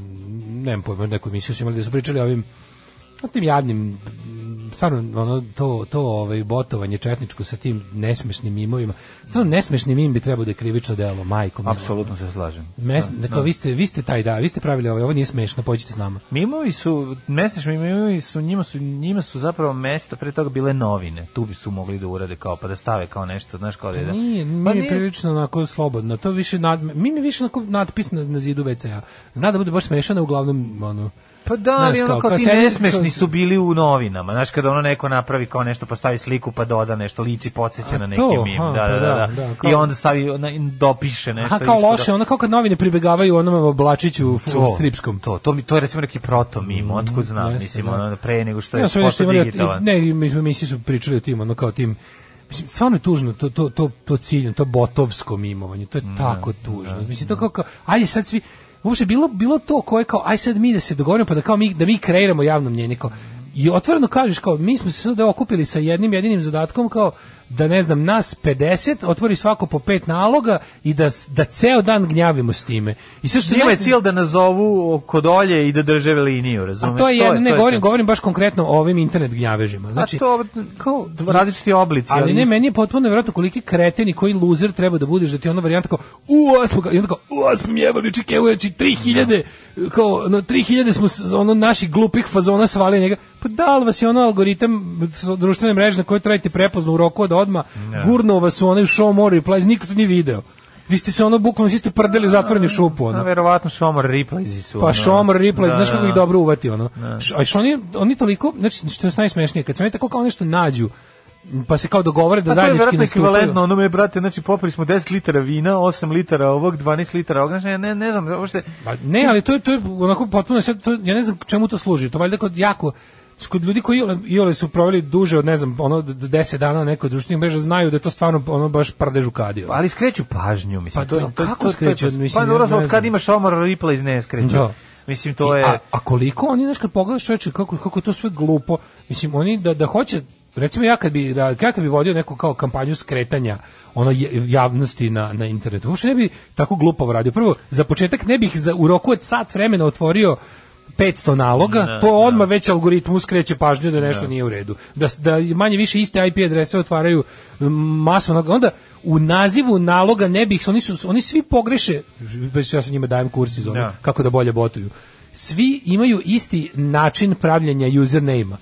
S6: nemam pojma, neku emisiju su imali da su pričali o ovim o tim jadnim mm, stvarno ono to to ovaj botovanje četničko sa tim nesmešnim mimovima. Stvarno nesmešni mim bi trebao da je krivično delo, majkom.
S7: Apsolutno se slažem.
S6: Mes, da, dakle, vi ste vi ste taj da, vi ste pravili ovaj, ovo nije smešno, pođite s nama.
S7: Mimovi su, mesniš mimovi su, njima su, njima su zapravo mesta, pre toga bile novine. Tu bi su mogli da urade kao, pa da stave kao nešto, znaš, kao da je da...
S6: Nije, nije,
S7: Pa
S6: nije prilično onako slobodno. To više nad, mim je više onako natpis na, na zidu WC-a. Zna da bude baš smešano, uglavnom ono
S7: Pa da, ali
S6: Znaš
S7: ono
S6: kao,
S7: kao
S6: kao
S7: ti
S6: sedi-
S7: nesmešni
S6: kao-
S7: su bili u novinama. Znaš, kada ono neko napravi kao nešto, pa stavi sliku, pa doda nešto, liči podsjeća na neki
S6: to,
S7: mim.
S6: aha,
S7: da,
S6: pa
S7: da, da,
S6: da, da, kao-
S7: I onda stavi, na- dopiše nešto.
S6: Aha, kao
S7: ispod.
S6: loše, ono kao kad novine pribegavaju onom oblačiću f- stripskom.
S7: To, to, mi, to je recimo neki proto mim, otkud znam,
S6: Mm, jeste,
S7: mislim,
S6: da.
S7: ono, pre nego što je
S6: Ja sam nešto
S7: postao
S6: imali,
S7: digitalan.
S6: ne, mi smo mi su pričali o tim, ono kao tim, mislim, stvarno je tužno, to, to, to, to ciljno, to botovsko mimovanje, to je
S7: Mm,
S6: tako tužno. mislim, to kao, kao, ajde sad svi, uopšte bilo, bilo to koje kao, aj sad mi da se dogovorimo, pa da kao mi, da mi kreiramo javno mnjenje, kao, i otvoreno kažeš kao, mi smo se sad okupili sa jednim jedinim zadatkom kao, da ne znam, nas 50, otvori svako po pet naloga i da, s- da ceo dan gnjavimo s time. I sve što
S7: Njima je
S6: naj-
S7: cilj da nazovu kod olje i da drže liniju, razumeš?
S6: a to je jedno, ne
S7: to
S6: govorim,
S7: to.
S6: govorim baš konkretno o ovim internet gnjavežima. Znači,
S7: A to,
S6: kao,
S7: različiti oblici.
S6: ali ne, meni je potpuno nevjerojatno koliki kreten i koji luzer treba da budeš da ti ono varijanta kao u osmo, i onda kao u osmo mi jebali čekevujeći 3000, kao na 3000 smo s- ono naših glupih fazona svali njega. Pa da li vas je ono algoritam s- društvene mreže na kojoj trajite prepozno u roku od odma, gurno vas u onaj show more replies, niko to nije video. Vi ste se ono bukvalno, svi ste prdeli u zatvoreni šupu. Ono.
S7: A verovatno Šomor Replays su.
S6: Pa
S7: ono.
S6: Šomor Ripley,
S7: Da,
S6: znaš kako
S7: da.
S6: ih dobro uvati, ono. Š- A što oni, oni toliko, znači, što je najsmešnije, kad se oni tako kao nešto nađu, pa se kao dogovore da
S7: Pa to je
S6: zajednički
S7: verovatno
S6: nastupaju.
S7: ekvivalentno onome, brate, znači popili smo 10 litara vina, 8 litara ovog, 12 litara ovog, znači ja ne, ne znam, uopšte,
S6: Pa ne, ali to je, to je onako potpuno, sad, to, ja ne znam čemu to služi, to valjda kod jako, kod ljudi koji iole, iole su proveli duže od, ne znam, ono, d- d- 10 dana na nekoj društvenih mreža, znaju da je to stvarno, ono, baš pardež u kadiju.
S7: ali skreću pažnju, mislim.
S6: Pa to- kako skreću, mislim,
S7: Pa dobro,
S6: ja ne
S7: od kad
S6: znam.
S7: ima Šomor Replays ne skreću.
S6: Da.
S7: Mislim, to je...
S6: I- A, a koliko oni, znaš, kad pogledaš čoveče, kako, kako je to sve glupo, mislim, oni da, da hoće, recimo ja kad bi, ra- ja kad bi vodio neku kao kampanju skretanja ono je- javnosti na, na internetu, uopšte ne bi tako glupo radio. Prvo, za početak ne bih za, u roku od sat vremena otvorio 500 naloga, to odmah već algoritmu skreće pažnju da nešto nije u redu. Da, s- da manje više iste IP adrese otvaraju mm, masovno. Onda u nazivu naloga ne bih, oni, su, oni svi pogreše, ja sa njima dajem kurs iz ono,
S7: Da.
S6: kako da bolje botuju. Svi imaju isti način pravljenja username-a.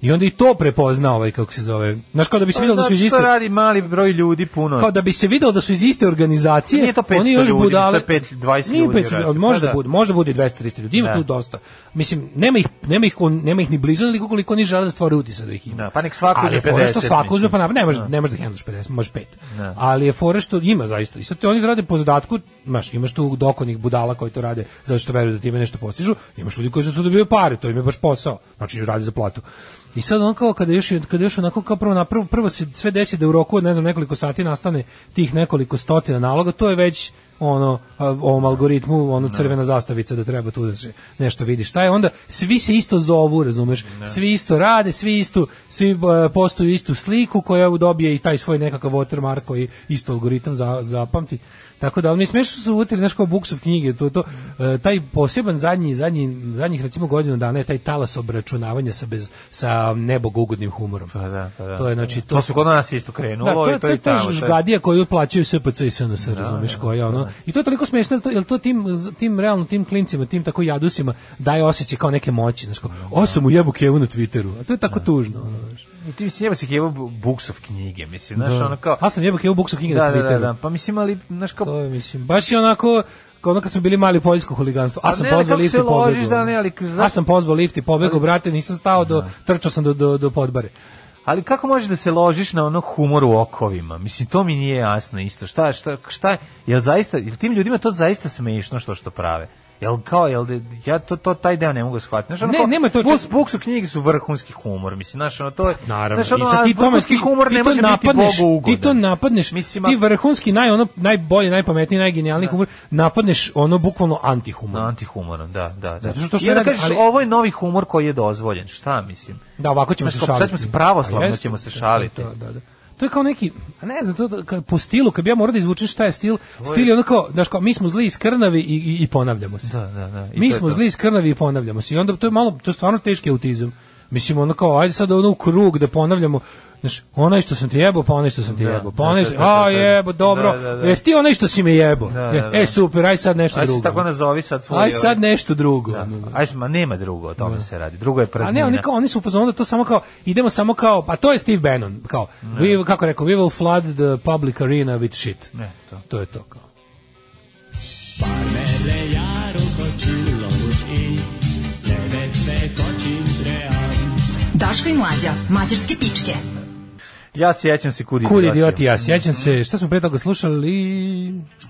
S6: I onda i to prepozna ovaj, kako se zove. Znaš, kao da bi se vidjelo da su Pa- iz
S7: Pa Zato što
S6: iste...
S7: Znači, radi mali broj ljudi puno.
S6: Kao da bi se vidjelo da su iz iste organizacije,
S7: Nije to 500
S6: oni još
S7: ljudi,
S6: budale...
S7: mislim da je pet- 20
S6: Nije
S7: ljudi
S6: 500
S7: vjerojatno.
S6: ali može
S7: Pa
S6: da,
S7: da.
S6: bude, može da bude 200-300 ljudi, ima
S7: Da.
S6: tu dosta. Mislim, nema ih, nema ih, on- nema ih ni blizu, ali koliko oni žele da stvore utisak da ih ima.
S7: Da, pa nek svako
S6: ali
S7: uzme
S6: je fora što
S7: 50,
S6: svako uzme,
S7: mislim.
S6: pa napravi, ne može, ne može da hendlaš 50, može 5. Ali je fora što ima zaista. I sad te oni rade po zadatku, znaš, imaš tu dokonih budala koji to rade zato što veruju da time nešto postižu, imaš ljudi koji su tu dobijaju pare, to im je baš posao. Znači, radi za platu. I sad on kao kada još kada još onako kao prvo napravo prvo se sve desi da u roku od ne znam nekoliko sati nastane tih nekoliko stotina naloga, to je već ono a, ovom algoritmu ono crvena zastavica da treba tu da se nešto vidi šta je onda svi se isto zovu razumeš svi isto rade svi isto svi e, postuju istu sliku koja dobije i taj svoj nekakav watermark koji isto algoritam za, zapamti tako da oni smešno su uvotili nešto kao buksov knjige to to e, taj poseban zadnji zadnji zadnjih recimo godinu dana je taj talas obračunavanja sa bez sa nebogougodnim humorom
S7: Pa da, pa da.
S6: to je znači to,
S7: To su kod nas isto krenulo.
S6: da, to,
S7: i
S6: je- to je
S7: i tamo,
S6: ta žgadija koju plaćaju SPC i SNS, razumeš, koja ono. I to je toliko smešno, to, jel to tim, tim realno, tim klincima, tim tako jadusima daje osjećaj kao neke moći, znaš, kao, osam u jebu kevu na Twitteru, a to je tako tužno, ono, znaš.
S7: I ti mislim, jeba si kevo buksov knjige, mislim, znaš,
S6: Da.
S7: ono kao...
S6: A sam jebu kevu buksu knjige
S7: da,
S6: na
S7: da, da,
S6: Twitteru.
S7: da, pa mislim, ali, znaš, kao...
S6: To je, mislim, baš je onako, kao ono kad smo bili mali poljsko huliganstvo. A
S7: Pa
S6: sam
S7: ne, ali
S6: pozvao
S7: kako
S6: lift i
S7: se ložiš,
S6: pobegao.
S7: da, ne, ali znaš-
S6: A sam pozvao lift i pobegao, brate, nisam stao do, trčao sam do, do, do podbare.
S7: Ali kako možeš da se ložiš na ono humor u okovima? Mislim, to mi nije jasno isto. Šta, šta, šta, je- jel zaista, jel tim ljudima to zaista smešno što što prave? Jel kao, jel, da- ja to, to taj deo ne mogu shvatiti. Znaš, ono
S6: Ne,
S7: kao,
S6: nema to,
S7: Bus,
S6: čak- Pa,
S7: Buksu knjige su vrhunski humor, mislim, znaš, ono, to je...
S6: Naravno.
S7: znaš, ono,
S6: I sad
S7: a
S6: ti tome
S7: vrhunski
S6: ti,
S7: humor
S6: ti
S7: ne
S6: to
S7: može
S6: napadneš,
S7: biti Bogu ugodan.
S6: ti to napadneš,
S7: Mislim,
S6: ti
S7: a-
S6: vrhunski naj ono najbolji, najpametniji, najgenijalniji humor napadneš ono bukvalno antihumor.
S7: antihumoran, da, da. da.
S6: Zato što što
S7: I onda
S6: ne-
S7: kažeš,
S6: ali-
S7: ovo je novi humor koji je dozvoljen. Šta, mislim?
S6: Da, ovako ćemo se
S7: Znaš, kao,
S6: šaliti.
S7: sad ćemo se pravoslavno
S6: Ali jeste,
S7: ćemo se
S6: to je
S7: šaliti.
S6: To, da, da. To je kao neki, a ne znam, to, to, kao po stilu, kad bi ja morao da izvučem šta je stil, stil je ono kao, znaš, kao, mi smo zli i skrnavi i, i, i ponavljamo se.
S7: Da, da, da. I
S6: mi
S7: to je
S6: smo
S7: to.
S6: zli i skrnavi i ponavljamo se. I onda to je malo, to je stvarno teški autizam. Mislim, ono kao, ajde sad ono u krug da ponavljamo, znaš, onaj što sam ti jebao, pa onaj što sam ti
S7: Da,
S6: jebao, pa
S7: da,
S6: onaj
S7: da,
S6: što,
S7: da, da,
S6: a
S7: da.
S6: jebo, dobro,
S7: Da, da, da.
S6: jesi ti onaj što si me jebao?
S7: Da, da, da.
S6: E, super, aj sad nešto
S7: Aj se
S6: drugo.
S7: tako nazovi sad svoj.
S6: Aj sad nešto drugo.
S7: Da.
S6: ono.
S7: Aj, ma nema drugo, o tome se radi. Drugo je praznina.
S6: A ne, oni kao oni su u fazonu da to samo kao idemo samo kao pa to je Steve Bannon, kao we kako je rekao we will flood the public arena with shit.
S7: Ne, to.
S6: To je to kao.
S5: Daško i mlađa, mađarske pičke.
S7: Ja sjećam se Kur
S6: Kur
S7: idioti.
S6: idioti, ja sjećam
S7: Mhm.
S6: se, šta smo pre toga slušali?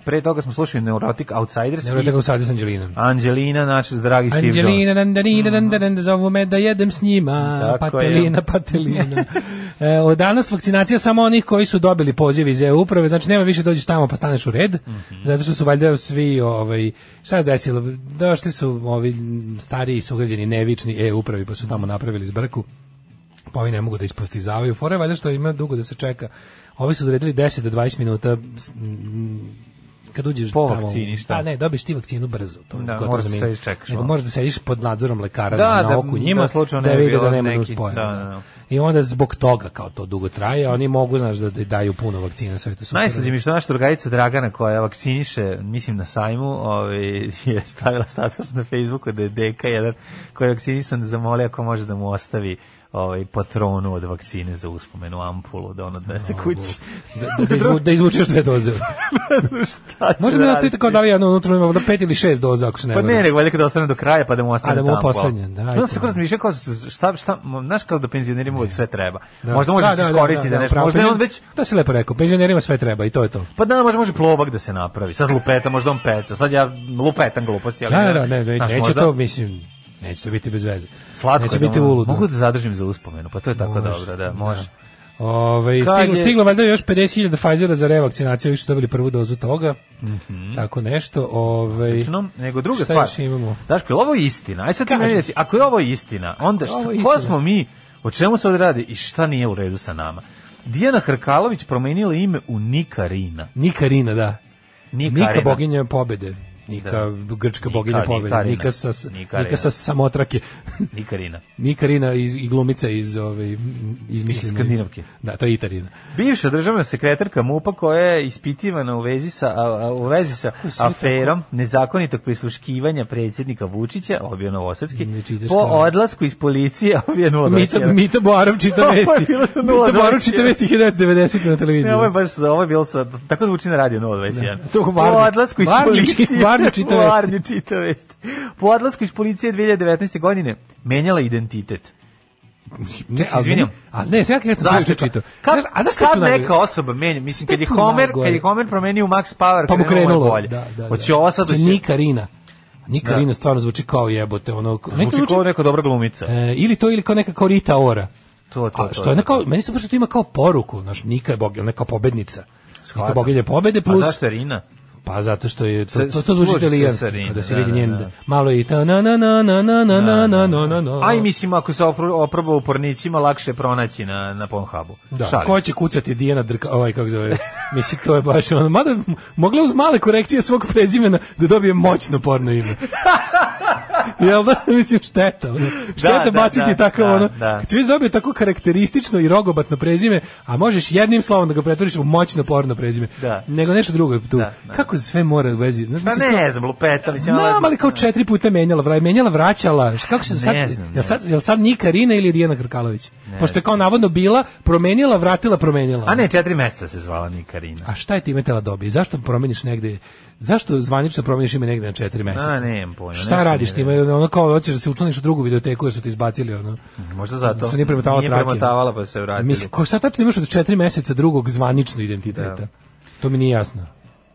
S7: Pre toga smo slušali Neurotic Outsiders
S6: Ne vrlo
S7: i
S6: tako sad s Anđelinom.
S7: Anđelina, naš dragi Steve Jones. Mhm.
S6: Anđelina, dan, dan, dan, dan, dan, dan, zovu me da jedem s njima,
S7: Tako je.
S6: patelina, patelina. E, od danas vakcinacija samo onih koji su dobili poziv iz EU uprave, znači nema više dođeš tamo pa staneš u red,
S7: Mhm.
S6: zato što su valjda svi, ovaj, šta se desilo, došli su ovi m, stariji sugrađeni nevični EU upravi pa su tamo napravili zbrku pa ovi ne mogu da ispostizavaju fore, valjda što ima dugo da se čeka. Ovi su odredili 10 do 20 minuta s- m, kad uđeš
S7: Po
S6: tamo.
S7: vakcini, šta?
S6: Pa ne, dobiješ ti vakcinu brzo. To
S7: Da,
S6: gotovo
S7: moraš
S6: za
S7: da
S6: minut.
S7: sediš, čekaš
S6: Nego
S7: malo.
S6: možeš da sediš pod nadzorom lekara
S7: Da,
S6: na
S7: da,
S6: oku njima,
S7: da slučajno
S6: da
S7: ne bi
S6: vide da
S7: bilo
S6: nema
S7: neki-
S6: spojeno.
S7: da, da, da.
S6: I onda zbog toga kao to dugo traje, oni mogu znaš da da daju puno vakcina, sve je to super.
S7: Najslađe mi je što naša drugarica Dragana koja vakciniše, mislim na sajmu, ovaj, je stavila status na Facebooku da je deka jedan koji je vakcinisan zamolio ako može da mu ostavi ovaj, patronu od vakcine za uspomenu ampulu, da ono da se kući.
S6: Da, da, da, izvu, da izvučeš dve doze.
S7: Šta će
S6: Možda mi
S7: da
S6: nastavite
S7: radi?
S6: kao da li jedno unutra ima da pet ili šest doza ako se ne
S7: Pa ne,
S6: varam.
S7: nego valjda kada ostane do kraja pa da mu ostane
S6: A, da mu ono.
S7: tamo. pa.
S6: poslednja, da,
S7: Onda se
S6: eto.
S7: kroz razmišljao kao šta, šta, znaš kao da penzionerima uvek sve treba.
S6: Da.
S7: Možda može da, se iskoristi za nešto,
S6: pravo,
S7: možda je on
S6: penzioner-
S7: već
S6: To si lepo rekao, penzionerima sve treba i to je to.
S7: Pa da, može, može plovak da se napravi. Sad lupeta, možda on peca. Sad ja lupetam gluposti, ali...
S6: Da, da, ne, ne,
S7: Znaš,
S6: neće
S7: možda
S6: to, mislim, neće to biti bez veze.
S7: Slatko
S6: neće
S7: je da
S6: biti
S7: mogu-
S6: uludno.
S7: Mogu da zadržim za uspomenu, pa to je tako
S6: Može,
S7: dobro, da, može.
S6: Ove,
S7: Kad
S6: stiglo,
S7: je-
S6: stiglo valjda još 50.000 Pfizera za revakcinaciju, više su dobili prvu dozu toga.
S7: Mhm.
S6: Tako nešto. Ove,
S7: Znači, no, nego druga
S6: šta
S7: stvar.
S6: još imamo?
S7: Daško, je li ovo istina? Aj sad ti
S6: Kaži.
S7: meni reci, ako je ovo istina,
S6: Ako
S7: onda
S6: je
S7: šta,
S6: ovo
S7: ko
S6: istina.
S7: smo mi, o čemu se ovde radi i šta nije u redu sa nama? Dijana Hrkalović promenila ime u Nikarina.
S6: Nika Rina, da.
S7: Nikarina.
S6: Nika boginja pobede. Nika, grčka
S7: Nika,
S6: boginja pobede.
S7: Nikarina.
S6: Nika sa, s-
S7: Nikarina.
S6: Nika sa samotrake.
S7: Nikarina.
S6: Nika Rina iz, i glumica iz, ove, iz,
S7: Iz Skandinavke.
S6: Da, to je Itarina.
S7: Bivša državna sekretarka MUPA koja je ispitivana u vezi sa, a, a, u vezi sa aferom nezakonitog prisluškivanja predsjednika Vučića, Obijan Novosadski,
S6: Ne čitaš
S7: po
S6: kao-
S7: odlasku iz policije Obijan
S6: Mita,
S7: Novosadski.
S6: Mita Boarov čita
S7: Ovo je
S6: vesti.
S7: bilo sa
S6: Mita Boarov čita
S7: 0,21.
S6: vesti 1990. na televiziji.
S7: Ne, ovo je baš, sa- ovo je bilo sa, tako zvuči na radio 021.
S6: To
S7: po
S6: Varni-
S7: odlasku iz
S6: Varni čita-
S7: policije,
S6: Varni čita vesti.
S7: Varni čita vesti. Po odlasku iz policije 2019. godine menjala identitet.
S6: Ne, Znači, ali
S7: izvinjam.
S6: meni- Ali ne, sad kad sam
S7: Zašto
S6: zašto
S7: je to?
S6: čitao.
S7: Kad,
S6: Znaš, a znaš šta
S7: kad
S6: tu najgore?
S7: neka osoba menja, mislim,
S6: Šta
S7: kad je
S6: tu
S7: Homer,
S6: najgore?
S7: kad je Homer promenio u Max Power,
S6: pa mu krenulo.
S7: bolje.
S6: Da, da, da.
S7: Hoće ovo sad...
S6: Znači,
S7: hoće-
S6: Nika Rina. Nika
S7: Da.
S6: Rina stvarno zvuči kao jebote. Ono, meni to
S7: Zvuči kao neka dobra glumica.
S6: e, ili to ili kao neka kao Rita Ora.
S7: To, to,
S6: A,
S7: to,
S6: što
S7: to,
S6: je
S7: to.
S6: neka, meni se baš to ima kao poruku, znaš, Nika je bogilja, neka pobednica. Nika
S7: Shvatam.
S6: bogilje pobede plus...
S7: A zašto je Rina?
S6: Pa zato što je to
S7: Se-
S6: to, to zvuči
S7: služi se
S6: italijanski,
S7: sa Rina,
S6: da se
S7: da,
S6: vidi
S7: da,
S6: njen
S7: da.
S6: malo i ta na na na na na na na na na na na.
S7: Aj, mislim, ako se opro- oproba u pornicima, lakše je pronaći na, na Pornhubu.
S6: Da,
S7: Šalim
S6: ko
S7: se.
S6: će kucati Dijana Drka, ovaj kako zove. Mislim to je baš ono. Mada m- mogla uz male korekcije svog prezimena da dobije moćno porno ime. Jel da? Mislim šteta. ono. Šteta
S7: da,
S6: baciti
S7: da,
S6: tako
S7: da,
S6: ono.
S7: da.
S6: Kad si već dobio tako karakteristično i rogobatno prezime, a možeš jednim slovom da ga pretvoriš u moćno porno prezime.
S7: Da.
S6: Nego nešto drugo je tu.
S7: Da, da.
S6: Kako sve mora u vezi? Znaš,
S7: Pa
S6: mislim,
S7: ne znam, lupeta, mislim... ono-
S6: Znam, ali kao četiri puta menjala, vra, menjala, vraćala. Šta kako se sad,
S7: Ne znam,
S6: jel
S7: ne
S6: sad, jel sad Nika Rina ili je Dijana Krkalović?
S7: Ne
S6: Pošto je kao navodno bila, promenila, vratila, promenila.
S7: A ne, četiri meseca se zvala Nikarina.
S6: A šta je time tela dobije? Zašto promeniš negde? Zašto zvanično promeniš ime negde na četiri meseca?
S7: A, nemam pojma,
S6: Šta
S7: nešto
S6: radiš
S7: mi
S6: time? Ono kao hoćeš da se učlaniš u drugu videoteku jer su ti izbacili ono.
S7: Možda zato.
S6: Su nije premotavala
S7: Nije
S6: trake.
S7: premotavala, pa su se vratili.
S6: Mislim, ko šta tačno imaš od četiri meseca drugog zvanično identiteta?
S7: Da.
S6: To mi nije jasno.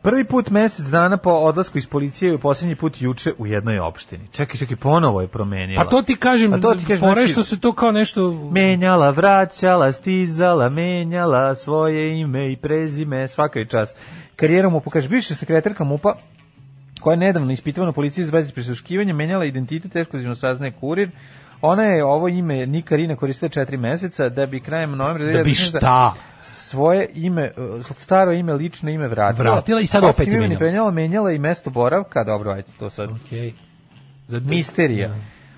S7: Prvi put mesec dana po odlasku iz policije i posljednji put juče u jednoj opštini. Čekaj, čekaj, ponovo je promenila.
S6: Pa to ti kažem,
S7: A to ti kažem,
S6: fora je
S7: znači-
S6: što se to kao nešto...
S7: Menjala, vraćala, stizala, menjala svoje ime i prezime, svaka je čast. Karijera mu pokaže bivša sekretarka MUPA koja je nedavno ispitivana u policiji za vezi prisluškivanja, menjala identitet, ekskluzivno saznaje kurir. Ona je ovo ime Nikarina koristila četiri meseca da bi krajem novembra
S6: Da bi
S7: 2019
S6: šta?
S7: svoje ime, e, staro ime, lično ime vratila.
S6: Vratila i sad
S7: Osim
S6: opet je
S7: imena
S6: menjala.
S7: Menjala, menjala i mesto boravka, dobro, ajde, to sad
S6: Okej. Za
S7: misterija.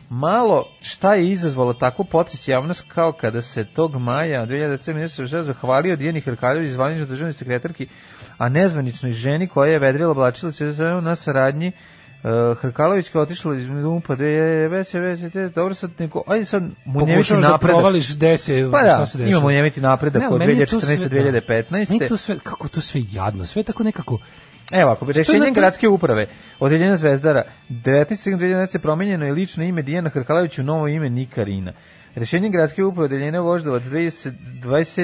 S7: Malo šta je izazvalo takvu potres javnost kao kada se tog maja 2007. ministar Žeza zahvalio Dijani Hrkaljević zvanično državnoj sekretarki, a nezvaničnoj ženi koja je vedrila oblačila se na saradnji Uh, Hrkalović koja je otišla iz Umpa, da je već, već, dobro sad neko, ajde sad munjeviti
S6: Pokušavaš da
S7: napredak.
S6: provališ gde se,
S7: Pa da,
S6: šta se dešava.
S7: imamo munjeviti napredak
S6: Ne, ali
S7: od
S6: meni je to sve-
S7: 2014-2015.
S6: meni je to sve, kako je to sve jadno, sve tako nekako,
S7: Evo, ako bi
S6: Što je na
S7: rešenjem
S6: to-
S7: gradske uprave Odeljenja Zvezdara 19.2011. promenjeno je lično ime Dijana Hrkalavić u novo ime Nikarina. Rješenjem gradske uprave Odeljenja Voždovac 20-
S6: šta,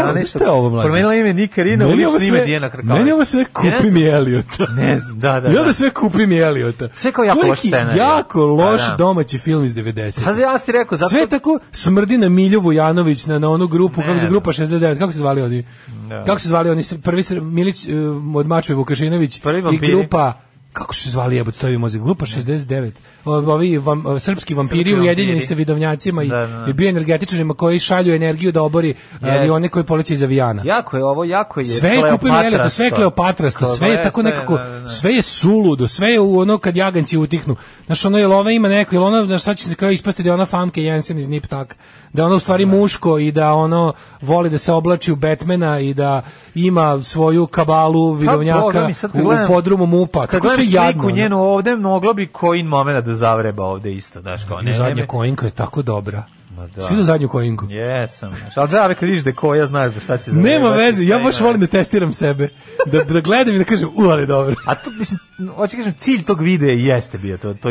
S6: je- šta je ovo
S7: 27.11.
S6: mlađe?
S7: promenila ime Nikarina u
S6: Meni ovo
S7: lično ime
S6: sve-
S7: Dijana Hrkalavić.
S6: Meni ovo sve
S7: Ja ne
S6: kupi
S7: znam-
S6: mi Eliota.
S7: Ne znam, da, da,
S6: I onda
S7: da.
S6: sve kupi mi Eliota.
S7: Sve kao jako
S6: To je
S7: loš
S6: neki
S7: scenarij.
S6: Jako loš
S7: Pa da.
S6: domaći film iz 90.
S7: Pa za- ja sam ti rekao, zato...
S6: Sve tako smrdi na Milju Vujanović, na, na onu grupu,
S7: Ne,
S6: kako se
S7: ne.
S6: grupa 69, kako se zvali oni?
S7: Da.
S6: Kako se zvali oni? s- Prvi sr- Milić eh, od Mačve Vukašinović
S7: Prvi
S6: i
S7: vampiri.
S6: grupa kako su se zvali jebote stoji mozak grupa 69 o- ovi vam, o, srpski vampiri
S7: Srpski
S6: ujedinjeni
S7: vampiri.
S6: sa vidovnjacima i,
S7: Da, da, da.
S6: i bioenergetičarima koji šalju energiju da obori e,
S7: Jeste.
S6: avione koji poleće iz avijana
S7: Jako je ovo, jako je
S6: sve je kupim jeleta, sve je kleopatrasto, sve je tako
S7: sve,
S6: nekako,
S7: da, da, da.
S6: sve je suludo, sve je u ono kad jaganci utihnu. Znaš, ono, jel ona ima neko, jel ona, znaš, sad će se kao ispasti da je ona famke Jensen iz Nip Tak, da je ona u stvari muško i da ono voli da se oblači u Batmana i da ima svoju kabalu vidovnjaka
S7: Boga mi, sad
S6: u,
S7: kad gledam-
S6: podrumu mupa.
S7: Kad
S6: Tako sve
S7: gledam
S6: jadno.
S7: sliku
S6: ono.
S7: njenu ovde, moglo bi coin momena da zavreba ovde isto, znaš, kao
S6: I
S7: ne, ne,
S6: zadnja
S7: ne,
S6: kojinka je tako dobra.
S7: Ma da.
S6: Svi do zadnju kojinku.
S7: Jesam. znaš, Ali da, kad vidiš da je ko, ja znaš da šta će zavreba.
S6: Nema veze, ja baš volim da testiram sebe. Da, da gledam i da kažem, u, ali dobro.
S7: A to, mislim, hoću kažem, cilj tog videa i jeste bio to, to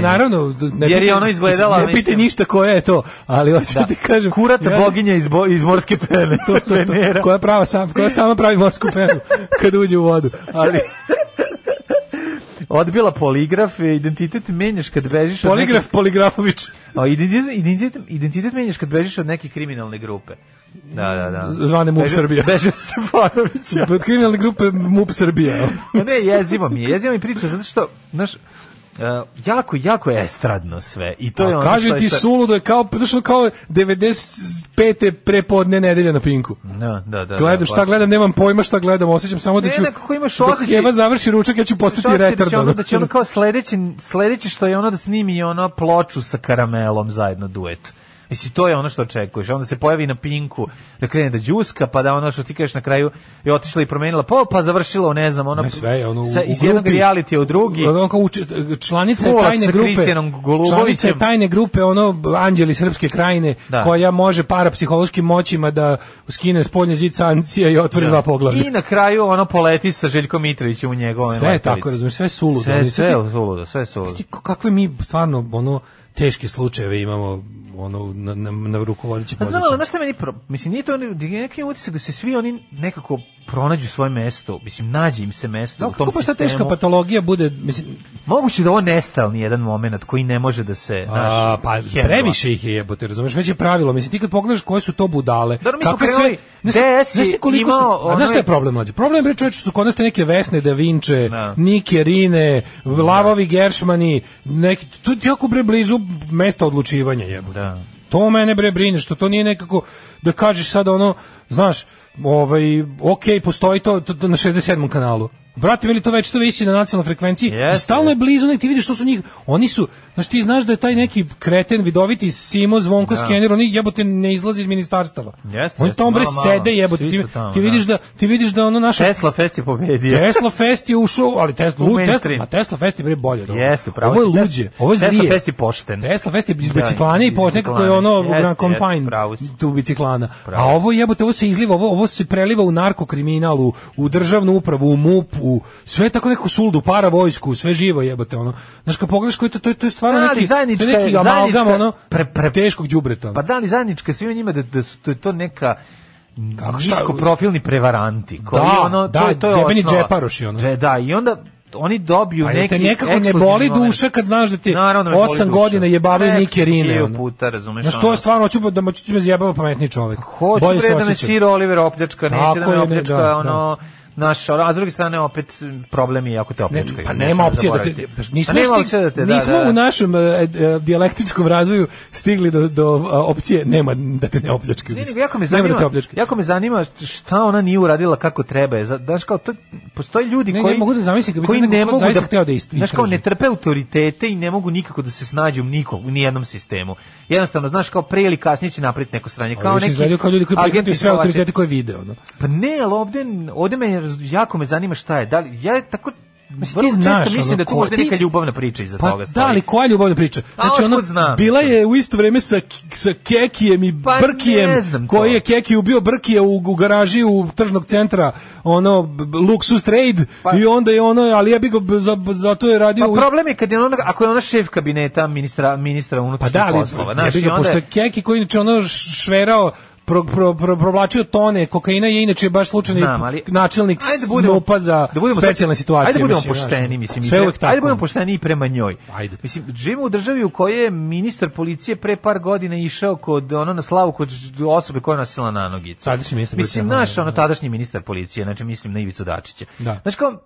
S6: Naravno, naravno. Ne
S7: Jer je
S6: pitaj-
S7: ono izgledala,
S6: Ne pitaj
S7: mislim-
S6: ništa koja je to, ali hoću da.
S7: Da.
S6: ti kažem.
S7: Kurat
S6: ja-
S7: boginja iz, bo, iz morske pene.
S6: to, to, to,
S7: Venera.
S6: koja, prava sam, koja sama pravi morsku penu kad uđe u vodu. Ali
S7: Odbila poligraf, e, identitet menjaš kad bežiš od
S6: poligraf Poligrafović.
S7: Neke, o, identitet, identitet, identitet menjaš kad bežiš od neke kriminalne grupe. Da, da, da.
S6: Zvane MUP
S7: Beži-
S6: Srbija.
S7: Beži od Stefanovića.
S6: Od kriminalne grupe MUP Srbija.
S7: Pa ne, jezivo mi je, jezivo mi priča, zato što, znaš, e, jako, jako je estradno sve. I to je
S6: A
S7: ono
S6: kaže
S7: što je
S6: Pa ti
S7: sad-
S6: suludo je kao, znaš, ono kao 95. prepodne nedelje na Pinku.
S7: Da, da, da.
S6: Gledam
S7: da, pa-
S6: šta gledam, nemam pojma šta gledam, osjećam samo da
S7: Ne,
S6: ću...
S7: nekako imaš
S6: dok
S7: osjećaj-
S6: Eva završi ručak, ja ću postati
S7: Šta se da će
S6: retardan.
S7: ono, da će ono kao sledeće, sledeće što je ono da snimi ono ploču sa karamelom zajedno duet. Mislim, to je ono što očekuješ. Onda se pojavi na pinku, da krene da đuska, pa da ono što ti kažeš na kraju je otišla i promenila pol, pa završila u, ne znam, ono,
S6: Ne, sve je ono u-
S7: sa,
S6: u
S7: iz jednog
S6: grupi.
S7: realitija u drugi.
S6: Ono kao uče- članica je
S7: Smola
S6: tajne
S7: sa
S6: grupe.
S7: Kristijanom Golubovićem.
S6: Članica je tajne grupe ono Anđeli srpske krajine
S7: Da.
S6: koja može parapsihološkim moćima da skine spoljni zid sankcija i otvori dva poglavlja.
S7: I na kraju ono poleti sa Željkom Mitrovićem u njegovom
S6: Sve je tako, razumiješ, sve je suludo.
S7: Sve,
S6: Ali
S7: sve
S6: sad
S7: je
S6: ti-
S7: suludo, sve je suludo.
S6: ti ko- kakve mi stvarno ono teške slučajeve imamo ono na na, na rukovodećim
S7: Pa znam, ali
S6: pozicijama.
S7: znaš šta meni, pro... mislim, nije to oni, je neki utisak da se svi oni nekako pronađu svoje mesto, mislim, nađe im se mesto
S6: Da,
S7: u
S6: li
S7: tom
S6: kako baš ta
S7: sistemu.
S6: teška patologija bude, mislim,
S7: Moguće da je ovo nestalni jedan moment koji ne može da se, znaš,
S6: a, pa
S7: hendla.
S6: previše ih je jebote, razumeš, već je pravilo, mislim, ti kad pogledaš koje su to budale,
S7: Dobro, mi smo
S6: kakve
S7: krenuli,
S6: znaš, znaš,
S7: DS
S6: ti
S7: je
S6: koliko su,
S7: imao
S6: a
S7: ono-
S6: znaš šta je problem, mlađe? Problem je, čoveče, su kod nas te neke Vesne Da Vinče,
S7: Da.
S6: Nike Rine, Lavovi Geršmani, neki, to je jako bre blizu mesta odlučivanja, jebote.
S7: Da.
S6: To mene bre brine, što to nije nekako da kažeš sad ono, znaš, ovaj, ok, postoji to, to, to na 67. kanalu. Brate, veli to već to visi na nacionalnoj frekvenciji.
S7: Jeste.
S6: I stalno je blizu, nek ti vidiš što su njih, oni su, znaš ti znaš da je taj neki kreten vidoviti Simo Zvonko Skener, oni jebote ne izlaze iz ministarstava.
S7: Jeste,
S6: oni
S7: jeste,
S6: tamo bre
S7: malo, malo.
S6: sede jebote,
S7: Svi
S6: ti,
S7: su tamo,
S6: ti vidiš da. ti vidiš da ono naša
S7: Tesla Fest je pobedio.
S6: Tesla Fest je ušao, ali Tesla,
S7: U
S6: u, Tesla,
S7: mainstream.
S6: ma Tesla Fest je bre bolje. od ovog.
S7: Jeste, pravo
S6: Ovo je
S7: si. Tesla-
S6: luđe, ovo je
S7: Tesla
S6: zlije.
S7: Fest je pošten.
S6: Tesla Fest je iz
S7: Da,
S6: biciklane i
S7: iz
S6: pošto nekako je
S7: biciklane.
S6: ono u
S7: Jeste,
S6: Grand
S7: jeste,
S6: Confine
S7: pravo si.
S6: tu biciklana. A ovo jebote, ovo se izliva, ovo, ovo se preliva u narkokriminal, u, u državnu upravu, u MUP, u sve tako neku suldu, para vojsku, sve živo jebote. Ono. Znaš, kad pogledaš koji to, to, je- to je stvarno
S7: Da, ali
S6: neki, to je
S7: zajednička je-
S6: neki amalgam
S7: zajednička-
S6: ono,
S7: pre- pre-
S6: teškog đubreta. ono.
S7: Pa da li zajednička svima njima da, da su to, to neka
S6: Kako, šta-
S7: nisko profilni prevaranti koji
S6: Da,
S7: ono to,
S6: da,
S7: to je
S6: jebeni
S7: osnova.
S6: džeparoši, ono.
S7: Dže- da i onda oni dobiju
S6: Pa jel
S7: neki
S6: te nekako ne boli
S7: ekskluzivni moment.
S6: duša kad znaš da ti
S7: Naravno da me boli
S6: 8
S7: duša.
S6: godina jebavaju
S7: Pa,
S6: Nike Rine.
S7: hiljadu
S6: ono.
S7: puta, razumeš,
S6: Znaš, to
S7: ono.
S6: je stvarno, hoću da moću ti me zjebava pametni čovjek.
S7: Hoću
S6: Bolje
S7: bre
S6: se
S7: da me
S6: osjećam.
S7: Sir Oliver opljačka,
S6: Tako
S7: neće da me
S6: je, ne,
S7: opljačka,
S6: da,
S7: ono, Naš, a s druge strane opet problem je ako te
S6: Ne,
S7: opljačkaju.
S6: pa
S7: Znaš,
S6: nema opcije da te,
S7: zaboravite.
S6: pa nismo,
S7: Pa nema
S6: stigli-
S7: opcije da te, da,
S6: nismo
S7: da, da.
S6: u našem e, e, dijalektičkom razvoju stigli do, do a, opcije nema da te ne opljačkaju.
S7: Ne, nego jako me
S6: Nema da te
S7: zanima,
S6: opljačkaju.
S7: jako me zanima šta ona nije uradila kako treba. je. Za- Znaš kao, to, postoje ljudi
S6: Ne, ne,
S7: koji,
S6: mogu da zamislim kad bi
S7: koji
S6: sad neko
S7: ne
S6: ko
S7: mogu
S6: zaista
S7: da,
S6: hteo da ist-
S7: znaš kao,
S6: istraži.
S7: ne trpe autoritete i ne mogu nikako da se snađu niko, u nijednom sistemu. Jednostavno, znaš kao, prije ili kasnije će napraviti neko sranje.
S6: Kao
S7: Kao
S6: neki izgledaju
S7: neki
S6: kao ljudi koji
S7: agenti
S6: prihvataju sve
S7: Slovače.
S6: autoritete koje vide. Ono.
S7: Pa ne, ali ovde, ovde me, jako me zanima šta je. Da li, ja tako,
S6: ti
S7: vrlo često
S6: znaš,
S7: mislim
S6: ono,
S7: da tu
S6: ko-
S7: možda
S6: ti-
S7: neka ljubavna priča iza
S6: Pa
S7: toga
S6: da, ali koja ljubavna priča? Znači, ono,
S7: A otkud znam?
S6: bila je u isto vreme sa, sa Kekijem i
S7: Pa
S6: Brkijem,
S7: ne znam to.
S6: koji je Keki ubio Brkija u, u garaži u tržnog centra, ono, b- b- Luxus Trade,
S7: Pa-
S6: i onda je ono, ali ja bi ga, b- za, b- zato je radio... u-
S7: Pa problem je kad je ona, ako je ona šef kabineta ministra, ministra
S6: Pa
S7: unutrašnjih
S6: da, ali
S7: poslova.
S6: ja
S7: Znaš,
S6: bih
S7: i
S6: ga,
S7: onda
S6: pošto je
S7: je,
S6: Keki koji inače ono š- šverao pro, pro, pro, provlačio tone kokaina je inače baš slučajni
S7: Znam, ali-
S6: načelnik
S7: Ajde budemo-
S6: SNUP-a za
S7: da budemo sad-
S6: specijalne situacije.
S7: Ajde budemo
S6: mislim, znaš, ono,
S7: pošteni, mislim. i
S6: Sve
S7: pre-
S6: uvek tako.
S7: Ajde budemo pošteni i prema njoj.
S6: Ajde.
S7: Mislim, živimo u državi u kojoj je ministar policije pre par godina išao kod ono na slavu kod ž- osobe koja je nosila na nogicu.
S6: Tadašnji ministar
S7: Mislim,
S6: policije,
S7: naš
S6: da,
S7: ono tadašnji ministar policije, znači mislim na Ivicu Dačića.
S6: Da.
S7: Znači kao, m,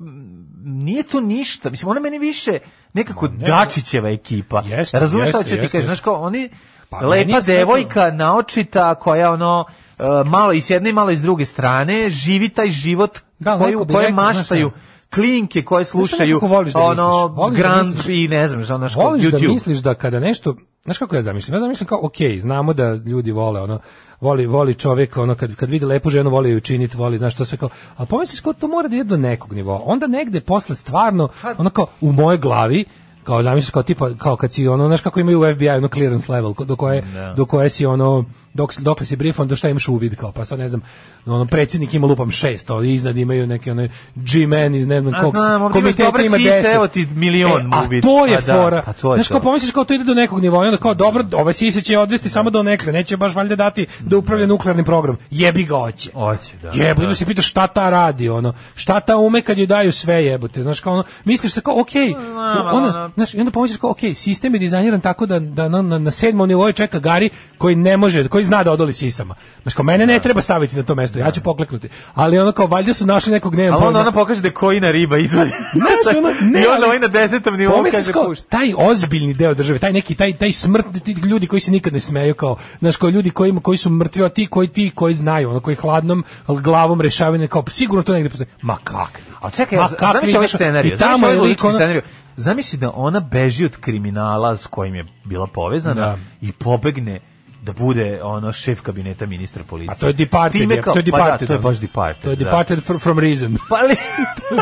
S7: nije to ništa. Mislim, ona meni više nekako Dačićeva ekipa.
S6: Jeste,
S7: Razumeš šta
S6: jeste,
S7: ću ti
S6: jeste,
S7: kažem?
S6: jeste.
S7: Znaš kao, oni...
S6: Pa meni
S7: lepa
S6: je sve to-
S7: devojka, naočita, koja ono, e, malo i s jedne i malo i s druge strane, živi taj život
S6: Da,
S7: koji,
S6: neko
S7: u
S6: bi
S7: kojem
S6: rekao, znaš
S7: maštaju klinke koje slušaju
S6: nekako voliš da
S7: ono
S6: misliš, voliš da
S7: Grand
S6: misliš.
S7: i ne znam, ono što
S6: Voliš
S7: YouTube.
S6: da misliš da kada nešto, znaš kako ja zamišljam? Ja zamišljam kao, ok, znamo da ljudi vole, ono, voli, voli čovjek, ono, kad, kad vidi lepu ženu, voli ju činiti, voli, znaš, to sve kao, ali pomisliš kao to mora da ide do nekog nivoa. Onda negde posle stvarno, ono kao, u mojoj glavi, kao zamisliš kao tipa kao kad si ono znaš kako imaju u FBI ono clearance level ko- do koje do koje si ono dok dokle si briefan do šta imaš uvid kao pa sad ne znam ono predsjednik ima lupam šest ali iznad imaju neki onaj G-man iz ne znam
S7: A
S6: kog s-
S7: znam, ovdje imaš
S6: komiteta
S7: dobre
S6: ima
S7: sise,
S6: 10
S7: evo ti milion mu
S6: a
S7: vidi.
S6: to je
S7: Pa da,
S6: fora
S7: pa to je
S6: znaš kao
S7: to.
S6: pomisliš kao to ide do nekog nivoa i onda kao dobro ovaj sise će odvesti samo do nekle neće baš valjda dati da upravlja nuklearni program jebi ga hoće
S7: Hoće, da.
S6: Jebo, onda se pitaš šta ta radi, ono, šta ta ume kad joj daju sve jebote, znaš, kao ono, misliš se kao, okej,
S7: Znam, ali ono-
S6: ona, znaš, i onda pomisliš kao, okej, sistem je dizajniran tako da, da na, na, na sedmom nivou čeka Gari koji ne može, koji zna da odoli sisama. Znaš, kao, mene ne treba staviti na to mesto, ja ću pokleknuti. Ali ono kao, valjda su našli nekog, ne,
S7: Ali onda ona pokaže da je kojina riba izvadi.
S6: pa Znaš, ono, ne,
S7: I onda
S6: ali-
S7: ovaj na desetom nivou
S6: Pomisliš
S7: kaže
S6: kao,
S7: pušta.
S6: taj ozbiljni deo države, taj neki taj taj smrtni ti ljudi koji se nikad ne smeju kao, znaš, kao ljudi koji koji su mrtvi, a ti koji ti koji znaju, ono koji hladnom glavom rešavaju ne, kao sigurno to negdje postoji. Ma kak?
S7: A čekaj,
S6: Ma kakvi,
S7: zamisli ovaj
S6: znaš,
S7: scenarij.
S6: I tamo je lik,
S7: lični
S6: ono,
S7: scenarij. Zamisli da ona beži od kriminala s kojim je bila povezana
S6: Da.
S7: i pobegne da bude ono šef kabineta ministra policije.
S6: a to je Departed,
S7: Time
S6: je,
S7: kao-
S6: to je
S7: pa da,
S6: Departed.
S7: to je baš
S6: ono.
S7: Departed.
S6: To je
S7: da.
S6: Departed fr- from reason. ono,
S7: Pa ali,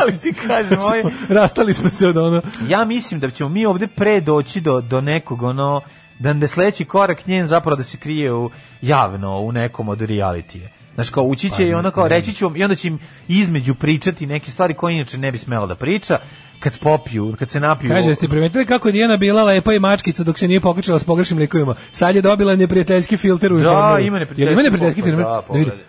S7: ali ti kažem, ovaj,
S6: Rastali smo se od ono.
S7: ja mislim da ćemo mi ovde pre doći do, do nekog ono, da da sledeći korak njen zapravo da se krije u, javno u nekom od realitije. Znaš, kao ući
S6: Pa
S7: će i ono kao reći ću vam, i onda će im između pričati neke stvari koje inače ne bi smela da priča, kad popiju, kad se napiju.
S6: Kaže, jeste primetili kako je Dijana bila lepa i mačkica dok se nije pokačala s pogrešnim likovima. Sad je dobila neprijateljski filter u
S7: da,
S6: informeru.
S7: ima
S6: Jel
S7: neprijateljski
S6: Ima neprijateljski
S7: pokoj,
S6: filter.
S7: Da,
S6: Da, vidim.
S7: pogledaj.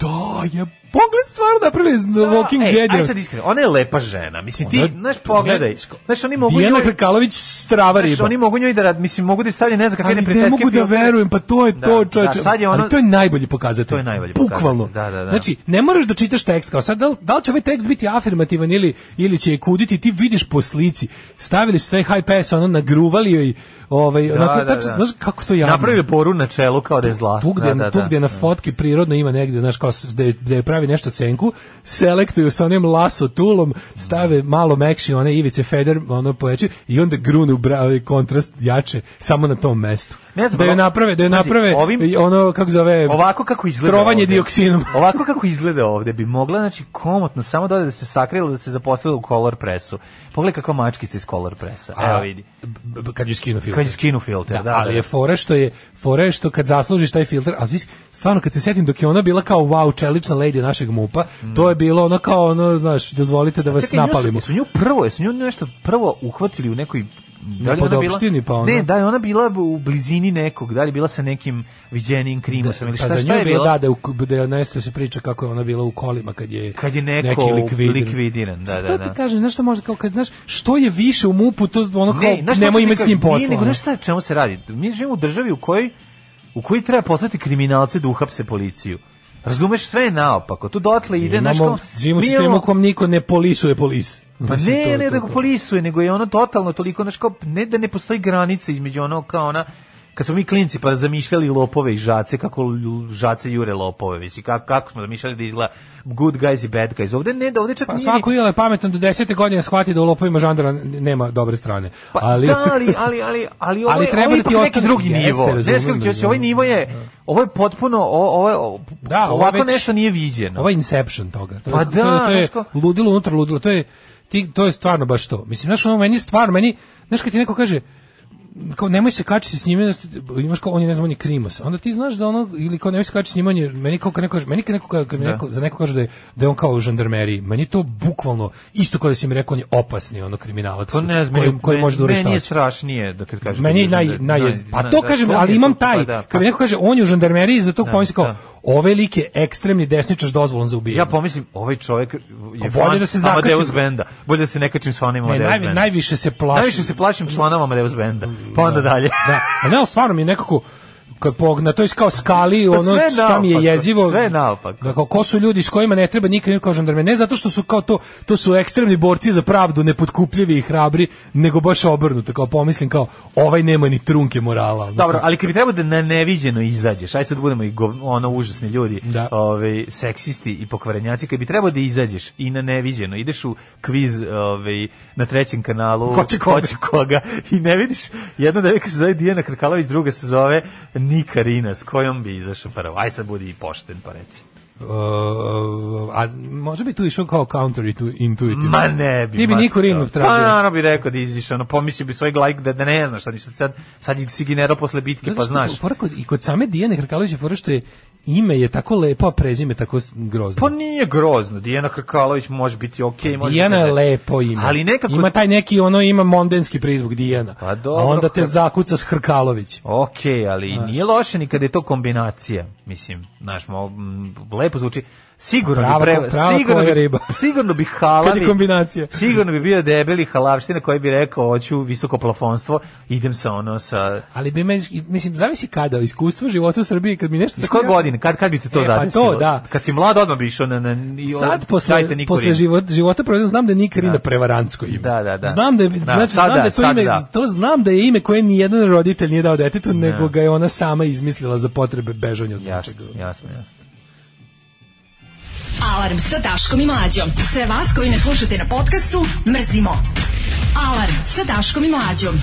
S6: Da, je pogled stvarno napravili iz Walking
S7: ej, e, Aj
S6: Dead.
S7: sad iskreno, ona je lepa žena. Mislim, ti,
S6: Ona-
S7: znaš, pogledaj. Znaš, oni mogu
S6: Dijana
S7: njoj...
S6: Krkalović strava
S7: Znaš,
S6: riba.
S7: oni mogu njoj da rad, mislim, mogu da je stavlja ne znam kakve
S6: pa- Ali
S7: neprijateljske
S6: ne mogu da
S7: filtere.
S6: verujem, pa to je
S7: Da,
S6: to,
S7: da,
S6: čoveče.
S7: sad je ono-
S6: Ali to je najbolji pokazatelj.
S7: To je najbolji
S6: Bukvalno.
S7: pokazatelj, da, da, da.
S6: Znači, ne moraš da čitaš tekst, kao sad, da li, da li će ovaj tekst biti afirmativan ili, ili će je kuditi, ti vidiš po slici. Stavili su taj high pass, ono, nagruvali joj, ovaj, onako, tačno, znaš kako to javno.
S7: Napravio poru na čelu kao da je zla.
S6: tu gde,
S7: da, da,
S6: tu
S7: da.
S6: gde na fotki prirodno ima negde, znaš, kao s- gde, gde pravi nešto senku, selektuju sa onim laso tulom, stave malo mekši one ivice feder, ono povećaju i onda grunu bravi kontrast jače samo na tom mestu.
S7: Ne znam,
S6: da je
S7: ovo-
S6: naprave, da je
S7: pazi,
S6: naprave
S7: ovim-
S6: i ono kako zove
S7: Ovako kako izgleda
S6: trovanje
S7: ovde.
S6: dioksinom.
S7: Ovako kako izgleda ovde bi mogla, znači, komotno samo da ode da se sakrila, da se zaposlila u color presu. Pogledaj kako mačkica iz color presa. Evo vidi.
S6: B- b- Kad ju skinu filter.
S7: Kad je skinu filter, da,
S6: da, ali je fora što je fora je što kad zaslužiš taj filter, a vis- stvarno kad se setim dok je ona bila kao wow čelična lady našeg mupa, to je bilo ono kao ono, znaš, dozvolite da vas
S7: Čekaj, nju su-
S6: napalimo.
S7: Su nju prvo, su nju nešto prvo uhvatili u nekoj Da li
S6: Na
S7: ona bila?
S6: podobštini, pa ona-
S7: Ne, da je ona bila u blizini nekog, da li je bila sa nekim viđenim krimusom ili
S6: Pa
S7: šta,
S6: za nju
S7: šta
S6: je
S7: je
S6: bilo
S7: bila?
S6: da, da, u, da je nešto se priča kako je ona bila u kolima kad je,
S7: Kad je neko
S6: neki likvidiran.
S7: likvidiran, da,
S6: Sad
S7: da,
S6: to
S7: da.
S6: ti kažem, znaš šta može, kao kad, znaš, što je više u mupu, to ono kao,
S7: znaš šta
S6: nemoj
S7: ću ti
S6: imati s
S7: kažem?
S6: njim posla.
S7: Nije, nego
S6: ono.
S7: znaš šta, čemu se radi? Mi živimo u državi u kojoj u kojoj treba poslati kriminalce da uhapse policiju. Razumeš sve je naopako. Tu dotle ide
S6: Imamo,
S7: znaš kao-
S6: živimo u
S7: mi
S6: sistemu
S7: imamo-
S6: u kom niko ne polisuje polis.
S7: Pa
S6: Mislim, to
S7: ne,
S6: je
S7: ne
S6: to
S7: da ga
S6: kao-
S7: polisuje, nego je ono totalno toliko, znaš kao, ne da ne postoji granica između ono kao ona, kad smo mi klinci pa zamišljali lopove i žace, kako l- žace jure lopove, visi, kako, kako smo zamišljali da izgleda good guys i bad guys. Ovde ne, da ovde čak
S6: Pa
S7: nije...
S6: svako je pametno do 10. godine shvati da u lopovima žandara nema dobre strane.
S7: Pa,
S6: ali,
S7: da, ali, ali, ali, ali ovo,
S6: Ali
S7: je-
S6: treba
S7: ovo je
S6: da ti
S7: ipak neki
S6: ostane-
S7: drugi
S6: jeste,
S7: nivo. Ne
S6: razumem,
S7: znaš kako ti hoće, ovaj
S6: razumem.
S7: nivo je, ovo je potpuno, o- ovo je, o-
S6: Da, ovo
S7: ovako
S6: već-
S7: nešto nije viđeno.
S6: Ovo je ovaj Inception toga. To je,
S7: Pa
S6: to je-
S7: da,
S6: to je
S7: znaš ko-
S6: ludilo unutar ludilo. To je, ti, to je stvarno baš to. Mislim, znaš, ono, meni je stvar, meni, znaš, kad ti neko kaže, kao nemoj se kačiti s njime, znaš, ti- imaš kao, on je, ne znam, on je krimos. Onda ti znaš da ono, ili kao nemoj se kačiti s njime, on je, meni kao kad neko kaže, meni kad neko, kad mi neko, za neko kaže da je, da je on kao u žandarmeriji, meni je to bukvalno, isto kao da si mi rekao, on je opasni, ono, kriminalac,
S7: To Pa ne znam,
S6: koji,
S7: meni-
S6: koji može da uradi šta
S7: Meni je
S6: hoće.
S7: strašnije, da kad kažem.
S6: Meni je naj, naj, pa to kažem, ali imam taj, kad mi neko kaže, on je u žandarmeriji, za to pomislim kao,
S7: pa da.
S6: ove like ekstremni desničar s dozvolom za ubijanje.
S7: Ja pomislim, ovaj čovjek je
S6: Pa bolje
S7: fan
S6: da se zakačim.
S7: Amadeus Benda. Bolje da se ne kačim s fanima
S6: Ne,
S7: Amadeus
S6: naj,
S7: Benda.
S6: najviše se plašim.
S7: Najviše se plašim članama Amadeus Benda. Pa onda dalje.
S6: Da, a ne, ali stvarno mi je nekako kad po, na toj kao skali
S7: Pa
S6: ono
S7: sve
S6: šta mi je
S7: naopako,
S6: jezivo
S7: sve naopako.
S6: da kao ko su ljudi s kojima ne treba nikad nikad žandarme ne zato što su kao to to su ekstremni borci za pravdu nepotkupljivi i hrabri nego baš obrnuto kao pomislim kao ovaj nema ni trunke morala ono,
S7: Dobro,
S6: kao,
S7: ali kad bi trebalo da na neviđeno izađeš, aj sad budemo i gov- ono užasni ljudi,
S6: Da.
S7: ovaj, seksisti i pokvarenjaci, kad bi trebalo da izađeš i na neviđeno, ideš u kviz ovaj, na trećem kanalu,
S6: Ko će koga?
S7: će koga, i ne vidiš, jedna devika se zove Dijana Krkalović, druga se zove Nika Rina, s kojom bi izašao prvo, aj sad budi i pošten, pa reci.
S6: Uh, a z- možda bi tu išao kao counter intu- intuitive.
S7: Ma ne bi.
S6: Ti bi
S7: ma
S6: Niku Rinu
S7: strašno. Pa
S6: tražio.
S7: naravno bi rekao da iziš, ono, pomislio bi svoj like da, da ne znaš, sad, sad, sad si generao posle bitke, pa znaš.
S6: Fora kod, I kod same Dijane Hrkalović je fora što je ime je tako lepo, a prezime tako s- grozno.
S7: Pa nije grozno, Dijana Hrkalović može biti okej. može
S6: Pa Dijana
S7: biti
S6: je
S7: ne.
S6: lepo ime.
S7: Ali nekako...
S6: Ima taj neki, ono, ima mondenski prizvuk Dijana.
S7: Pa dobro,
S6: A onda te
S7: Hr-
S6: zakuca s Hrkalović.
S7: Okej, ali nije loše ni kada je to kombinacija. Mislim, znaš, mo, m, lepo zvuči. Sigurno
S6: Prava-
S7: bi pre,
S6: prava
S7: sigurno bi,
S6: koja riba.
S7: sigurno bi
S6: Kad
S7: halavi.
S6: je kombinacija.
S7: Sigurno bi bio debeli halavština koji bi rekao hoću visoko plafonstvo, idem sa ono sa
S6: Ali bi me, mislim, zavisi kada, iskustvo života u Srbiji, kad mi nešto...
S7: Iz
S6: tako
S7: koje
S6: jako-
S7: godine? Kad kad bi te to
S6: E, pa
S7: zadesilo?
S6: to, da.
S7: Kad si mlad odmah bi išao na na i ono,
S6: Sad posle,
S7: dajte Niku
S6: posle
S7: Rinu.
S6: život, života provedem znam da je Nika Rina prevarantsko ime.
S7: Da, da, da.
S6: Znam da je,
S7: Da,
S6: znači,
S7: sada,
S6: znam da je to
S7: sad
S6: ime,
S7: da.
S6: to znam da je ime koje ni jedan roditelj nije dao detetu, nego ga je ona sama izmislila za potrebe bežanja od
S7: Jasno,
S6: nečega.
S7: jasno, jasno.
S5: Alarm sa Daškom i Mlađom. Sve vas koji ne slušate na podcastu, mrzimo. Alarm sa Daškom i Mlađom.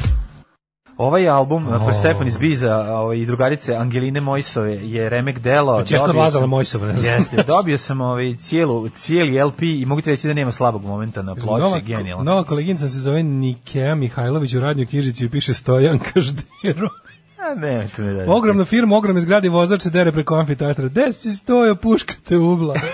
S7: Ovaj album oh. Persephone iz Biza ovaj, i drugarice Angeline Mojsove je remek delo.
S6: Čekao
S7: Dobio
S6: Lazara
S7: sam-
S6: Mojsova, ne znam.
S7: Jeste, dobio sam ovaj cijelu, cijeli LP i mogu ti reći da nema slabog momenta na
S6: nova,
S7: ploči, genijalno.
S6: nova koleginica se zove Nikea Mihajlović u radnjoj knjižici i piše Stojan Každero.
S7: A ne, to ne da.
S6: Ogromna firma, ogromne zgrade i vozač se dere preko amfiteatra. Gde si stoja, puškate ugla.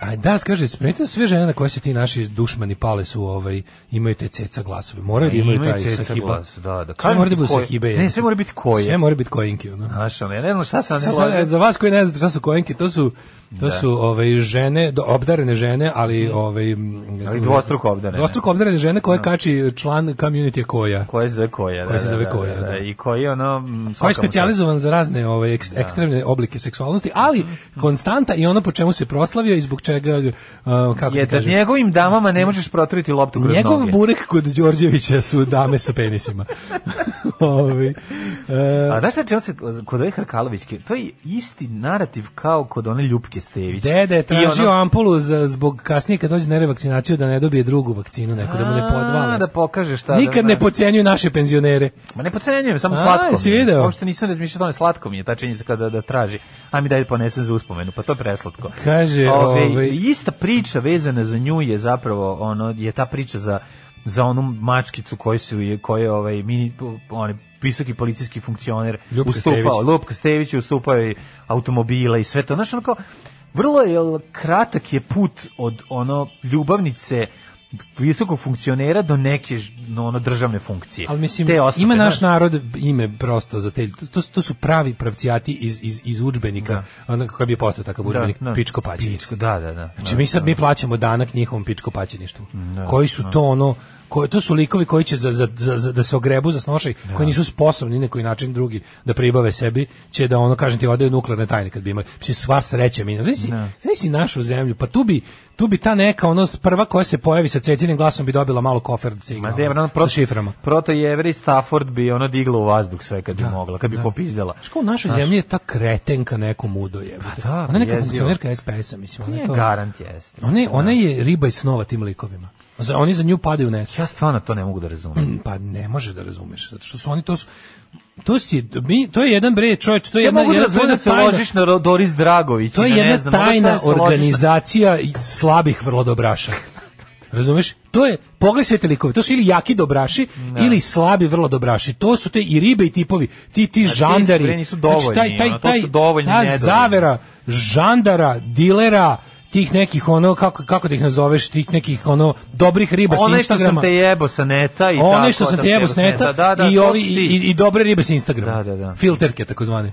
S6: A da, kaže, spremite sve žene na koje se ti naši dušmani pale su, ovaj, imaju te ceca glasove. Moraju da imaju taj
S7: Pa ceca
S6: sahiba.
S7: glas, Da, da.
S6: Sve
S7: Kažem
S6: mora
S7: ti
S6: da bude
S7: koje-
S6: sahibe.
S7: Ne,
S6: jebote.
S7: sve mora biti koje.
S6: Sve mora biti kojinki. Ono.
S7: Znaš, ono, ja ne znam šta sam ne
S6: Sad, sad, e,
S7: ložio.
S6: za vas koji ne znate šta su kojenke, to su to su ovaj žene, do, obdarene žene, ali ovaj m, ne znam-
S7: dvostruko obdarene.
S6: Dvostruko obdarene žene koje kači član community koja.
S7: Koje se zove koja, da.
S6: Koje se
S7: da,
S6: zove
S7: da,
S6: koja,
S7: da,
S6: da.
S7: I koji ono... mm,
S6: Koji je
S7: svaka mu čast.
S6: specijalizovan za razne ove ek, ekstremne oblike seksualnosti, ali
S7: Mhm.
S6: konstanta i ono po čemu se proslavio i zbog čega uh, kako
S7: je
S6: je
S7: da
S6: kažem,
S7: njegovim damama ne možeš proturiti loptu kroz
S6: Njegov
S7: noge.
S6: burek kod Đorđevića su dame sa penisima. Ovaj e,
S7: A znaš šta čemu se kod ove Hrkalovićke, to je isti narativ kao kod one Ljupke Stević.
S6: Dede je
S7: I
S6: tražio
S7: ono-
S6: ampulu za, zbog kasnije kad dođe na revakcinaciju da ne dobije drugu vakcinu, neko da mu ne
S7: A,
S6: podvale.
S7: Da pokaže šta.
S6: Nikad
S7: da,
S6: ne
S7: da.
S6: podcenjuju naše penzionere.
S7: Ma ne pocenjujem, samo
S6: A,
S7: slatko. mi je.
S6: jesi video?
S7: Uopšte nisam razmišljao o tome, slatko mi je ta činjenica kada da traži. A mi daj da ponesem za uspomenu, pa to je preslatko.
S6: Kaže,
S7: Ove,
S6: ovaj-
S7: ista priča vezana za nju je zapravo ono je ta priča za za onu mačkicu koju su je koje ovaj mini onaj visoki policijski funkcioner
S6: Ljupka
S7: ustupao
S6: Stević.
S7: Lupka Stević je ustupao i automobile i sve to znači ono kao vrlo je l- kratak je put od ono ljubavnice visokog funkcionera do neke ž- no, ono, državne funkcije.
S6: Ali mislim,
S7: Te osobe,
S6: ima naš
S7: znaš.
S6: narod ime prosto za te, to, to su pravi pravcijati iz, iz, iz udžbenika, onako kako bi postao takav udžbenik,
S7: da.
S6: pičko paćenje.
S7: Pičko, da, da, da.
S6: Znači mi sad mi plaćamo danak njihovom pičko paćeništvu. koji su to ono koji to su likovi koji će za, za, za, za- da se ogrebu za snošaj, koji nisu sposobni na koji način drugi da pribave sebi, će da ono kažem ti odaju nuklearne tajne kad bi imali. Mislim sva sreća mi. Znaš si, znaš si našu zemlju, pa tu bi tu bi ta neka ono prva koja se pojavi sa cecinim glasom bi dobila malo kofer
S7: Ma
S6: signala
S7: de, ono,
S6: sa
S7: proto,
S6: šiframa.
S7: Proto Jevri Stafford bi ono digla u vazduh sve kad bi mogla, kad bi popizdela.
S6: Što u našoj zemlji je ta kretenka neko mudo je.
S7: Pa da,
S6: ona je neka
S7: jezivo.
S6: funkcionerka SPS-a, mislim. Ona je
S7: Nije
S6: to...
S7: garant jeste.
S6: Ona, je- ona je riba iz snova tim likovima. Za, oni za nju padaju u nesvest.
S7: Ja stvarno to ne mogu da razumem.
S6: Pa ne može da razumeš, zato što su oni to su to si, mi, to je jedan bre čovječ, to je
S7: Ja
S6: jedna,
S7: mogu da
S6: jedna- to je
S7: razumem da se
S6: jedna tajna-
S7: ložiš na Ro- Doris Dragović.
S6: to je
S7: i na ne
S6: jedna
S7: znam, mogu
S6: tajna
S7: stvarno da se ložiš na-
S6: organizacija i slabih vrlo dobraša. Razumeš? To je, pogledaj sve te likove, to su ili jaki dobraši ili slabi vrlo dobraši. To su te i ribe i tipovi, ti ti
S7: Znači, ti
S6: žandari. Znači,
S7: bre nisu dovoljni, ono, to su dovoljni,
S6: ta
S7: nedovoljni.
S6: zavera žandara, dilera, tih nekih ono kako kako da ih nazoveš tih nekih ono dobrih riba sa
S7: Onaj što
S6: Instagrama
S7: sam te jebo sa neta i tako.
S6: one što sam
S7: da
S6: ti jebo s neta
S7: Da, da,
S6: i,
S7: to
S6: ovi,
S7: si ti.
S6: i, i dobre ribe sa Instagrama.
S7: Da, da, da.
S6: Filterke takozvane.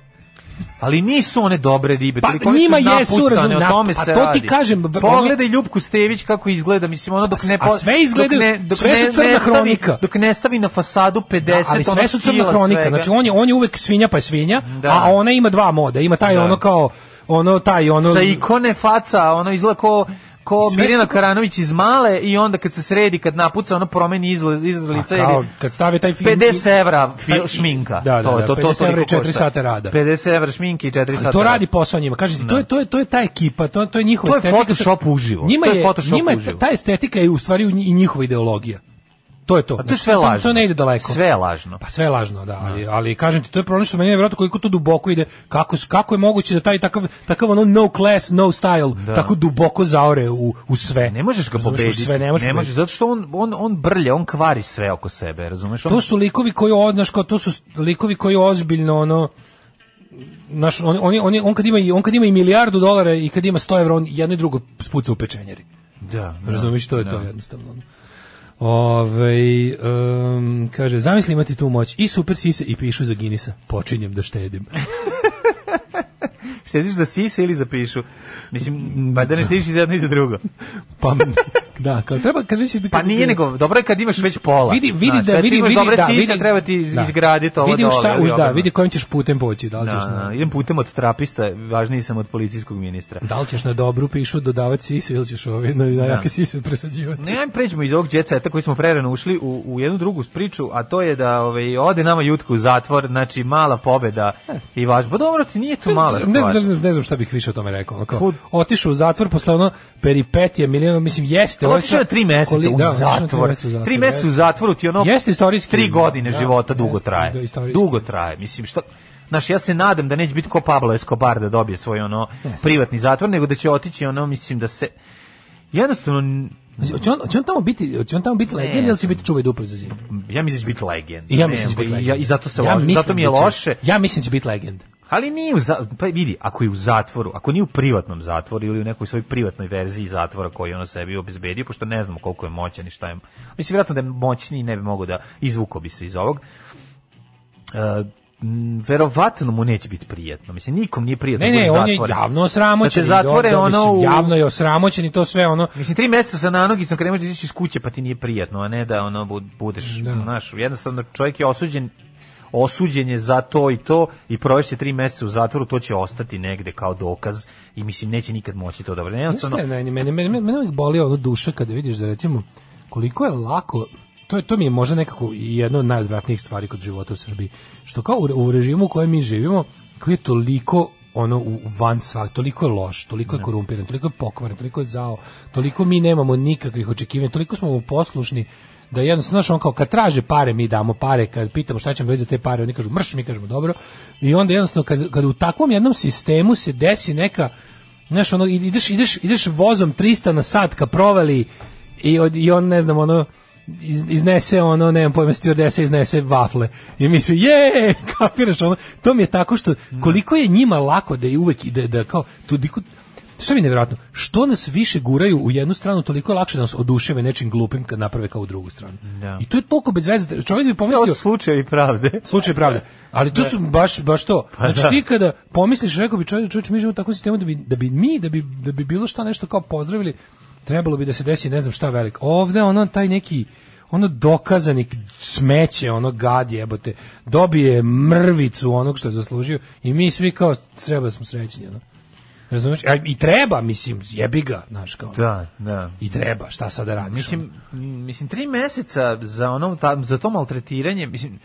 S7: Ali nisu one dobre ribe.
S6: Pa
S7: toliko one su
S6: njima jesu,
S7: napucane,
S6: razum-
S7: o tome
S6: pa
S7: se
S6: to ti
S7: radi.
S6: kažem, vr-
S7: Pogledaj Ljubku Stević kako izgleda, mislim ono dok
S6: A s-
S7: ne
S6: a
S7: po-
S6: sve
S7: dok
S6: izgledaju-
S7: ne- dok
S6: sve su
S7: ne-
S6: crna
S7: ne stavi-
S6: hronika.
S7: Dok ne stavi na fasadu 50
S6: ali sve
S7: onog
S6: su crna
S7: ono, kila
S6: hronika.
S7: svega.
S6: Znači on je on je uvek svinja pa je svinja,
S7: Da.
S6: a ona ima dva moda. Ima taj
S7: Da.
S6: ono kao ono taj ono
S7: sa ikone faca, ono izgleda ko, ko
S6: Sve
S7: Mirjana
S6: što-
S7: Karanović iz male i onda kad se sredi, kad napuca, ono promeni izlaz, izlaz
S6: A
S7: lica. jer
S6: Pa kao,
S7: je
S6: kad stave taj film
S7: 50 evra
S6: Taj-
S7: fil, šminka.
S6: Da, da, da, 50 evra i
S7: toliko
S6: 4
S7: košta.
S6: sata rada.
S7: 50 evra šminke i 4
S6: Ali
S7: sata
S6: to radi
S7: rada.
S6: posao njima. Kažete, to je to je to je ta ekipa, to to je njihova
S7: To je
S6: estetika.
S7: Photoshop uživo.
S6: Njima
S7: To je
S6: je,
S7: Photoshop
S6: njima je ta-
S7: uživo.
S6: ta estetika je u stvari u nji- i njihova ideologija. To je Znači, to.
S7: A Pa to je sve lažno.
S6: To ne ide daleko.
S7: Sve je lažno.
S6: Pa sve je lažno, da, ali, ali kažem ti, to je problem što meni je vjerojatno koliko to duboko ide, kako, s- kako je moguće da taj takav, takav ono no class, no style, tako duboko zaore u, u sve.
S7: Ne možeš ga
S6: Razumeš, u
S7: pobediti.
S6: Sve, ne možeš pobediti.
S7: zato što on, on, on brlja, on kvari sve oko sebe, razumeš? On,
S6: To su likovi koji odnaš kao to su likovi koji ozbiljno ono naš on, on, on, on kad ima i- on kad ima i milijardu dolara i kad ima 100 evra on jedno i drugo spuca u pečenjeri.
S7: da, da.
S6: Razumeš to je to jednostavno. ono. Ove, kaže, zamisli imati tu moć i super sise i pišu za Ginisa. Počinjem da štedim.
S7: Sediš za sise ili za pišu? Mislim,
S6: Mm,
S7: pa da ne sediš i za jedno i za drugo.
S6: Pa, da, kao treba, kad već...
S7: Pa nije nego, dobro je kad imaš već pola.
S6: Vidi, vidi
S7: Znaš,
S6: da,
S7: kad
S6: vidi,
S7: imaš
S6: vidi,
S7: dobre
S6: da,
S7: sise,
S6: vidi,
S7: treba ti iz-
S6: da.
S7: izgraditi ovo
S6: vidi u šta,
S7: dole,
S6: uz,
S7: ili
S6: da,
S7: ovo.
S6: vidi kojim ćeš putem poći, da li
S7: Da,
S6: ćeš na,
S7: da, idem putem od trapista, važniji sam od policijskog ministra.
S6: da li ćeš na dobru pišu dodavati sise ili ćeš ove, na, na jake sise presađivati.
S7: Ne, ajmo pređemo iz ovog djeceta koji smo prerano ušli u, u jednu drugu priču, a to je da ovaj, ode nama Jutka u zatvor, znači mala pobeda i vaš. Ba dobro, ti nije to mala
S6: E. Ne znam,
S7: stvar.
S6: ne znam, ne znam šta bih više o tome rekao. Ono kao,
S7: Kud?
S6: otišao u zatvor posle ono peripetije, milion, mislim, jeste. ovo je
S7: Otišao je
S6: sad-
S7: tri meseca
S6: Koli-
S7: u
S6: da, otišao je
S7: zatvor. Tri meseca u
S6: jeste.
S7: zatvoru ti ono...
S6: Jeste istorijski.
S7: Tri godine
S6: Da,
S7: života dugo
S6: jeste,
S7: traje.
S6: da, istorijski.
S7: Dugo traje. Mislim, što... Znaš, ja se nadam da neće biti ko Pablo Escobar da dobije svoj ono privatni zatvor, nego da će otići ono, mislim, da se... Jednostavno, n-
S6: Znači, Hoće on, hoće on tamo biti, hoće on tamo biti legend ili će biti čuvaj duplo za zimu?
S7: ja mislim da će biti legend.
S6: I ja mislim da će
S7: Ne,
S6: biti
S7: i
S6: legend.
S7: ja- I zato se
S6: Ja
S7: lože,
S6: mislim
S7: zato mi je
S6: da će-
S7: loše.
S6: Ja mislim da će biti legend.
S7: Ali nije u za- pa vidi, ako je u zatvoru, ako nije u privatnom zatvoru ili u nekoj svojoj privatnoj verziji zatvora koji je ono sebi obezbedio, pošto ne znamo koliko je moćan i šta je. Mislim vjerojatno da je moćniji, ne bi mogao da izvuko bi se iz ovog. E, m, verovatno mu neće biti prijatno. Mislim nikom nije prijatno
S6: Ne,
S7: da
S6: ne,
S7: bude
S6: on je
S7: zatvoren.
S6: javno osramoćen.
S7: Da te zatvore
S6: i onda,
S7: ono
S6: mislim,
S7: u-
S6: Javno je osramoćen i to sve ono...
S7: Mislim, tri mjeseca sa nanogicom kad ne možeš ići iz kuće pa ti nije prijatno, a ne da ono bud- budeš, znaš, jednostavno čovjek je osuđen osuđen je za to i to i provešće tri mjeseca u zatvoru, to će ostati negde kao dokaz i mislim neće nikad moći to da vrne.
S6: Znaš
S7: Jednostavno,
S6: šta je meni, meni, meni, meni, meni uvijek boli ono duša kada vidiš da recimo koliko je lako, to, je, to mi je možda nekako i jedna od najodvratnijih stvari kod života u Srbiji, što kao u, re- u režimu u kojem mi živimo, koji je toliko ono u van svak, toliko je loš, toliko je korumpiran, toliko je pokvaren, toliko je zao, toliko mi nemamo nikakvih očekivanja, toliko smo mu poslušni da jednostavno, znaš, on kao kad traže pare, mi damo pare, kad pitamo šta ćemo već za te pare, oni kažu mrš, mi kažemo dobro, i onda jednostavno kad, kad u takvom jednom sistemu se desi neka, Znaš, ono, ideš, ideš, ideš vozom 300 na sat ka provali i, od, i on, ne znam, ono, iz- iznese ono, nemam pojma, stjordesa iznese vafle. I mi svi, je, kapiraš, ono, to mi je tako što, koliko je njima lako da je uvek ide, da kao, tu, diku- Sve mi je nevjerojatno. Što nas više guraju u jednu stranu, toliko je lakše da nas oduševe nečim glupim kad naprave kao u drugu stranu. I to je toliko bez veze. Čovjek bi
S7: Ovo
S6: pomislio...
S7: je slučaj i pravde.
S6: Slučaj pravde. Ali to su baš baš to. Znači
S7: Pa da.
S6: ti kada pomisliš, rekao bi čovjek, čovjek mi živimo u takvom sistemu da bi da bi mi da bi da bi bilo šta nešto kao pozdravili, trebalo bi da se desi ne znam šta veliko. Ovde ono taj neki ono dokazani smeće, ono gad jebote, dobije mrvicu onog što je zaslužio i mi svi kao treba da smo srećni. Ono. Razumeš? A I treba, mislim, jebi ga, znaš, kao.
S7: Da, da.
S6: I treba, šta sad da radiš? ono?
S7: Mislim, m, mislim, tri meseca za, ono, ta, za to maltretiranje, mislim,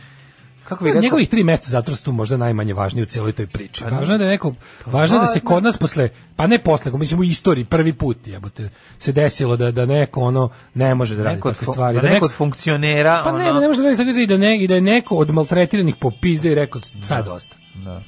S7: kako Pa bi
S6: Pa
S7: rekao...
S6: njegovih tri meseca zatvora su tu možda najmanje važni u cijeloj toj priči. Važno je da je neko,
S7: pa
S6: važno je da se kod nas posle, pa ne posle, nego mislim u istoriji prvi put jebote, se desilo da da neko ono ne može da radi
S7: neko od,
S6: takve
S7: fu-
S6: stvari,
S7: da neko od funkcionera,
S6: pa ne,
S7: ono,
S6: da ne može da radi takve stvari, da ne i da je neko od maltretiranih popizda i rekao sad dosta.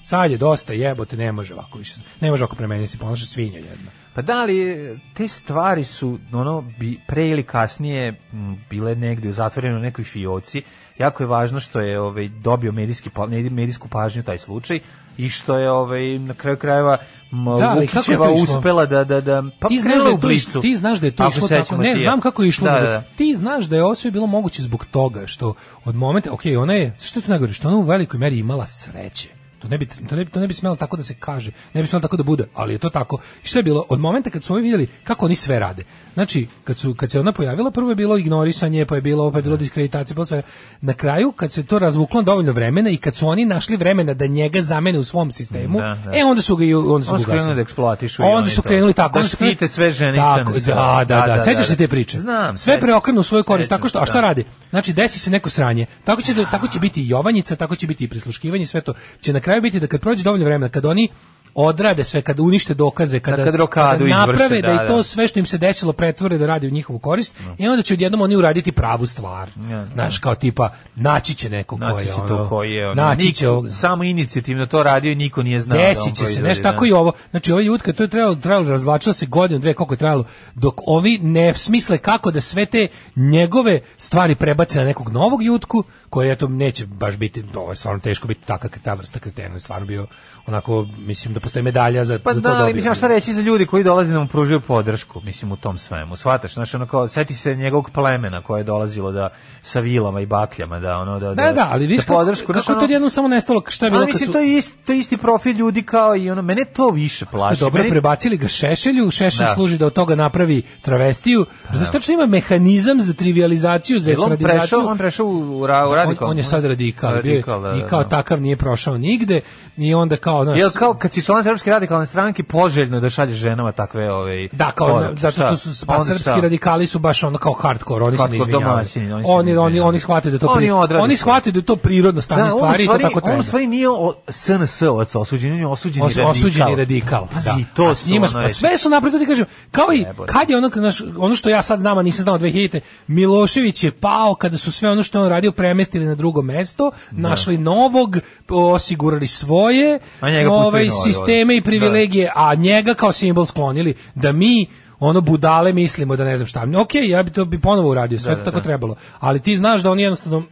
S6: Sad je dosta, jebote, ne može ovako više. Ne može ovako prema meni da se ponaša svinja jedna.
S7: Pa da li te stvari su ono bi pre ili kasnije m, bile negde zatvorene u nekoj fioci. Jako je važno što je ovaj dobio medijski pa- medi- medijsku pažnju taj slučaj i što je ovaj na kraju krajeva m,
S6: Da, ali kako je to
S7: Vukićeva
S6: išlo?
S7: uspela da da da pa
S6: ti znaš
S7: krenula
S6: da je
S7: u
S6: to iš-
S7: blicu.
S6: ti znaš da je to
S7: Ako
S6: išlo
S7: se
S6: tako
S7: sećamo
S6: ne
S7: tija.
S6: znam kako je išlo
S7: Da,
S6: nego
S7: da, da.
S6: ti znaš da je ovo sve bilo moguće zbog toga što od momenta okej ona je što tu najgore što ona u velikoj meri imala sreće to ne bi to ne bi to ne bi smelo tako da se kaže ne bi smelo tako da bude ali je to tako i što je bilo od momenta kad su oni vidjeli kako oni sve rade znači kad su kad se ona pojavila prvo je bilo ignorisanje pa je bilo pa je bilo diskreditacija bilo sve na kraju kad se to razvuklo dovoljno vremena i kad su oni našli vremena da njega zamene u svom sistemu
S7: Da, da.
S6: e onda su ga i onda su
S7: Onda
S6: ga
S7: su krenuli
S6: ugasili.
S7: da eksploatišu i
S6: Onda
S7: oni
S6: su
S7: to.
S6: krenuli tako.
S7: Da
S6: onda su krenuli-
S7: štite sve žene i
S6: Tako,
S7: sve.
S6: Da, da,
S7: Da,
S6: da.
S7: da,
S6: Sećaš
S7: da.
S6: se te priče?
S7: Znam,
S6: Sve
S7: sećam
S6: preokrenu u svoju korist.
S7: sećam
S6: Tako što, a
S7: se,
S6: šta
S7: da.
S6: radi? Znači, desi se neko sranje. Tako će, da, tako će biti i Jovanjica, tako će biti i prisluškivanje, sve to. Će na kraju biti da kad prođe dovoljno vremena, kad oni odrade sve, kad unište dokaze, kada,
S7: kad rokadu
S6: kada naprave
S7: izvrše,
S6: da,
S7: da,
S6: i to
S7: da.
S6: sve što im se desilo pretvore da radi u njihovu korist i onda će odjednom oni uraditi pravu stvar. Znaš, kao tipa, naći će nekog ko
S7: Naći
S6: je
S7: će
S6: ono,
S7: to koji je. Ono,
S6: naći će
S7: niko-
S6: ovog-
S7: Samo inicijativno to radio i niko nije znao. da on
S6: Desit će se,
S7: proizvodi,
S6: nešto
S7: da.
S6: tako i ovo. Znači, ovaj ljud kad to je trebalo, trebalo razvlačilo se godinu, dve, koliko je trebalo, dok ovi ne smisle kako da sve te njegove stvari prebace na nekog novog jutku, koji eto neće baš biti, ovo je stvarno teško biti taka ta vrsta kretena, je stvarno bio onako, mislim da postoji medalja za,
S7: Pa
S6: za
S7: da,
S6: to
S7: ali
S6: dobio.
S7: mislim, a šta reći za ljudi koji dolaze da mu pružaju podršku, mislim, u tom svemu. Shvataš, znaš, ono kao, seti se njegovog plemena koje je dolazilo da, sa vilama i bakljama, da, ono, da,
S6: Da, da, ali viš
S7: da podršku,
S6: kako,
S7: znaš,
S6: kako je
S7: ono-
S6: to jednom samo nestalo, šta je bilo
S7: Ali
S6: kad
S7: mislim,
S6: su...
S7: to, je isti, to je isti profil ljudi kao i ono, mene to više plaši.
S6: Dobro,
S7: mene,
S6: prebacili ga Šešelju, Šešelj
S7: Da.
S6: služi da od toga napravi travestiju. Zato što ima mehanizam za trivializaciju, za
S7: jel on
S6: estradizaciju.
S7: prešao, on prešao u, ra, u radikal.
S6: On, on je sad radikal, bio je-
S7: da,
S6: i kao
S7: da.
S6: takav nije prošao nigde i onda kao znaš,
S7: Jel kao kad si član Srpske radikalne stranke poželjno je da šalješ ženama takve ovaj, ove
S6: da kao
S7: Ono,
S6: na- zato što su pa srpski radikali su baš ono kao hardkor, oni se ne
S7: Hardkor
S6: izvinjavaju.
S7: domaćini, oni se ne
S6: Oni oni
S7: izvinjavaju.
S6: oni shvataju da to
S7: Oni
S6: pri-
S7: odrade
S6: oni
S7: svoje.
S6: shvataju da je to prirodno stanje
S7: on u
S6: stvari i to tako
S7: on u
S6: treba.
S7: stvari nije o- SNS ovac osuđen, on je osuđeni
S6: Os-
S7: radikal.
S6: osuđeni radikal.
S7: Pazi,
S6: da.
S7: to
S6: A s njima,
S7: su
S6: sp-
S7: ono,
S6: sve su napravili, to ti kažem, kao i
S7: Jebote.
S6: kad je ono, znaš, ono što ja sad znam, a nisam znao 2000 Milošević je pao kada su sve ono što je on radio premestili na drugo mesto, našli novog, osigurali svoje
S7: A njega pustili
S6: ovaj,
S7: novi,
S6: sisteme
S7: ovaj.
S6: i privilegije, a njega kao simbol sklonili, da mi ono budale mislimo da ne znam šta. Ok, ja bi to bi ponovo uradio, sve to tako trebalo. Ali ti znaš da oni jednostavno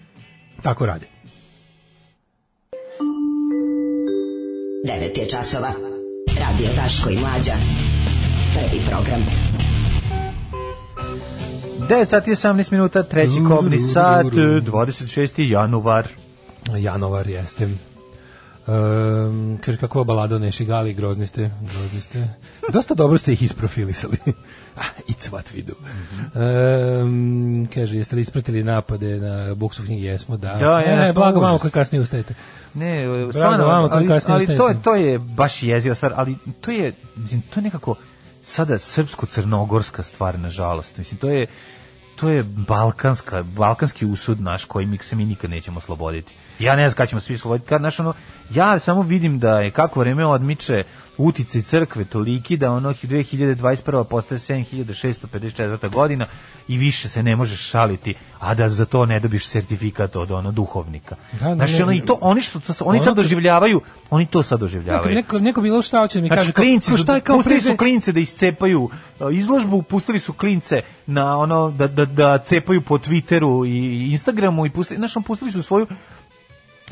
S6: tako rade.
S10: 9 je časova. Radio Daško i Mlađa. Prvi program.
S7: 9 sati i 18 minuta, treći kobni sat, 26. januar.
S6: Janovar jeste. Um, kaže kako ova balada o Neši Gali, grozni ste, grozni ste. Dosta dobro ste ih isprofilisali. Ah, It's what we do. Em, kaže, jeste li ispratili napade na buksu knjige? Jesmo, da.
S7: Da,
S6: e,
S7: jesmo,
S6: blago
S7: užas.
S6: vama koji kasnije ustajete.
S7: Ne,
S6: Bravo
S7: stvarno,
S6: vama koji
S7: ali,
S6: kasnije
S7: ali to,
S6: ustajete.
S7: je, to je baš jeziva stvar, ali to je, mislim, to je nekako sada srpsko-crnogorska stvar, nažalost. Mislim, to je, to je balkanska, balkanski usud naš koji mi se mi nikad nećemo osloboditi. Ja ne znam kada ćemo svi osloboditi. Kad, znaš, ono, ja samo vidim da je kako vreme odmiče utice crkve toliki da ono 2021. postaje 7654. godina i više se ne možeš šaliti, a da za to ne dobiš sertifikat od ono duhovnika.
S6: Da, da,
S7: Znaš,
S6: ne,
S7: ono, i to, oni što to, oni
S6: Ono
S7: sad
S6: kad-
S7: doživljavaju, oni to sad doživljavaju.
S6: Neko, neko bilo šta hoće da mi
S7: Znači,
S6: kaže. kao-
S7: klinci
S6: kao
S7: su,
S6: šta je kao
S7: pustili
S6: pre-
S7: su klince da iscepaju e, izložbu, pustili su klince na ono da, da, da cepaju po Twitteru i Instagramu i pustili, znači, ono, pustili su svoju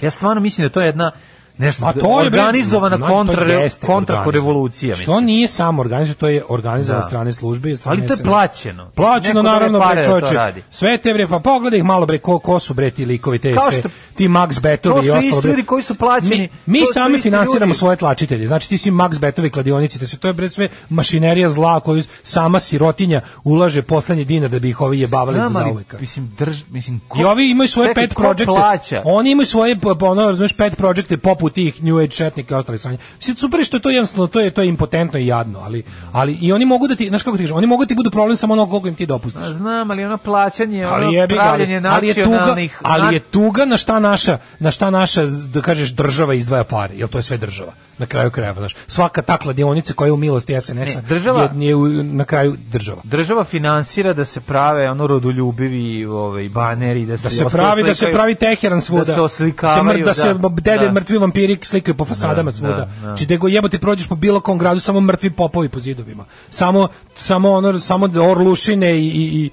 S7: Ja stvarno mislim da to je jedna Nešto,
S6: Ma Pa to je bre,
S7: organizovana
S6: znači, to
S7: kontra,
S6: jeste
S7: kontra
S6: organizovano.
S7: revolucija, mislim.
S6: Što nije samo organizovano, to je organizovano
S7: Da.
S6: da. strane službe. i Strane
S7: Ali to je
S6: SNS.
S7: plaćeno.
S6: Plaćeno,
S7: Neko daje
S6: naravno,
S7: pare
S6: bre,
S7: da to
S6: čoveče.
S7: radi.
S6: Sve te bre, pa pogledaj ih malo bre, ko, ko su bre ti likovi, te
S7: Kao
S6: sve,
S7: što-
S6: ti Max
S7: To
S6: Betovi i
S7: su
S6: ostalo.
S7: isti
S6: bre.
S7: ljudi koji su plaćeni,
S6: Mi, mi
S7: to su
S6: sami
S7: isti
S6: finansiramo
S7: ljudi.
S6: svoje tlačitelje. Znači ti si Max Betovi kladionici, te sve to je bre sve mašinerija zla koju sama sirotinja ulaže poslednji dinar da bi ih ovi jebavali za
S7: Znam, ali,
S6: zauvek.
S7: Mislim, drž, mislim, ko,
S6: I ovi imaju svoje
S7: Čekaj,
S6: pet
S7: ko
S6: projekte.
S7: plaća?
S6: Oni imaju svoje pa, pa, ono razumeš pet projekte poput tih New Age četnika i ostalih sranja. Mislim super je što je to jednostavno to je to je impotentno i jadno, ali ali i oni mogu da ti znaš kako ti kažem, oni mogu da ti budu problem samo ono koliko im ti dopustiš.
S7: A Znam, ali ono plaćanje,
S6: Ali
S7: ono
S6: jebi ga,
S7: pravljanje
S6: ali, ali je tuga,
S7: nacionalnih...
S6: ali je tuga na šta naša, na šta naša da kažeš država izdvaja pare, jel to je sve država. Na kraju krajeva, znaš. Svaka ta kladionica koja je u milosti SNS-a
S7: Ne, država-
S6: je, je u, na kraju država.
S7: Država finansira da se prave ono rodoljubivi ovaj baneri da se
S6: da se pravi da se
S7: oslikaju-
S6: pravi Teheran svuda
S7: da se oslikavaju
S6: Se mr- da se b- dede
S7: da.
S6: mrtvi vampiri slikaju po fasadama
S7: Da,
S6: svuda
S7: da, da.
S6: znači da go jebote prođeš po bilo kom gradu samo mrtvi popovi po zidovima samo samo ono samo orlušine i, i, i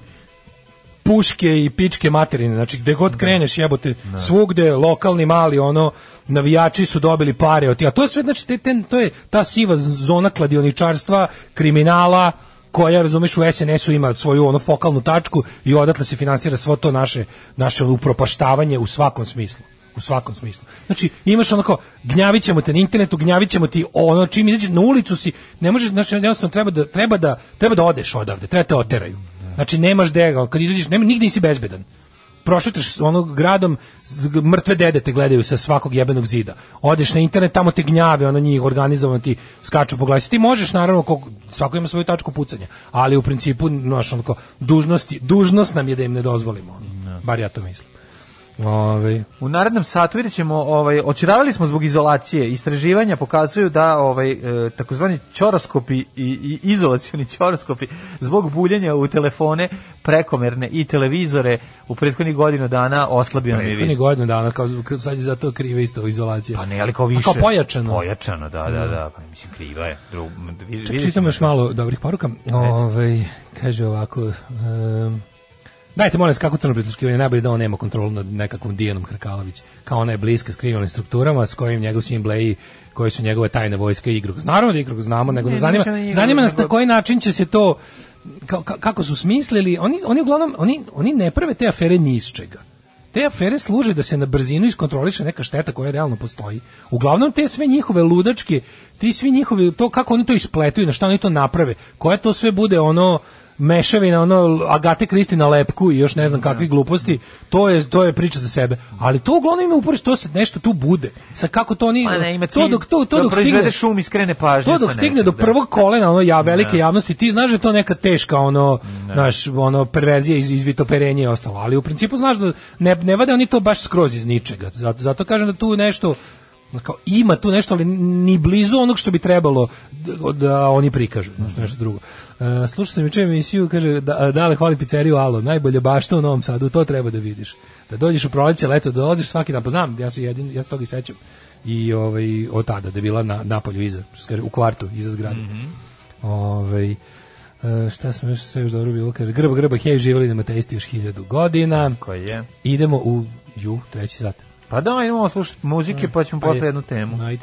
S6: puške i pičke materine, znači gde god kreneš jebote, svugde lokalni mali ono navijači su dobili pare od tih, a to je sve znači te, te, to je ta siva zona kladioničarstva, kriminala koja razumeš u SNS-u ima svoju ono fokalnu tačku i odatle se finansira svo to naše naše ono, upropaštavanje u svakom smislu u svakom smislu. Znači, imaš onako, gnjavićemo te na internetu, gnjavićemo ti ono, čim izađeš na ulicu si, ne možeš, znači, jednostavno treba da, treba da, treba da odeš odavde, treba da te oteraju. Znači nemaš dega, kad izađeš, nema nigde nisi bezbedan. Prošetaš onog gradom, z- g- mrtve dede te gledaju sa svakog jebenog zida. Odeš na internet, tamo te gnjave, ono njih organizovano ti skaču po glasi. Ti možeš, naravno, koliko, svako ima svoju tačku pucanja, ali u principu, znaš, onako, dužnosti, dužnost nam je da im ne dozvolimo. Ono. Bar ja to mislim. Ovaj, Ove,
S7: U narednom satu vidjet ćemo, ovaj, očaravali smo zbog izolacije. Istraživanja pokazuju da ovaj, e, takozvani čoroskopi i, i izolacioni čoroskopi zbog buljenja u telefone prekomerne i televizore u prethodnih godinu dana oslabio nam je
S6: Prethodni
S7: vid.
S6: godinu dana, kao, kao sad je zato krive isto izolacija.
S7: Pa ne, ali kao
S6: A
S7: više.
S6: Kao pojačano. Mm.
S7: Pojačano, da, da, da. Pa, mislim, kriva je. Drug, vi-
S6: Ček,
S7: vidjet
S6: čitam
S7: ćemo.
S6: još malo dobrih poruka.
S7: E.
S6: Ovaj kaže ovako... Um, Dajte molim vas kako crno prisluškivanje najbolje da on nema kontrolu nad nekakvom Dijanom Hrkalović, kao ona je bliska s kriminalnim strukturama s kojim njegov sin Bleji, koji su njegove tajne vojske i igrokaz. Naravno da igrokaz znamo, nego
S7: Ne,
S6: nas zanima,
S7: mislim da je igrokaz,
S6: zanima nas
S7: nego-
S6: na koji način će se to, ka, ka, kako su smislili, oni, oni uglavnom, oni, oni ne prave te afere ni iz čega. Te afere služe da se na brzinu iskontroliše neka šteta koja realno postoji. Uglavnom te sve njihove ludačke, ti svi njihovi, to kako oni to ispletuju, na šta oni to naprave, koja to sve bude ono mešavina ono Agate Kristi na lepku i još ne znam kakvi gluposti, to je to je priča za sebe. Ali to uglavnom ima uporište, to se nešto tu bude. Sa kako to oni
S7: Pa ne, ima
S6: to
S7: cilj
S6: dok to to
S7: da
S6: dok
S7: proizvede
S6: stigne
S7: šum i skrene pažnju
S6: To dok
S7: sa
S6: stigne
S7: nečeg,
S6: do
S7: da.
S6: prvog kolena ono ja velike javnosti, ti znaš da je to neka teška ono naš ono perverzija iz izvitoperenje i ostalo, ali u principu znaš da ne ne vade oni to baš skroz iz ničega. Zato, zato kažem da tu nešto kao ima tu nešto ali ni blizu onog što bi trebalo da, da oni prikažu, znaš, nešto drugo. E, slušao sam juče emisiju, kaže da, e, Dale hvali pizzeriju Alo, najbolje bašta u Novom Sadu, to treba da vidiš. Da dođeš u proleće, leto, da dolaziš svaki dan, pa znam, ja se jedin, ja se toga i sećam. I ovaj, od tada, da je bila na, napolju iza, što se kaže, u kvartu, iza zgrade.
S7: Mhm.
S6: Mm Ovaj e, šta sam još sve još dobro bilo, kaže grba grba hej živeli nam ateisti još hiljadu godina.
S7: Koji je?
S6: Idemo u ju treći sat.
S7: Pa da, idemo slušati
S6: Mm,
S7: muzike, pa ćemo posle jednu temu.
S6: Ajde.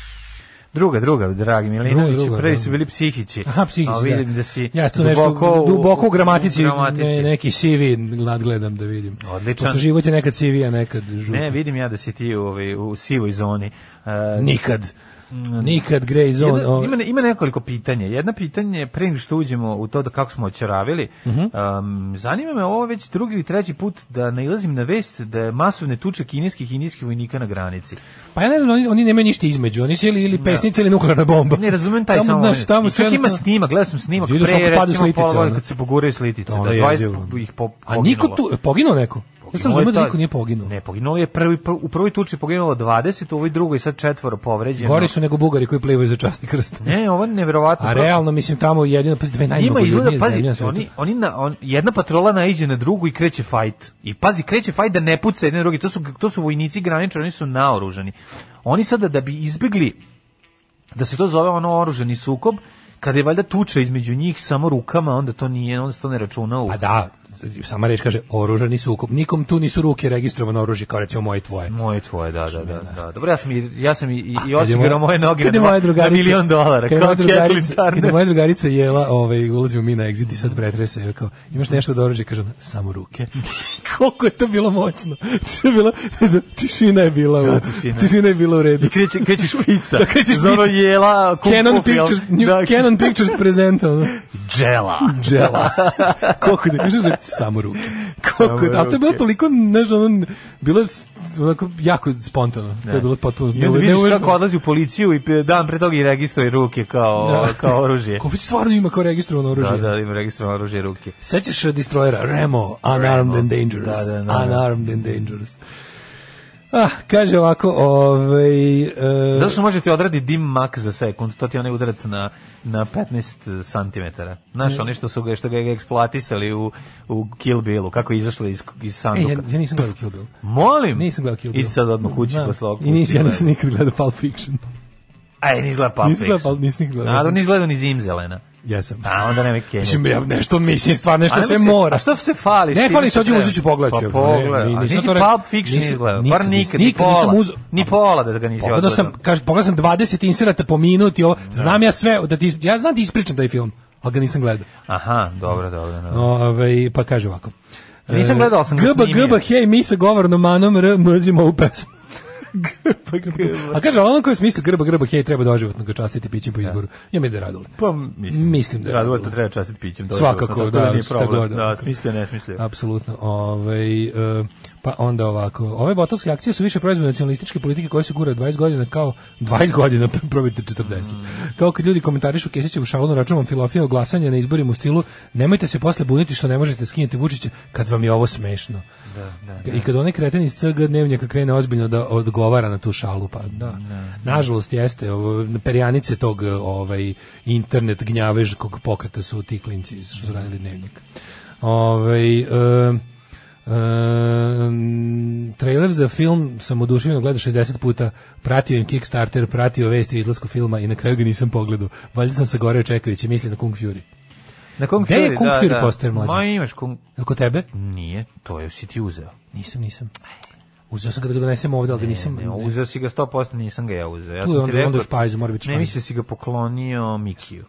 S7: Druga, druga, dragi
S6: Druga,
S7: Milinović,
S6: druga,
S7: prvi
S6: da.
S7: su bili psihići.
S6: Aha, psihički.
S7: A vidim da si
S6: ja, tu nešto,
S7: duboko,
S6: duboko,
S7: u-
S6: duboko u gramatici,
S7: u gramatici.
S6: Ne, neki CV nadgledam da vidim.
S7: Odličan.
S6: Pošto život je nekad CV, a nekad žuto.
S7: Ne, vidim ja da si ti u, ovaj, u sivoj zoni. E,
S6: Nikad. Ono- Nikad gray zone. ovaj.
S7: Jedna,
S6: o-
S7: Mm. ima, ne- ima nekoliko pitanja. Jedna pitanje je, pre nego što uđemo u to da kako smo očaravili,
S6: Mhm.
S7: um, zanima me ovo već drugi ili treći put da nailazim na vest da je masovne tuče kineskih i indijskih vojnika na granici.
S6: Pa ja ne znam, oni, oni nemaju ništa između. Oni su ili, ili pesnica ili nuklearna bomba.
S7: Pa Ne razumem taj
S6: Tamo,
S7: samo
S6: znaš,
S7: moment.
S6: tamo
S7: I
S6: sve
S7: čak ima
S6: jednostavno-
S7: snimak, gledao sam snimak
S6: Vidio sam
S7: pre
S6: kako padne
S7: recimo
S6: s litice,
S7: pola godine
S6: ono.
S7: kad se poguraju s litice.
S6: To ono
S7: da
S6: je
S7: 20
S6: jezivo.
S7: ih po,
S6: A niko
S7: poginulo.
S6: tu, poginuo neko? Ja sam razumio da niko nije poginuo.
S7: Ne, poginulo je prvi, pr- u prvoj tuči poginulo 20, u ovoj drugoj sad četvoro povređeno.
S6: Gori su nego Bugari koji plivaju za časni krst.
S7: Ne, ovo je nevjerovatno.
S6: A realno, mislim, tamo jedino, pazi, dve
S7: Njima izgleda,
S6: najmogoljudnije zemlje na
S7: pazi,
S6: svetu.
S7: oni, oni na, on, jedna patrola naiđe na drugu i kreće fajt. I pazi, kreće fajt da ne puca jedne drugi. To su, to su vojnici graničari, oni su naoružani. Oni sada da bi izbjegli da se to zove ono oružani sukob, kada je valjda tuča između njih samo rukama, onda to nije, onda se to ne računa u...
S6: Pa da, sama reč kaže oružani sukob. Nikom tu nisu ruke registrovano oružje kao recimo moje i tvoje.
S7: Moje tvoje, da, da, da, da. Dobro, ja sam i, ja sam i, i, i
S6: A, kad je
S7: osigurao
S6: moja-
S7: moje noge
S6: kad je
S7: na,
S6: moja
S7: dva- na
S6: drugarica-
S7: milion dolara,
S6: kad je
S7: kao
S6: moja
S7: Kathleen
S6: drugarica- Kad je
S7: Turner.
S6: moja drugarica jela, ovaj, ulazimo mi na exit i sad pretrese, joj kao, imaš nešto da oružje, kaže ona, samo ruke. Koliko je to bilo moćno. To je bila, tišina je bila, u,
S7: tišina.
S6: tišina je bila u redu.
S7: I kreće, kreće špica.
S6: Da, kreće
S7: Za ono
S6: špica.
S7: jela, kung
S6: Canon
S7: fu film.
S6: Pictures, new,
S7: Da,
S6: Canon Pictures prezenta, ono,
S7: Džela.
S6: džela. Koliko da kažeš, da- samo ruke. Koliko
S7: Samo
S6: da, a to je bilo
S7: ruke.
S6: toliko, ne znam, ono, bilo je s- onako jako spontano. To je bilo potpuno
S7: I onda vidiš
S6: neuvežbano.
S7: kako odlazi u policiju i pe- dan pre toga i registruje ruke kao,
S6: Da.
S7: kao oružje.
S6: Ko već stvarno ima kao registrovano
S7: Da,
S6: oružje.
S7: da, ima registrovano oružje ruke.
S6: Sećaš se Destroyera, Remo, Unarmed and Dangerous.
S7: Da, da, da, da.
S6: Unarmed and Dangerous. Ah, kaže ovako, ovaj... e,
S7: Zato što možete odradi dim mak za sekund, to ti je onaj udarac na, na 15 cm. Znaš, oni što su ga, što ga je eksploatisali u, u Kill Billu, kako je izašlo iz, iz
S6: E, ja,
S7: sanduka.
S6: ja nisam gledao Kill Bill.
S7: Molim!
S6: Nisam gledao Kill Bill.
S7: Idi sad odmah kući
S6: Znam.
S7: posle ovog.
S6: I nisam, ja nisam nikad gledao Pulp Fiction.
S7: Aj, nis gleda Pulp
S6: Nisam gledao
S7: Fiction.
S6: Pulp- nisam ih gledao.
S7: A, da nis gledao ni Zimzelena.
S6: Jesam.
S7: A, onda nema Kenja.
S6: Mislim, ja nešto mislim, stvarno
S7: A
S6: nešto
S7: nemoj
S6: se
S7: se-
S6: mora.
S7: a što se fališ
S6: Ne,
S7: ti,
S6: fali
S7: nešto
S6: se, hoću
S7: treba?
S6: uzet ću pogledat
S7: Pa
S6: ću. Ne,
S7: pogledaj,
S6: ni-
S7: a
S6: nisam
S7: nisi
S6: to rekao.
S7: Pulp Fiction
S6: Nisam-
S7: izgledao, bar
S6: nis-
S7: nikad ni
S6: nikad nisam
S7: pola.
S6: uzeo.
S7: Ni pola da ga nisi
S6: Pogledao sam,
S7: odgledao.
S6: kaže, pogledao sam 20 inserata po minut i ovo, znam ja sve, da ti, is- ja znam da ti ispričam taj film, ali ga nisam gledao.
S7: Aha, dobro, dobro. dobro.
S6: Ove, pa kaže ovako.
S7: Nisam gledao, ali sam ga
S6: Gba,
S7: snimio.
S6: gba, hej, mi sa govornom manom r, mrzimo ovu pesmu. grba,
S7: pa-
S6: grba. A kaže, ali ono koji smisli grba, grba, hej, treba doživotno ga častiti pićem po izboru. Ja mislim da je radilo.
S7: Pa
S6: Mislim da je
S7: Radilo
S6: radilo.
S7: to treba častit pićem. dođe
S6: Svakako,
S7: do-
S6: da,
S7: nije
S6: šta
S7: problem.
S6: god.
S7: Da, smislio, ne smislio.
S6: Apsolutno. Ovaj e, pa onda ovako. Ove botovske akcije su više proizvod nacionalističke politike koje se gura 20 godina kao 20 godina, probite 40. Kao kad ljudi komentarišu Kesićevu šalu na račun filofija glasanja na izborima u stilu nemojte se posle buniti što ne možete skinjeti Vučića kad vam je ovo smešno. I kad onaj kreten iz CG dnevnjaka krene ozbiljno da odgovara na tu šalu, pa da. Nažalost jeste, ovo, perjanice tog ovaj internet gnjavežkog pokreta su ti klinci što su radili dnevnjak. Ovaj e, e, trailer za film sam oduševljeno gledao 60 puta, pratio im Kickstarter, pratio vesti o izlasku filma i na kraju ga nisam pogledao. Valjda sam se gore čekajući, mislim na Kung Fury.
S7: Na Kung
S6: Gde je
S7: Fury,
S6: Kung
S7: da,
S6: Fury
S7: da.
S6: poster, mlađe?
S7: Ma imaš Kung...
S6: Jel kod tebe?
S7: Nije, to je si ti uzeo.
S6: Nisam, nisam. Uzeo sam ga da ga donesem ovde, ali ga nisam...
S7: Ne, uzeo si ga 100%, nisam ga ja uzeo. Ja
S6: Mm, Tu je
S7: sam
S6: onda-
S7: ti rekao,
S6: onda u špajzu, mora biti
S7: Ne,
S6: špajz.
S7: mislim da si ga poklonio Mikiju.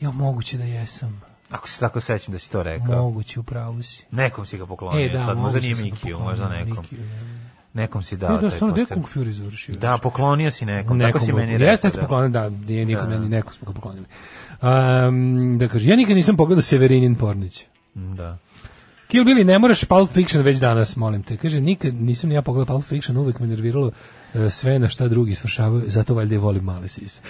S6: Ja, moguće da jesam.
S7: Ako se tako sećam da si to rekao.
S6: Moguće, upravo si. E,
S7: Nekom si ga poklonio, sad možda
S6: moguće
S7: nije
S6: sam ga
S7: Mikiju,
S6: poklonio
S7: možda nekom.
S6: Mikiju, ne.
S7: Nekom si dao
S6: Da, da,
S7: taj
S6: stvarno, gde je
S7: poster.
S6: Kung Fury završio?
S7: Da, poklonio si nekom, tako si
S6: ga-
S7: meni
S6: Jeste, jeste
S7: da.
S6: poklonio, da, nije nikom, meni neko smo ga poklonili. Um, da kaže, ja nikad nisam pogledao Severinin Pornić.
S7: Da.
S6: Kill Billy, ne moraš Pulp Fiction već danas, molim te. Kaže, nikad nisam ni ja pogledao Pulp Fiction, uvek me nerviralo e, sve na šta drugi svršavaju, zato valjda i volim male sise.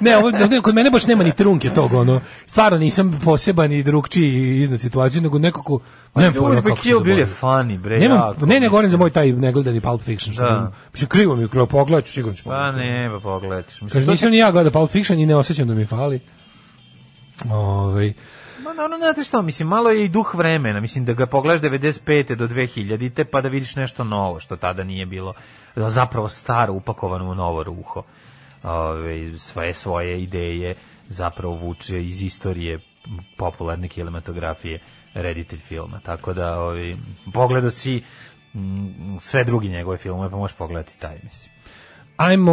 S6: ne, ovo, ovde kod mene baš nema ni trunke tog, ono, stvarno nisam poseban i drugčiji iznad situacije, nego nekako, nemam
S7: Ljudi,
S6: pojma
S7: pa
S6: kako se
S7: Kill Bill je
S6: zaboravio.
S7: funny, bre.
S6: Nemam,
S7: jako,
S6: ne, ne
S7: mislim.
S6: govorim za moj taj negledani Pulp Fiction, što
S7: Da.
S6: da. mislim, krivo mi je, krivo, pogledat ću, sigurno ću
S7: Pa
S6: pogledati.
S7: ne, pa pogledaš. Mislim,
S6: Kaže,
S7: to
S6: nisam ni ja gledao Pulp Fiction i ne osjećam da mi fali. Ovaj,
S7: Ma naravno, znate što, mislim, malo je i duh vremena, mislim da ga pogledaš 95. do 2000. pa da vidiš nešto novo što tada nije bilo, da zapravo staro upakovano u novo ruho. Ove, sve svoje ideje zapravo vuče iz istorije popularne kinematografije reditelj filma, tako da ovi, pogledao si mm, sve drugi njegove filmove, pa možeš pogledati taj, mislim.
S6: ajmo,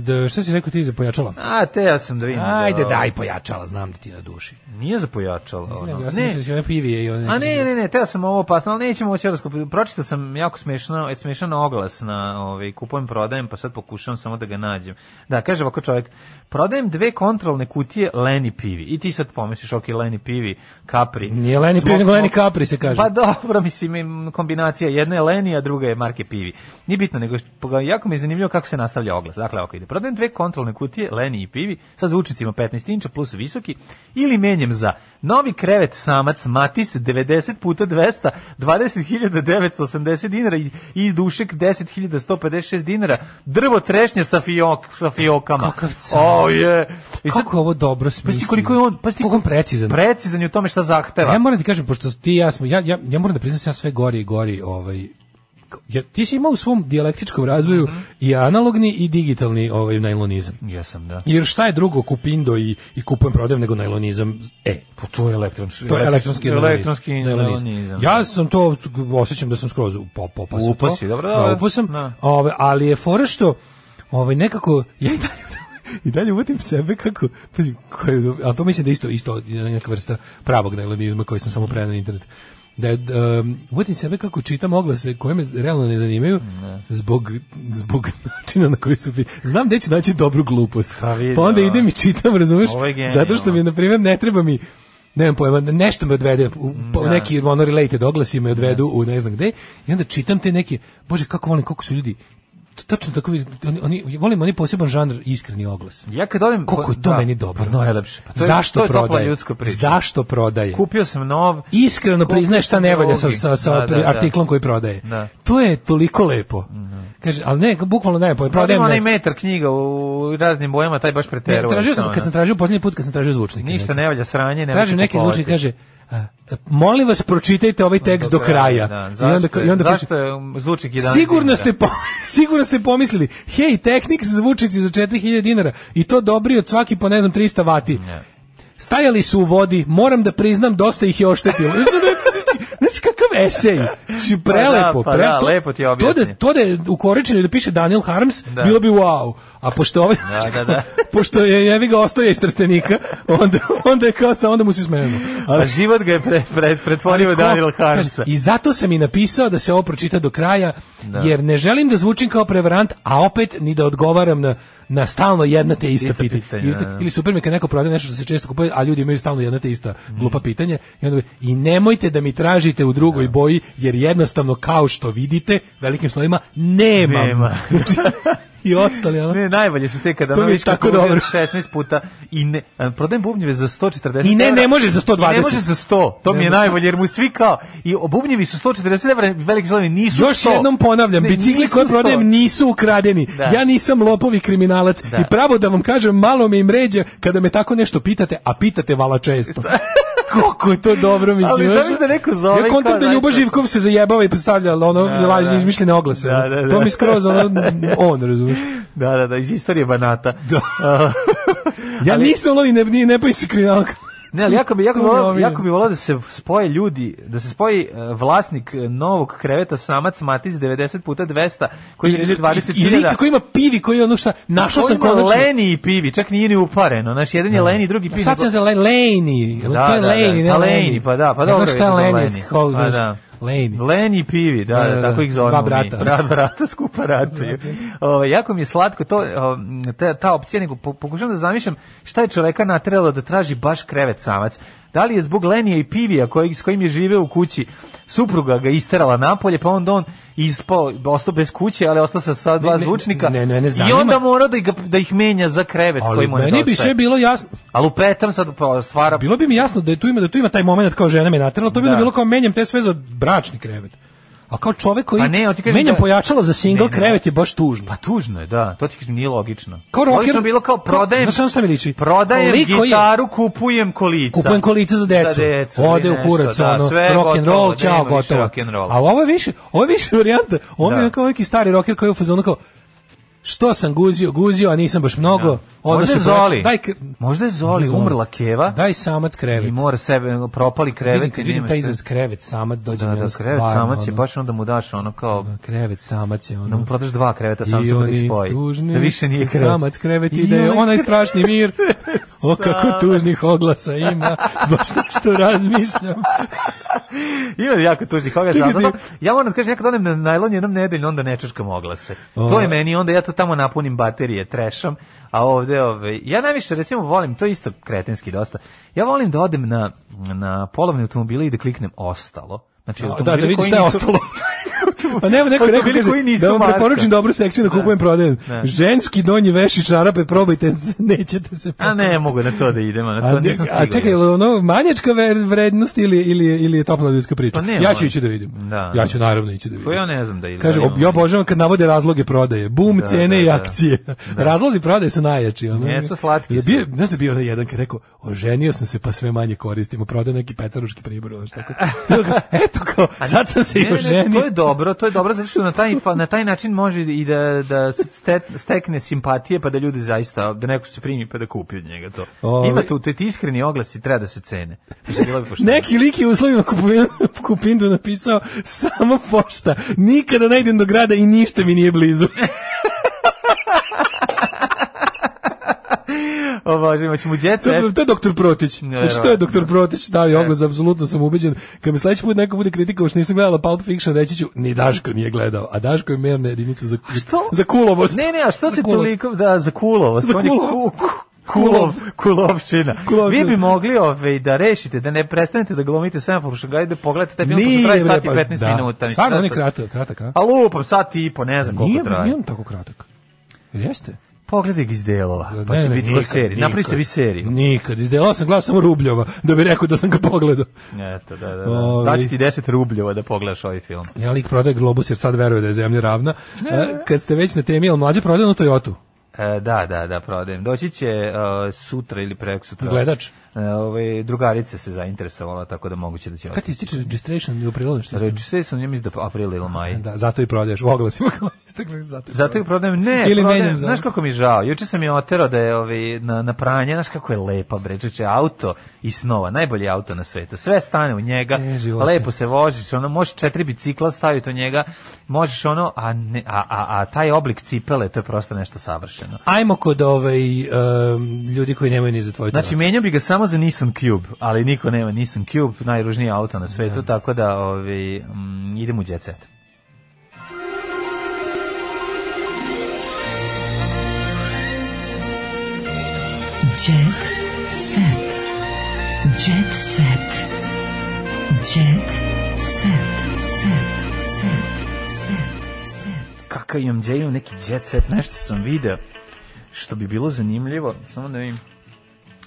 S6: da, šta si rekao ti za pojačala?
S7: A, te ja sam da vidim. za-
S6: Ajde, daj pojačala, znam da ti je na duši.
S7: Nije za pojačalo. ono.
S6: ja sam mislio da će one pivije i one...
S7: A ne, ne, ne, teo sam ovo opasno, ali nećemo ovo čerosko. Pročitao sam jako smešno, e, smešan oglas na ovaj, kupujem, prodajem, pa sad pokušavam samo da ga nađem. Da, kaže ovako čovjek, prodajem dve kontrolne kutije Leni pivi. I ti sad pomisliš, ok, Leni pivi, Capri.
S6: Nije Leni
S7: Zbog-
S6: pivi, nego Leni
S7: zbog-
S6: Capri se kaže.
S7: Pa dobro, mislim, im kombinacija. Jedna je Leni, a druga je marke pivi. Nije bitno, nego što- jako mi je zanimljivo kako tako se nastavlja oglas. Dakle, ovako ide. Prodajem dve kontrolne kutije, Leni i Pivi, sa zvučnicima 15 inča plus visoki, ili menjem za novi krevet samac Matis 90 puta 200, 20.980 dinara i, i dušek 10.156 dinara, drvo trešnje sa, fiok, sa fiokama.
S6: Kakav car.
S7: O, je. I sad,
S6: Kako je ovo dobro smislio?
S7: Pazi koliko je on, pazi
S6: koliko je on precizan.
S7: Precizan je u tome šta zahteva.
S6: Ja moram ti kažem, pošto ti i ja smo, ja, ja, ja moram da priznam da sam ja sve gori i gori, ovaj, k- ja, ti si imao u svom dijalektičkom razvoju
S7: Mhm.
S6: i analogni i digitalni ovaj, najlonizam.
S7: Jesam, da.
S6: Jer šta je drugo kupindo i, i kupujem prodajem nego najlonizam? E,
S7: Pa to je elektronski.
S6: to je elektronski,
S7: elektronski
S6: najlonizam.
S7: neonizam.
S6: Ja sam to, osjećam da sam skroz upao, popao sam
S7: Upao
S6: to.
S7: si, dobro,
S6: Da,
S7: dobro.
S6: upao sam,
S7: Da.
S6: ovaj, ali je fora što ovaj, nekako, ja i dalje i dalje uvatim sebe kako, pazi, koje, ali to mislim da je isto, isto neka vrsta pravog najlonizma koji sam samo prenao na internet. Da je, um, uvatim sebe kako čitam oglase koje me realno ne zanimaju zbog, zbog načina na koji su... pi- Znam gde ću naći dobru glupost.
S7: Pa vidi,
S6: Pa onda
S7: ovo.
S6: idem i čitam, razumeš?
S7: Ovo je genijalno.
S6: Zato što mi, na primjer, ne treba mi nemam pojma, nešto me odvede, u, po-
S7: Da.
S6: neki ono related oglasi me odvedu u ne znam gde, i onda čitam te neke, bože kako volim, kako su ljudi, t- tačno tako vidi, oni, oni, volim oni poseban žanr iskreni oglas.
S7: Ja kad odem...
S6: Koliko je to
S7: da,
S6: meni dobro.
S7: Pa najlepše. Pa to je,
S6: Zašto
S7: to je topla
S6: prodaje?
S7: ljudska priča.
S6: Zašto prodaje?
S7: Kupio sam nov... Pa
S6: Iskreno
S7: Kupio
S6: priznaje šta
S7: sam
S6: ne valja sa,
S7: drugi.
S6: sa, sa
S7: Da, da,
S6: pri-
S7: da.
S6: artiklom koji prodaje.
S7: Da. Mhm.
S6: To je toliko lepo. Kaže, ali ne, bukvalno ne, pa
S7: Prodajem
S6: prodajem
S7: onaj
S6: ne, znam.
S7: metar knjiga u raznim bojama, taj baš
S6: Ne,
S7: preteruje.
S6: tražio sam,
S7: ono.
S6: kad sam tražio posljednji put, kad sam tražio zvučnike.
S7: Ništa
S6: neke.
S7: ne valja sranje, ne valja
S6: Tražim neki
S7: kupovati. Pa
S6: zvučnik kaže a, molim vas pročitajte ovaj tekst do, kraja.
S7: Da,
S6: I onda
S7: zašto,
S6: i onda
S7: je,
S6: kaže,
S7: zašto je um, zvučnik 11
S6: Sigurno
S7: dinara?
S6: ste, po, sigurno ste pomislili, hej, tehnik se zvučnici za 4000 dinara i to dobri od svaki po, ne znam, 300 vati. Stajali su u vodi, moram da priznam, dosta ih je oštetilo. Znači, znači, znači kakav esej. Znači,
S7: Pa da,
S6: prelepo.
S7: pa da,
S6: prelepo. To-
S7: lepo ti je
S6: To da,
S7: objasni.
S6: to da je ukoričeno i da piše Daniel Harms,
S7: Da.
S6: bilo bi wow. A pošto ovaj,
S7: Da, da, da.
S6: pošto je, jevi ga ostaje iz trstenika, onda, onda je kao sa, onda mu se smijemo. Ali-
S7: A Pa život ga je pre, pre, pretvorio
S6: ali
S7: u
S6: ko-
S7: Daniel
S6: kaže,
S7: Harmsa.
S6: I zato sam i napisao da se ovo pročita do kraja, jer ne želim da zvučim kao prevarant, a opet ni da odgovaram na, na stalno jedna te ista,
S7: Ista
S6: pitanja.
S7: pitanja,
S6: ili,
S7: da, da.
S6: ili super mi je kad neko prodaje nešto što se često kupuje, a ljudi imaju stalno jedna te ista glupa pitanja. I, onda, bi, I nemojte da mi tražite u drugoj boji, jer jednostavno kao što vidite, velikim slovima, nemam.
S7: Nema.
S6: I ostali, ono.
S7: Ne, najbolje su te kada
S6: To mi je
S7: ono viš
S6: tako
S7: kako dobro.
S6: dobro.
S7: 16 puta i ne, a, prodajem bubnjeve za 140
S6: I ne,
S7: evra.
S6: ne može za 120.
S7: I ne može za 100, to
S6: Ne
S7: mi je
S6: može.
S7: najbolje, jer mu svi kao, i o, bubnjevi su 140 evra, veliki zlovi nisu
S6: Još
S7: 100.
S6: jednom ponavljam,
S7: Ne,
S6: bicikli
S7: nisu
S6: koje
S7: 100.
S6: prodajem nisu ukradeni.
S7: Da.
S6: Ja nisam lopovi kriminalac
S7: Da.
S6: i pravo da vam kažem, malo me im ređa kada me tako nešto pitate, a pitate vala često. Koliko je to dobro, mislim.
S7: Ali
S6: znaš?
S7: zamisli da neko zove
S6: Ja kontam
S7: kao
S6: da Ljubo
S7: najstariji.
S6: Živkov se zajebava i predstavlja ono
S7: Da,
S6: lažne
S7: da.
S6: izmišljene oglase.
S7: Da, da, da.
S6: To mi skroz ono, on, razumiješ.
S7: Da, da, da, iz istorije banata.
S6: Da. Ja nisam lovi, ne, ne, ne pa se kriminalka.
S7: Ne, ali jako bi jako
S6: To
S7: bi
S6: mi je
S7: volao,
S6: omiljeno.
S7: jako bi volao da se spoje ljudi, da se spoji e, vlasnik e, novog kreveta samac Matis 90 puta 200 koji je 20
S6: I, i lik koji ima pivi, koji je ono šta, našao sam konačno.
S7: Leni i pivi, čak nije ni upareno. Naš jedan je Leni, drugi pivi.
S6: Sad sam za Lejni.
S7: Da,
S6: to je
S7: da,
S6: Lejni, ne
S7: da. Pa
S6: Lejni.
S7: Lejni, pa da, pa
S6: Ne znam
S7: dobro je
S6: šta je
S7: da
S6: Lejni,
S7: Lejni.
S6: kao,
S7: Pa
S6: znaš,
S7: da.
S6: Lejni.
S7: Leni i pivi, da,
S6: Da,
S7: da,
S6: da,
S7: tako
S6: da.
S7: ih zovemo.
S6: Dva
S7: mi.
S6: brata. Znači.
S7: Bra, brata skupa rataju. Ovaj, jako mi je slatko to, o, ta, ta opcija, nego po- pokušavam da zamišljam šta je čoveka nateralo da traži baš krevet samac. Da li je zbog Lenija i Pivija koji, s kojim je živeo u kući, supruga ga isterala napolje, pa onda on ispao, ostao bez kuće, ali ostao sa sva dva
S6: Ne, ne,
S7: zvučnika.
S6: ne, ne, ne,
S7: I
S6: zanima-
S7: onda morao da, ga, da ih menja za krevet
S6: Ali
S7: koji mu
S6: meni bi
S7: nedostaje.
S6: sve bilo jasno.
S7: A lupetam sad pa, stvara
S6: Bilo bi mi jasno da je tu ima da tu ima taj momenat kao žena me naterala, to bi
S7: Da.
S6: bilo kao menjam te sve za bračni krevet. A kao čovek koji
S7: Pa ne, hoću ti kažem
S6: menjam
S7: da-
S6: pojačalo za single
S7: Ne, ne.
S6: krevet je baš tužno.
S7: Pa tužno je, da. To ti kažem nije logično.
S6: Kao rocker-
S7: Logično je bilo kao prodajem,
S6: Znaš ono šta mi liči?
S7: prodajem
S6: Lik koji je-
S7: gitaru, kupujem kolica.
S6: Kupujem kolica za decu. Ode
S7: ili
S6: u kurac,
S7: nešto, da,
S6: ono,
S7: sve
S6: rock and roll,
S7: gotovo, nema
S6: čao,
S7: više
S6: gotovo.
S7: rock and roll.
S6: A ovo je više, ovo je više varijanta. Ovo je
S7: Da.
S6: kao neki stari rocker koji je u fazonu kao što sam guzio, guzio, a nisam baš mnogo.
S7: Da.
S6: Onda
S7: Možda
S6: se
S7: je Zoli.
S6: pojača- Daj, k-
S7: Možda je Zoli umrla keva
S6: Daj samac krevet.
S7: i mora sebe propali
S6: Vidim,
S7: krevet.
S6: kad
S7: i
S6: vidim
S7: nema
S6: taj
S7: šta.
S6: izraz krevet samac dođe
S7: Da,
S6: mi ono
S7: da, krevet
S6: stvarno,
S7: samac je
S6: ono,
S7: baš onda mu daš ono kao
S6: krevet samac je
S7: da mu
S6: ono
S7: prodaš dva kreveta samca da ih spoji.
S6: tužni,
S7: Da više nije krevet.
S6: Samac krevet
S7: I
S6: i da je
S7: onaj
S6: onaj strašni mir. O kako
S7: Samac.
S6: tužnih oglasa ima. Baš što razmišljam.
S7: Ima jako tužnih oglasa.
S6: Čekaj,
S7: ali zato-
S6: ti-
S7: Ja moram da kažem, ja kad odem na najlon jednom nedeljno, onda ne čaškam oglase. To
S6: O.
S7: je meni, onda ja to tamo napunim baterije, trešam, a ovde, ove, ja najviše recimo volim, to je isto kretenski dosta, ja volim da odem na, na polovne automobile i da kliknem ostalo. Znači,
S6: Da,
S7: automobili
S6: da vidiš
S7: koji
S6: šta je
S7: nisu-
S6: ostalo. Pa nema neko
S7: Koji su
S6: neko
S7: bili
S6: kaže
S7: koji nisu
S6: da vam
S7: marka.
S6: preporučim dobru seksiju da kupujem prodajem.
S7: Da.
S6: Ženski donji veš i čarape probajte, nećete se.
S7: A ne, mogu na to da idemo, na to
S6: A,
S7: nisam
S6: nisam
S7: stigao.
S6: a čekaj, je li ono manjačka ver- vrednost ili, ili, ili je topla ljudska priča?
S7: Pa ne,
S6: ja
S7: ono-
S6: ću ići da vidim.
S7: Da.
S6: Ja ću naravno ići da
S7: To
S6: vidim.
S7: Pa ja ne znam da idem.
S6: Kaže,
S7: da
S6: ob,
S7: imam.
S6: ja obožavam kad navode razloge prodaje. Bum,
S7: Da,
S6: cene
S7: da,
S6: i
S7: da.
S6: akcije. Razlozi prodaje su najjači. Ono.
S7: Jesu, slatki
S6: Jel
S7: su.
S6: bio, znaš da je bio onaj jedan kad je rekao, oženio sam se pa sve manje koristim, prodao neki pecaruški pribor. Ono, šta kao. To je kao, Eto kao, sad sam se
S7: Ne,
S6: i
S7: ne, to je
S6: oženio.
S7: dobro, to je dobro zato što na taj fa- na taj način može i da da ste, stekne simpatije pa da ljudi zaista da neko se primi pa da kupi od njega to.
S6: Ovi-
S7: Ima tu te ti iskreni oglasi treba da se cene. Mislim, bilo bi pošteno.
S6: Neki lik je u uslovima kupovinu, kupindu napisao samo pošta. Nikada ne idem do grada i ništa mi nije blizu.
S7: O Bože, imaćemo u jet
S6: To,
S7: set.
S6: je- to je doktor Protić.
S7: Nevjerovatno.
S6: Znači, to je doktor Protić
S7: E.
S6: stavio oglas, apsolutno sam ubeđen. Kad mi sledeći put neko bude kritikao što nisam gledala Pulp Fiction, reći ću, ni Daško nije gledao, a Daško je merna jedinica za,
S7: Što?
S6: za kulovost.
S7: Ne, ne, a što
S6: Za
S7: se
S6: kulovost.
S7: toliko da za kulovo,
S6: Za
S7: on je ku,
S6: kulovost.
S7: ku, kulov, kulovčina.
S6: Kulovčina.
S7: Vi bi mogli ove da rešite, da ne prestanete da glumite semafor što da pogledate taj film koji
S6: Nije,
S7: traje
S6: bre,
S7: sat i
S6: pa-
S7: 15
S6: da.
S7: minuta. mislim,
S6: Stvarno,
S7: šta
S6: on je
S7: sad?
S6: kratak, kratak, a?
S7: A lupam, sat i po, ne znam
S6: Nije,
S7: koliko
S6: bre,
S7: traje.
S6: nije on tako kratak. Jer Jeste?
S7: Pogledaj ga iz delova,
S6: Ne,
S7: pa će
S6: ne,
S7: biti i
S6: nikad,
S7: serija. Napravi
S6: nikad.
S7: se vi seriju.
S6: Nikad. Izdelao sam glas samo Rubljova, da bi rekao da sam ga pogledao.
S7: Eto, da, da, da.
S6: Ovi.
S7: Daći ti 10 rubljeva da pogledaš ovaj film.
S6: Ja lik prodaje globus jer sad veruje da je zemlja ravna. A, kad ste već na temi, jel mlađe prodao na Toyota?
S7: E, da, da, da, prodajem. Doći će e, sutra ili preko sutra.
S6: Gledač.
S7: E, ovaj, drugarica se zainteresovala, tako da moguće da će
S6: Kad ti stiče registration u aprilu? Što
S7: Reći sve sam njim izda april ili maj.
S6: Da, zato i prodaješ u oglasima kao Instagram, zato. i
S7: Zato ih prodajem, ne,
S6: Ili
S7: prodajem,
S6: menjam za-
S7: znaš kako mi je žao, juče sam je oterao da je ovi, na, na pranje, znaš kako je lepa, bre, čoče, auto i snova, najbolji auto na svetu, sve stane u njega,
S6: E, živote.
S7: lepo se voziš, ono, možeš četiri bicikla staviti u njega, možeš ono, a, ne, a, a, a taj oblik cipele, to je prosto nešto savršeno.
S6: Ajmo kod ovaj, em, ljudi koji nemaju ni za tvoju
S7: Znači,
S6: znači,
S7: menjao bi ga samo za Nissan Cube, ali niko nema Nissan Cube, najružniji auto na svetu, tako da ovi, mm, idem u jet set.
S5: Jet set. Jet set. Jet set. Set. Set. Set. Set.
S7: kakav imam gdje imam neki jet set, nešto sam video što bi bilo zanimljivo, samo da vidim.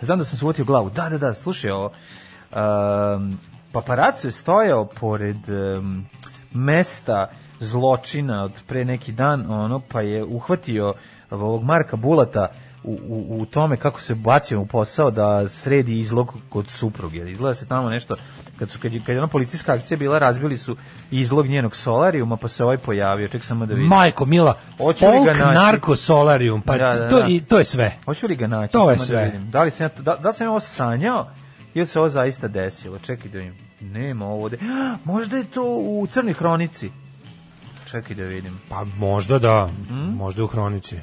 S7: Znam da sam se uotio glavu, da, da, da, slušaj ovo. Um, paparacu je stojao pored um, mesta zločina od pre neki dan, ono, pa je uhvatio ovog Marka Bulata u, u, u tome kako se bacio u posao da sredi izlog kod supruge. Izgleda se tamo nešto, kad, su, kad, je, kad je ona policijska akcija bila, razbili su izlog njenog solarijuma, pa se ovaj pojavio. Ček samo da vidim.
S6: Majko Mila,
S7: Hoću li ga
S6: folk
S7: naći?
S6: narko solarium, pa
S7: Da, da,
S6: to
S7: da.
S6: i to je sve.
S7: Hoću li ga naći?
S6: To je
S7: Samo Da,
S6: sve.
S7: vidim. da, li sam ja to, da, da li sam ja ovo sanjao ili se ovo zaista desilo? Čekaj da vidim. Nema ovo ovde. Možda je to u Crnoj hronici. Čekaj da vidim.
S6: Pa možda da, možda u hronici.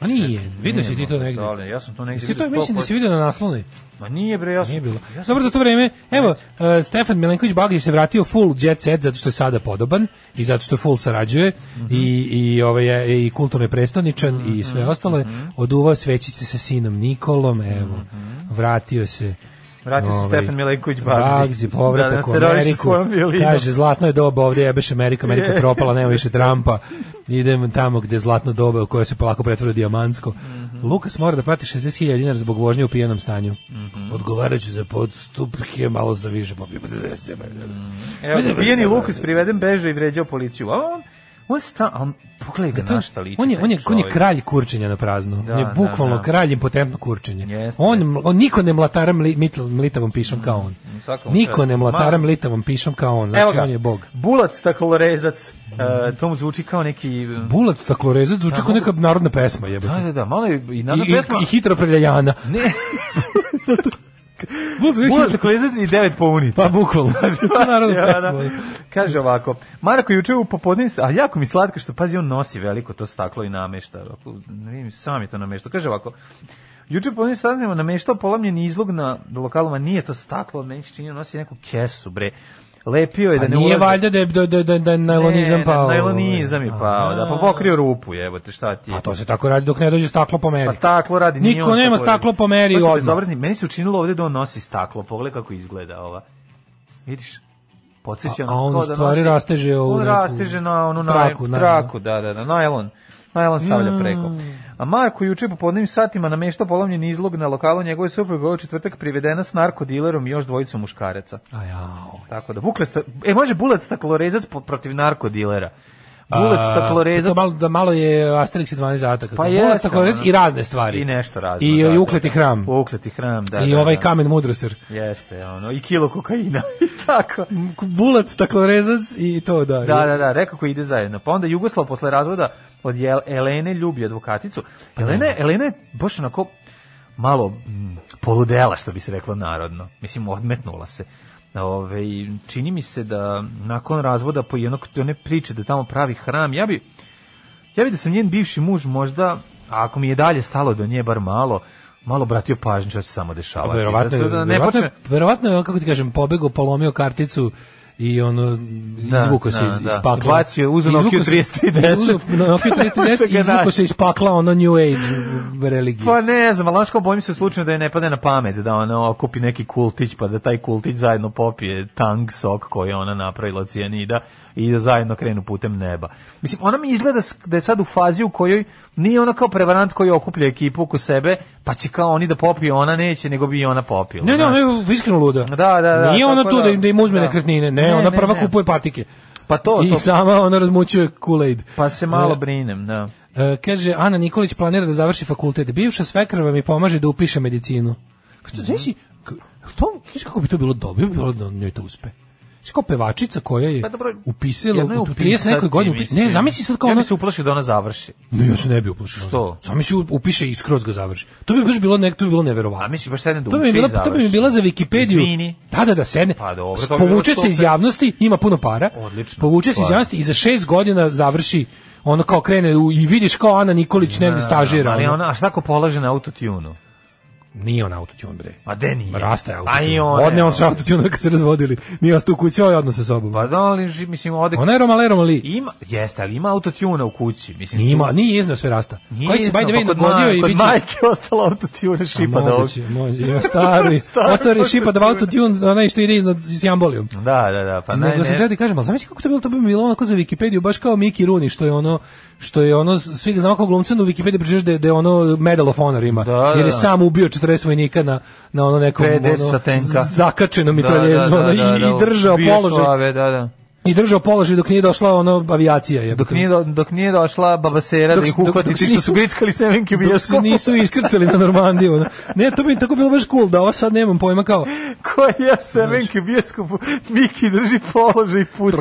S6: A Hmm? nije, vidio si ti to
S7: Nema,
S6: negde.
S7: Da li, ja sam to negde
S6: Jesi ti to
S7: vidio
S6: mislim da si vidio na naslovnoj?
S7: sto- Ma nije bre, ja sam...
S6: Nije bilo.
S7: Ja sam
S6: Dobro, za to vreme, evo, uh, Stefan Milenković Baglić se vratio full jet set zato što je sada podoban i zato što full sarađuje
S7: Mhm.
S6: i, i, ovaj, je- i kulturno je prestoničan i sve ostalo. je
S7: mhm.
S6: Oduvao svećice sa sinom Nikolom, evo,
S7: Mhm.
S6: vratio se
S7: Vratio se
S6: Ovaj,
S7: Stefan Milenković Bagzi.
S6: Bagzi, povratak
S7: Da,
S6: u
S7: na terorističku
S6: Ameriku.
S7: violinu.
S6: Kaže, zlatno je doba, ovdje jebeš Amerika, Amerika propala, nema više Trumpa. Idem tamo gde je zlatno doba, u koje se polako pretvara u dijamansko.
S7: Mhm.
S6: Lukas mora da plati 60.000 dinara zbog vožnje u pijanom stanju.
S7: Mhm.
S6: Odgovaraću za podstupke, malo za više pa popio.
S7: Mhm. Evo, bijeni Lukas priveden, beže i vređao policiju. A on, on sta... a On, pogledaj ga na šta liči.
S6: On E, je,
S7: taj
S6: on je, on je
S7: čovek.
S6: kralj kurčenja na prazno.
S7: Da,
S6: on je
S7: da,
S6: bukvalno
S7: da.
S6: kralj impotentno kurčenje.
S7: Jeste. Mhm.
S6: On, ml- on niko ne mlatara mli- mitl- mlitavom pišom kao on.
S7: svakom
S6: Niko
S7: čast.
S6: ne mlatara
S7: Ma-
S6: mlitavom pišom kao on.
S7: Evo
S6: Znači,
S7: ga.
S6: on je bog.
S7: Bulac staklorezac. E, to mu zvuči kao neki...
S6: Bulac taklorezac zvuči kao neka narodna pesma,
S7: Da,
S6: jebote.
S7: da, da, malo je i
S6: I,
S7: nada
S6: i,
S7: pesma.
S6: i hitro preljajana.
S7: Ne,
S6: Bulac je
S7: Bulac
S6: hitro-
S7: staklorezac i devet punica.
S6: Pa bukvalno. To je narodna
S7: Ja, da.
S6: pesma. ono.
S7: Kaže ovako, Marko juče u popodne, a jako mi slatko što pazi on nosi veliko to staklo i namešta. Ovako, ne vidim, sam je to namešta. Kaže ovako, Juče popodne saznamo nameštao polomljeni izlog na lokalama, nije to staklo, meni se čini nosi neku kesu, bre. Lepio je
S6: Pa
S7: da ne
S6: nije
S7: ulazi.
S6: valjda da je, da, da, da, da je najlonizam
S7: Ne,
S6: pao.
S7: Ne, najlonizam je pao, da, pa pokrio rupu, jebote, šta ti je.
S6: A Pa to se tako radi dok ne dođe staklo po meri.
S7: Pa staklo radi, nije
S6: Niko
S7: on
S6: nema
S7: staklo radi.
S6: staklo po meri
S7: To su
S6: odmah.
S7: bezobrazni. Meni se učinilo ovde da on nosi staklo, pogledaj kako izgleda ova. Vidiš? podsjeća
S6: A-
S7: na
S6: a on
S7: kao
S6: u stvari
S7: nosi-
S6: rasteže ovu
S7: on
S6: neku
S7: rasteže na onu traku,
S6: traku, Mm.
S7: na,
S6: da,
S7: traku da, da, da, najlon. Najlon stavlja
S6: Ja.
S7: preko. A Marko juče po podnim satima nameštao polomljen izlog na lokalu njegove supruge ovog četvrtak privedena s narkodilerom i još dvojicom muškaraca.
S6: A jao.
S7: Tako da buklesta, e može bulac staklorezac po- protiv narkodilera. Bulac
S6: A,
S7: staklorezac.
S6: to malo, da malo je Asterix i 12 ataka.
S7: Pa
S6: Pa
S7: je,
S6: je. Bulac staklorezac i razne stvari.
S7: I nešto razno.
S6: I,
S7: da,
S6: i
S7: da,
S6: ukleti
S7: da.
S6: hram.
S7: Ukleti hram, da.
S6: I
S7: da,
S6: ovaj
S7: da.
S6: kamen mudroser.
S7: Jeste, ono, i kilo kokaina, i tako.
S6: Bulac staklorezac i to, da.
S7: Da, da, da, rekao koji ide zajedno. Pa onda Jugoslav posle razvoda od Jel- Elene ljubi advokaticu.
S6: Pa
S7: Elena, Elena je baš onako malo mm, poludela, što bi se reklo narodno. Mislim, odmetnula se. Ove, i čini mi se da nakon razvoda po jednog one priče da tamo pravi hram, ja bi ja bi da sam njen bivši muž možda, a ako mi je dalje stalo do nje bar malo, malo obratio pažnju što će se samo
S6: Pa
S7: dešavati.
S6: verovatno, je,
S7: Da se- da ne
S6: verovatno, je,
S7: počne-
S6: verovatno je on, kako ti kažem, pobegao, polomio karticu i ono,
S7: Da,
S6: izvuko se
S7: da,
S6: iz,
S7: da.
S6: iz pakla.
S7: Bacio je, uzeo
S6: Izvukao
S7: Nokia
S6: se-
S7: 3310.
S6: uzeo Nokia
S7: Nemojte
S6: 3310
S7: ga
S6: i izvuko
S7: naći.
S6: se iz pakla ono New Age religije.
S7: Pa ne znam, ali znaš kao bojim se slučajno da je ne padne na pamet, da ona okupi neki kultić, pa da taj kultić zajedno popije tang sok koji je ona napravila od cijanida i da zajedno krenu putem neba. Mislim, ona mi izgleda s- da je sad u fazi u kojoj nije ona kao prevarant koji okuplja ekipu oko sebe, pa će kao oni da popiju, ona neće, nego bi i ona popila.
S6: Ne, ne,
S7: znaš.
S6: ona je iskreno luda.
S7: Da, da, da,
S6: Nije ona
S7: tako
S6: tu
S7: da.
S6: da, im- da im uzme
S7: Da.
S6: nekretnine. Ne,
S7: Ne,
S6: ona
S7: ne,
S6: prva
S7: ne.
S6: kupuje patike.
S7: Pa to,
S6: I
S7: to-
S6: sama ona razmućuje Kool-Aid.
S7: Pa se malo
S6: E,
S7: brinem, da.
S6: E, kaže, Ana Nikolić planira da završi fakultet. Bivša svekrva mi pomaže da upiše medicinu. Kako to, znaš si, k- to, znaš kako bi to bilo dobro, bi bilo da njoj to uspe. Znaš kao pevačica koja je
S7: Pa dobro,
S6: upisala
S7: jedno je
S6: u u 30 nekoj
S7: upisati,
S6: godini. upi- Ne,
S7: mislim.
S6: zamisli sad kao ono-
S7: Ja
S6: ona...
S7: bi se uplašio da ona završi.
S6: Ne, ja se ne bi uplašio.
S7: Što?
S6: Samo si upiše i skroz ga završi. To bi baš bilo nek, to bi bilo neverovatno.
S7: A misliš baš sedne da
S6: To bi, mi
S7: uči
S6: bila,
S7: i
S6: to bi mi
S7: završi.
S6: bila za Wikipediju.
S7: Izvini.
S6: Da, da, da, sedne.
S7: Pa dobro, to bi bilo
S6: povuče se iz
S7: super.
S6: javnosti, ima puno para.
S7: Odlično.
S6: Povuče se iz
S7: Stvarno.
S6: javnosti i za šest godina završi ono kao krene u, i vidiš kao Ana Nikolić negde stažira.
S7: Ali
S6: ono.
S7: ona, a šta ko polaže na autotunu?
S6: Nije on autotune, bre.
S7: Ma de nije.
S6: Rasta je
S7: A i
S6: autotune.
S7: ona. ono.
S6: Odne on se autotune kad se razvodili. Nije ostao u kući, ovaj odno sa sobom.
S7: Pa da, ali ži- mislim, ode...
S6: Ona je Romale Romali.
S7: Ima, jeste, ali ima autotuna u kući. Mislim,
S6: Nije, ima, nije iznao sve rasta.
S7: Nije
S6: Koji se by the
S7: iznao, pa
S6: way
S7: kod
S6: dogodio
S7: ma-
S6: i
S7: kod
S6: biće...
S7: majke je ostalo autotune šipa da ovdje.
S6: Moguće, moguće. Ja, stari,
S7: Stari
S6: ostari šipa da
S7: autotune.
S6: autotune, onaj što ide iznad s jambolijom.
S7: Da, da, da, pa ne,
S6: Nego sam
S7: ne.
S6: teo ti kažem, ali zamisli kako to bilo, to bi bilo onako za Wikipediju, baš kao Miki Runi, što je ono, što je ono, svi ga znamo kao glumcen, u Wikipediji pričaš da je, da je ono Medal of Honor ima,
S7: Da, da,
S6: jer je
S7: da.
S6: sam ubio 40 vojnika na, na ono nekom
S7: 50
S6: ono,
S7: satenka.
S6: zakačeno mitraljezu ono, i, i držao
S7: ubio
S6: položaj,
S7: slave, da, da.
S6: i držao položaj dok nije došla ono avijacija. Je,
S7: Dok nije, do, dok nije došla babasera
S6: Dok
S7: da ih
S6: s- dok-
S7: uhvati
S6: dok
S7: ti
S6: se
S7: što
S6: nisu-
S7: su grickali semenke u
S6: dok se
S7: bioskopu.
S6: nisu iskrcali na Normandiju. ono. Ne, to bi tako bilo baš cool, da ovo sad nemam pojma kao,
S7: Koja je semenke u bioskopu? Miki drži položaj i puca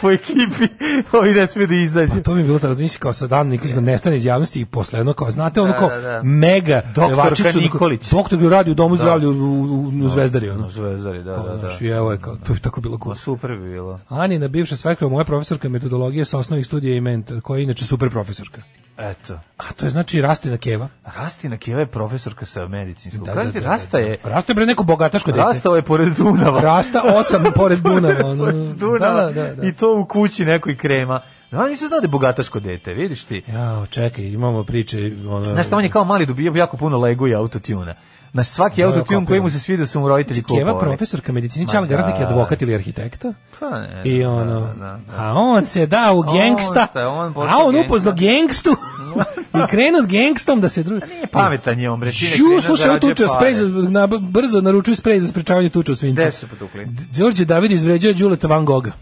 S7: po ekipi. Ovi ne smije da izađe.
S6: Pa to mi je bilo tako, znači kao sa dan Nikolić da nestane iz javnosti i posle jedno kao, znate, ono
S7: Da,
S6: kao
S7: da, da.
S6: mega
S7: Doktorka
S6: pevačicu, ono kao,
S7: Nikolić.
S6: Doktor bi radi u domu zdravlja u, u, u Zvezdari, ono.
S7: Zvezdari, da, da, da.
S6: Znaš, i evo je kao, to bi tako bilo
S7: Ma
S6: cool.
S7: super bi bilo.
S6: Anina, bivša svekra, moja profesorka metodologije sa osnovnih studija i mentor, koja je inače super profesorka.
S7: Eto.
S6: A to je znači Rastina Keva.
S7: Rastina Keva je profesorka sa medicinskog.
S6: Da,
S7: Da,
S6: da, da, da, Pa
S7: Rasta je...
S6: da. Rasta je bre neko bogataško dete.
S7: Rastao je pored Dunava.
S6: Rasta osam pored Dunava. Ono.
S7: Dunava.
S6: Da, da, da.
S7: I to u kući nekoj krema. Da, nisam znao da je bogataško dete, vidiš ti.
S6: Jao, čekaj, imamo priče. Ono,
S7: Znaš šta, on je kao mali dobio jako puno legu i autotuna. Znaš, svaki
S6: Da,
S7: autotune
S6: kapiram. Znači,
S7: koji mu se svidio su mu roditelji kupovali.
S6: Keva profesorka medicine,
S7: Ma
S6: Čal Garantnik je
S7: da.
S6: advokat ili arhitekta.
S7: Pa ne,
S6: I
S7: da,
S6: ono,
S7: da, da, da.
S6: a on se da u
S7: On
S6: gengsta,
S7: se- on postao
S6: a on
S7: gengsta.
S6: upoznao gengstu i krenuo s gengstom da se druži.
S7: Nije pametan je on, bre. čine krene,
S6: Žu, slušaj, ovo
S7: zarađuje
S6: tuča, sprej
S7: pare.
S6: za, na, brzo naručuju sprej za sprečavanje tuča u svincu.
S7: Gde su se potukli?
S6: Đorđe David izvređuje Đuleta Van Goga.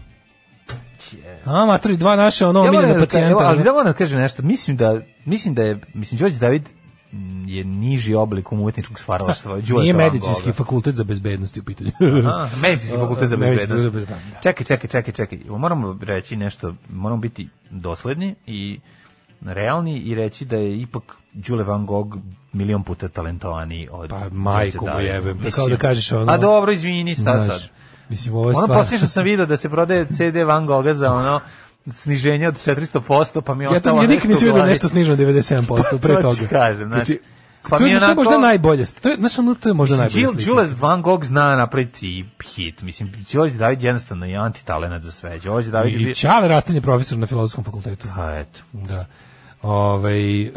S6: A, matri, dva naše, ono,
S7: Ja moram
S6: omiljena
S7: da ka- evo,
S6: pacijenta.
S7: ali da moram da kažem nešto. Mislim da, mislim da je, mislim, Đorđe David mm, je niži oblik umetničkog stvaralaštva. Đuleta
S6: Nije
S7: Van Gogha.
S6: medicinski fakultet za bezbednosti u pitanju.
S7: Aha, medicinski fakultet za
S6: Medicinski
S7: bezbednost.
S6: fakultet za bezbednost,
S7: Čekaj, čekaj, čekaj, čekaj. Moramo reći nešto, moramo biti dosledni i realni i reći da je ipak Đule Van Gogh milion puta talentovaniji od...
S6: Pa, majku mu
S7: Đorđe Davida.
S6: jebem, to
S7: Mislim,
S6: kao da kažeš ono-
S7: A dobro, izvini, šta
S6: Znaš,
S7: sad?
S6: Mislim, ovo je
S7: Ono
S6: stvar...
S7: poslije što sam vidio da se prodaje CD Van Gogha za ono sniženje od 400%, pa mi je
S6: Ja
S7: ostalo
S6: to ja
S7: nešto
S6: nikad nisam
S7: u
S6: vidio
S7: glavi.
S6: nešto sniženo 97%
S7: To
S6: pre
S7: ti
S6: toga.
S7: kažem, znači, pa
S6: pa to,
S7: mi je
S6: je, to je
S7: onako-
S6: možda najbolje. To je, znaš, ono, to je možda najbolje
S7: Đil-
S6: slika.
S7: Đule Van Gogh zna napraviti hit. Mislim, Đorđe David jednostavno je antitalenat za sve. Đorđe David je
S6: I
S7: bio...
S6: Čale Rastin je profesor na filozofskom fakultetu.
S7: Pa eto.
S6: Da. Ovaj em,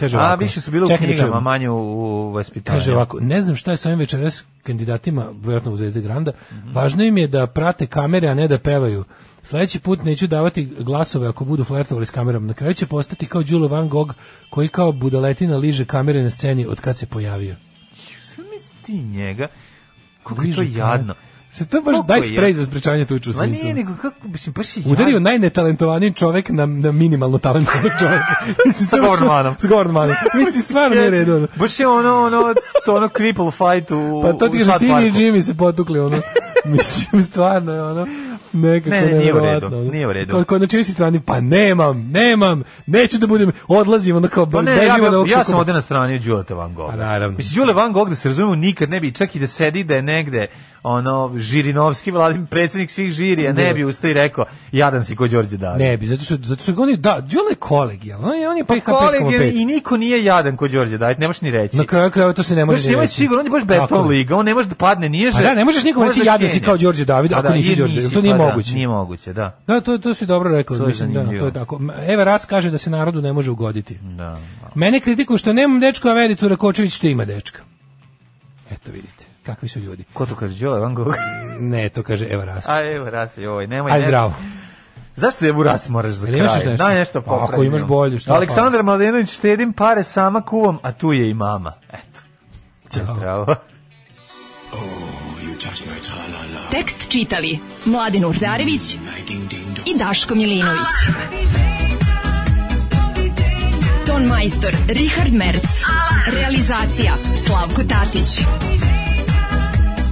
S6: kaže
S7: A,
S6: ovako,
S7: više su bile u
S6: čekaj da
S7: knjigama,
S6: čujem.
S7: manje u, u vaspitanju.
S6: Kaže ovako, ne znam šta je sa ovim večeras kandidatima, vjerojatno u Zvezde Granda, važno im je da prate kamere, a ne da pevaju. Sledeći put neću davati glasove ako budu flertovali s kamerom. Na kraju će postati kao Đulo Van Gogh, koji kao budaletina liže kamere na sceni od kad se pojavio.
S7: Sam ti njega, kako je to
S6: Liže kamere.
S7: jadno.
S6: Se to baš
S7: Koliko
S6: daj
S7: je
S6: sprej
S7: jadno.
S6: za sprečavanje tuča u
S7: Ma nije,
S6: svincu.
S7: nego kako, mislim, baš je
S6: Udario
S7: jadno.
S6: najnetalentovaniji čovek na, na minimalno talentovan čovek. Mislim, to
S7: Sa
S6: je baš-
S7: Gormanom.
S6: S Gormanom. Mislim, stvarno nije red. ono.
S7: Baš je ono, ono, to ono cripple fight u
S6: Pa to ti
S7: u
S6: kaže,
S7: South
S6: ti i
S7: Parku.
S6: Jimmy se potukli, ono. Mislim, stvarno je ono, nekako
S7: Ne, ne, nije u redu,
S6: nevjerovatno, ono.
S7: nije u redu.
S6: Ko, ko na čijoj si strani, pa nemam, nemam, neću da budem, odlazim, ono kao,
S7: Pa ne, ja,
S6: bežimo
S7: bi-
S6: od ovog
S7: ja sam
S6: sukoba.
S7: ovde na strani Đuleta Van Gogha.
S6: Pa naravno.
S7: Mislim, Đule Van Gogh, da se razumemo, nikad ne bi, čak i da sedi da je negde, ono, Žirinovski, vladin predsjednik svih žirija, ne bi ustao i rekao, jadan si ko Đorđe David.
S6: Ne bi, zato što, zato što ga oni, da, Đule je kolegijal, on je, on je PH
S7: Kolega,
S6: 5,5.
S7: Pa i niko nije jadan ko Đorđe David, ne možeš ni reći.
S6: Na kraju krajeva to se ne može
S7: Baš nema sigurno, on je baš beton
S6: Tako je.
S7: liga, on ne može da padne, nije
S6: Pa da, ne možeš nikom reći jadan si kao Đorđe David,
S7: Pa
S6: ako nisi Đorđe David, to nije moguće.
S7: Da, nije moguće, da.
S6: Da, to, to si dobro rekao,
S7: To je
S6: mislim, da,
S7: zanimljivo.
S6: to je tako. Eva Rac kaže da se narodu ne može ugoditi.
S7: Da.
S6: Mene kritikuju što nemam dečku, a Vericu Rakočević što ima dečka. Eto vidite, kakvi su ljudi.
S7: Ko to kaže, Đole Van Gogh?
S6: Ne, to kaže Eva Ras.
S7: A evo, ras, joj, nemoj.
S6: Aj
S7: nešto.
S6: zdravo.
S7: Zašto je ras moraš za
S6: Jel
S7: kraj?
S6: imaš još nešto?
S7: Daj nešto
S6: Pa,
S7: popravimo.
S6: ako imaš bolje, šta pa?
S7: Aleksandar Mladenović, štedim pare sama kuvam, a tu je i mama. Eto,
S6: Ćao.
S7: bravo.
S5: Tekst čitali Mladin Urdarević i Daško Milinović. Ton majstor Richard Merc. Realizacija Slavko Tatić.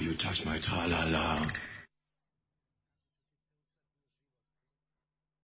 S4: You touch my tra-la-la.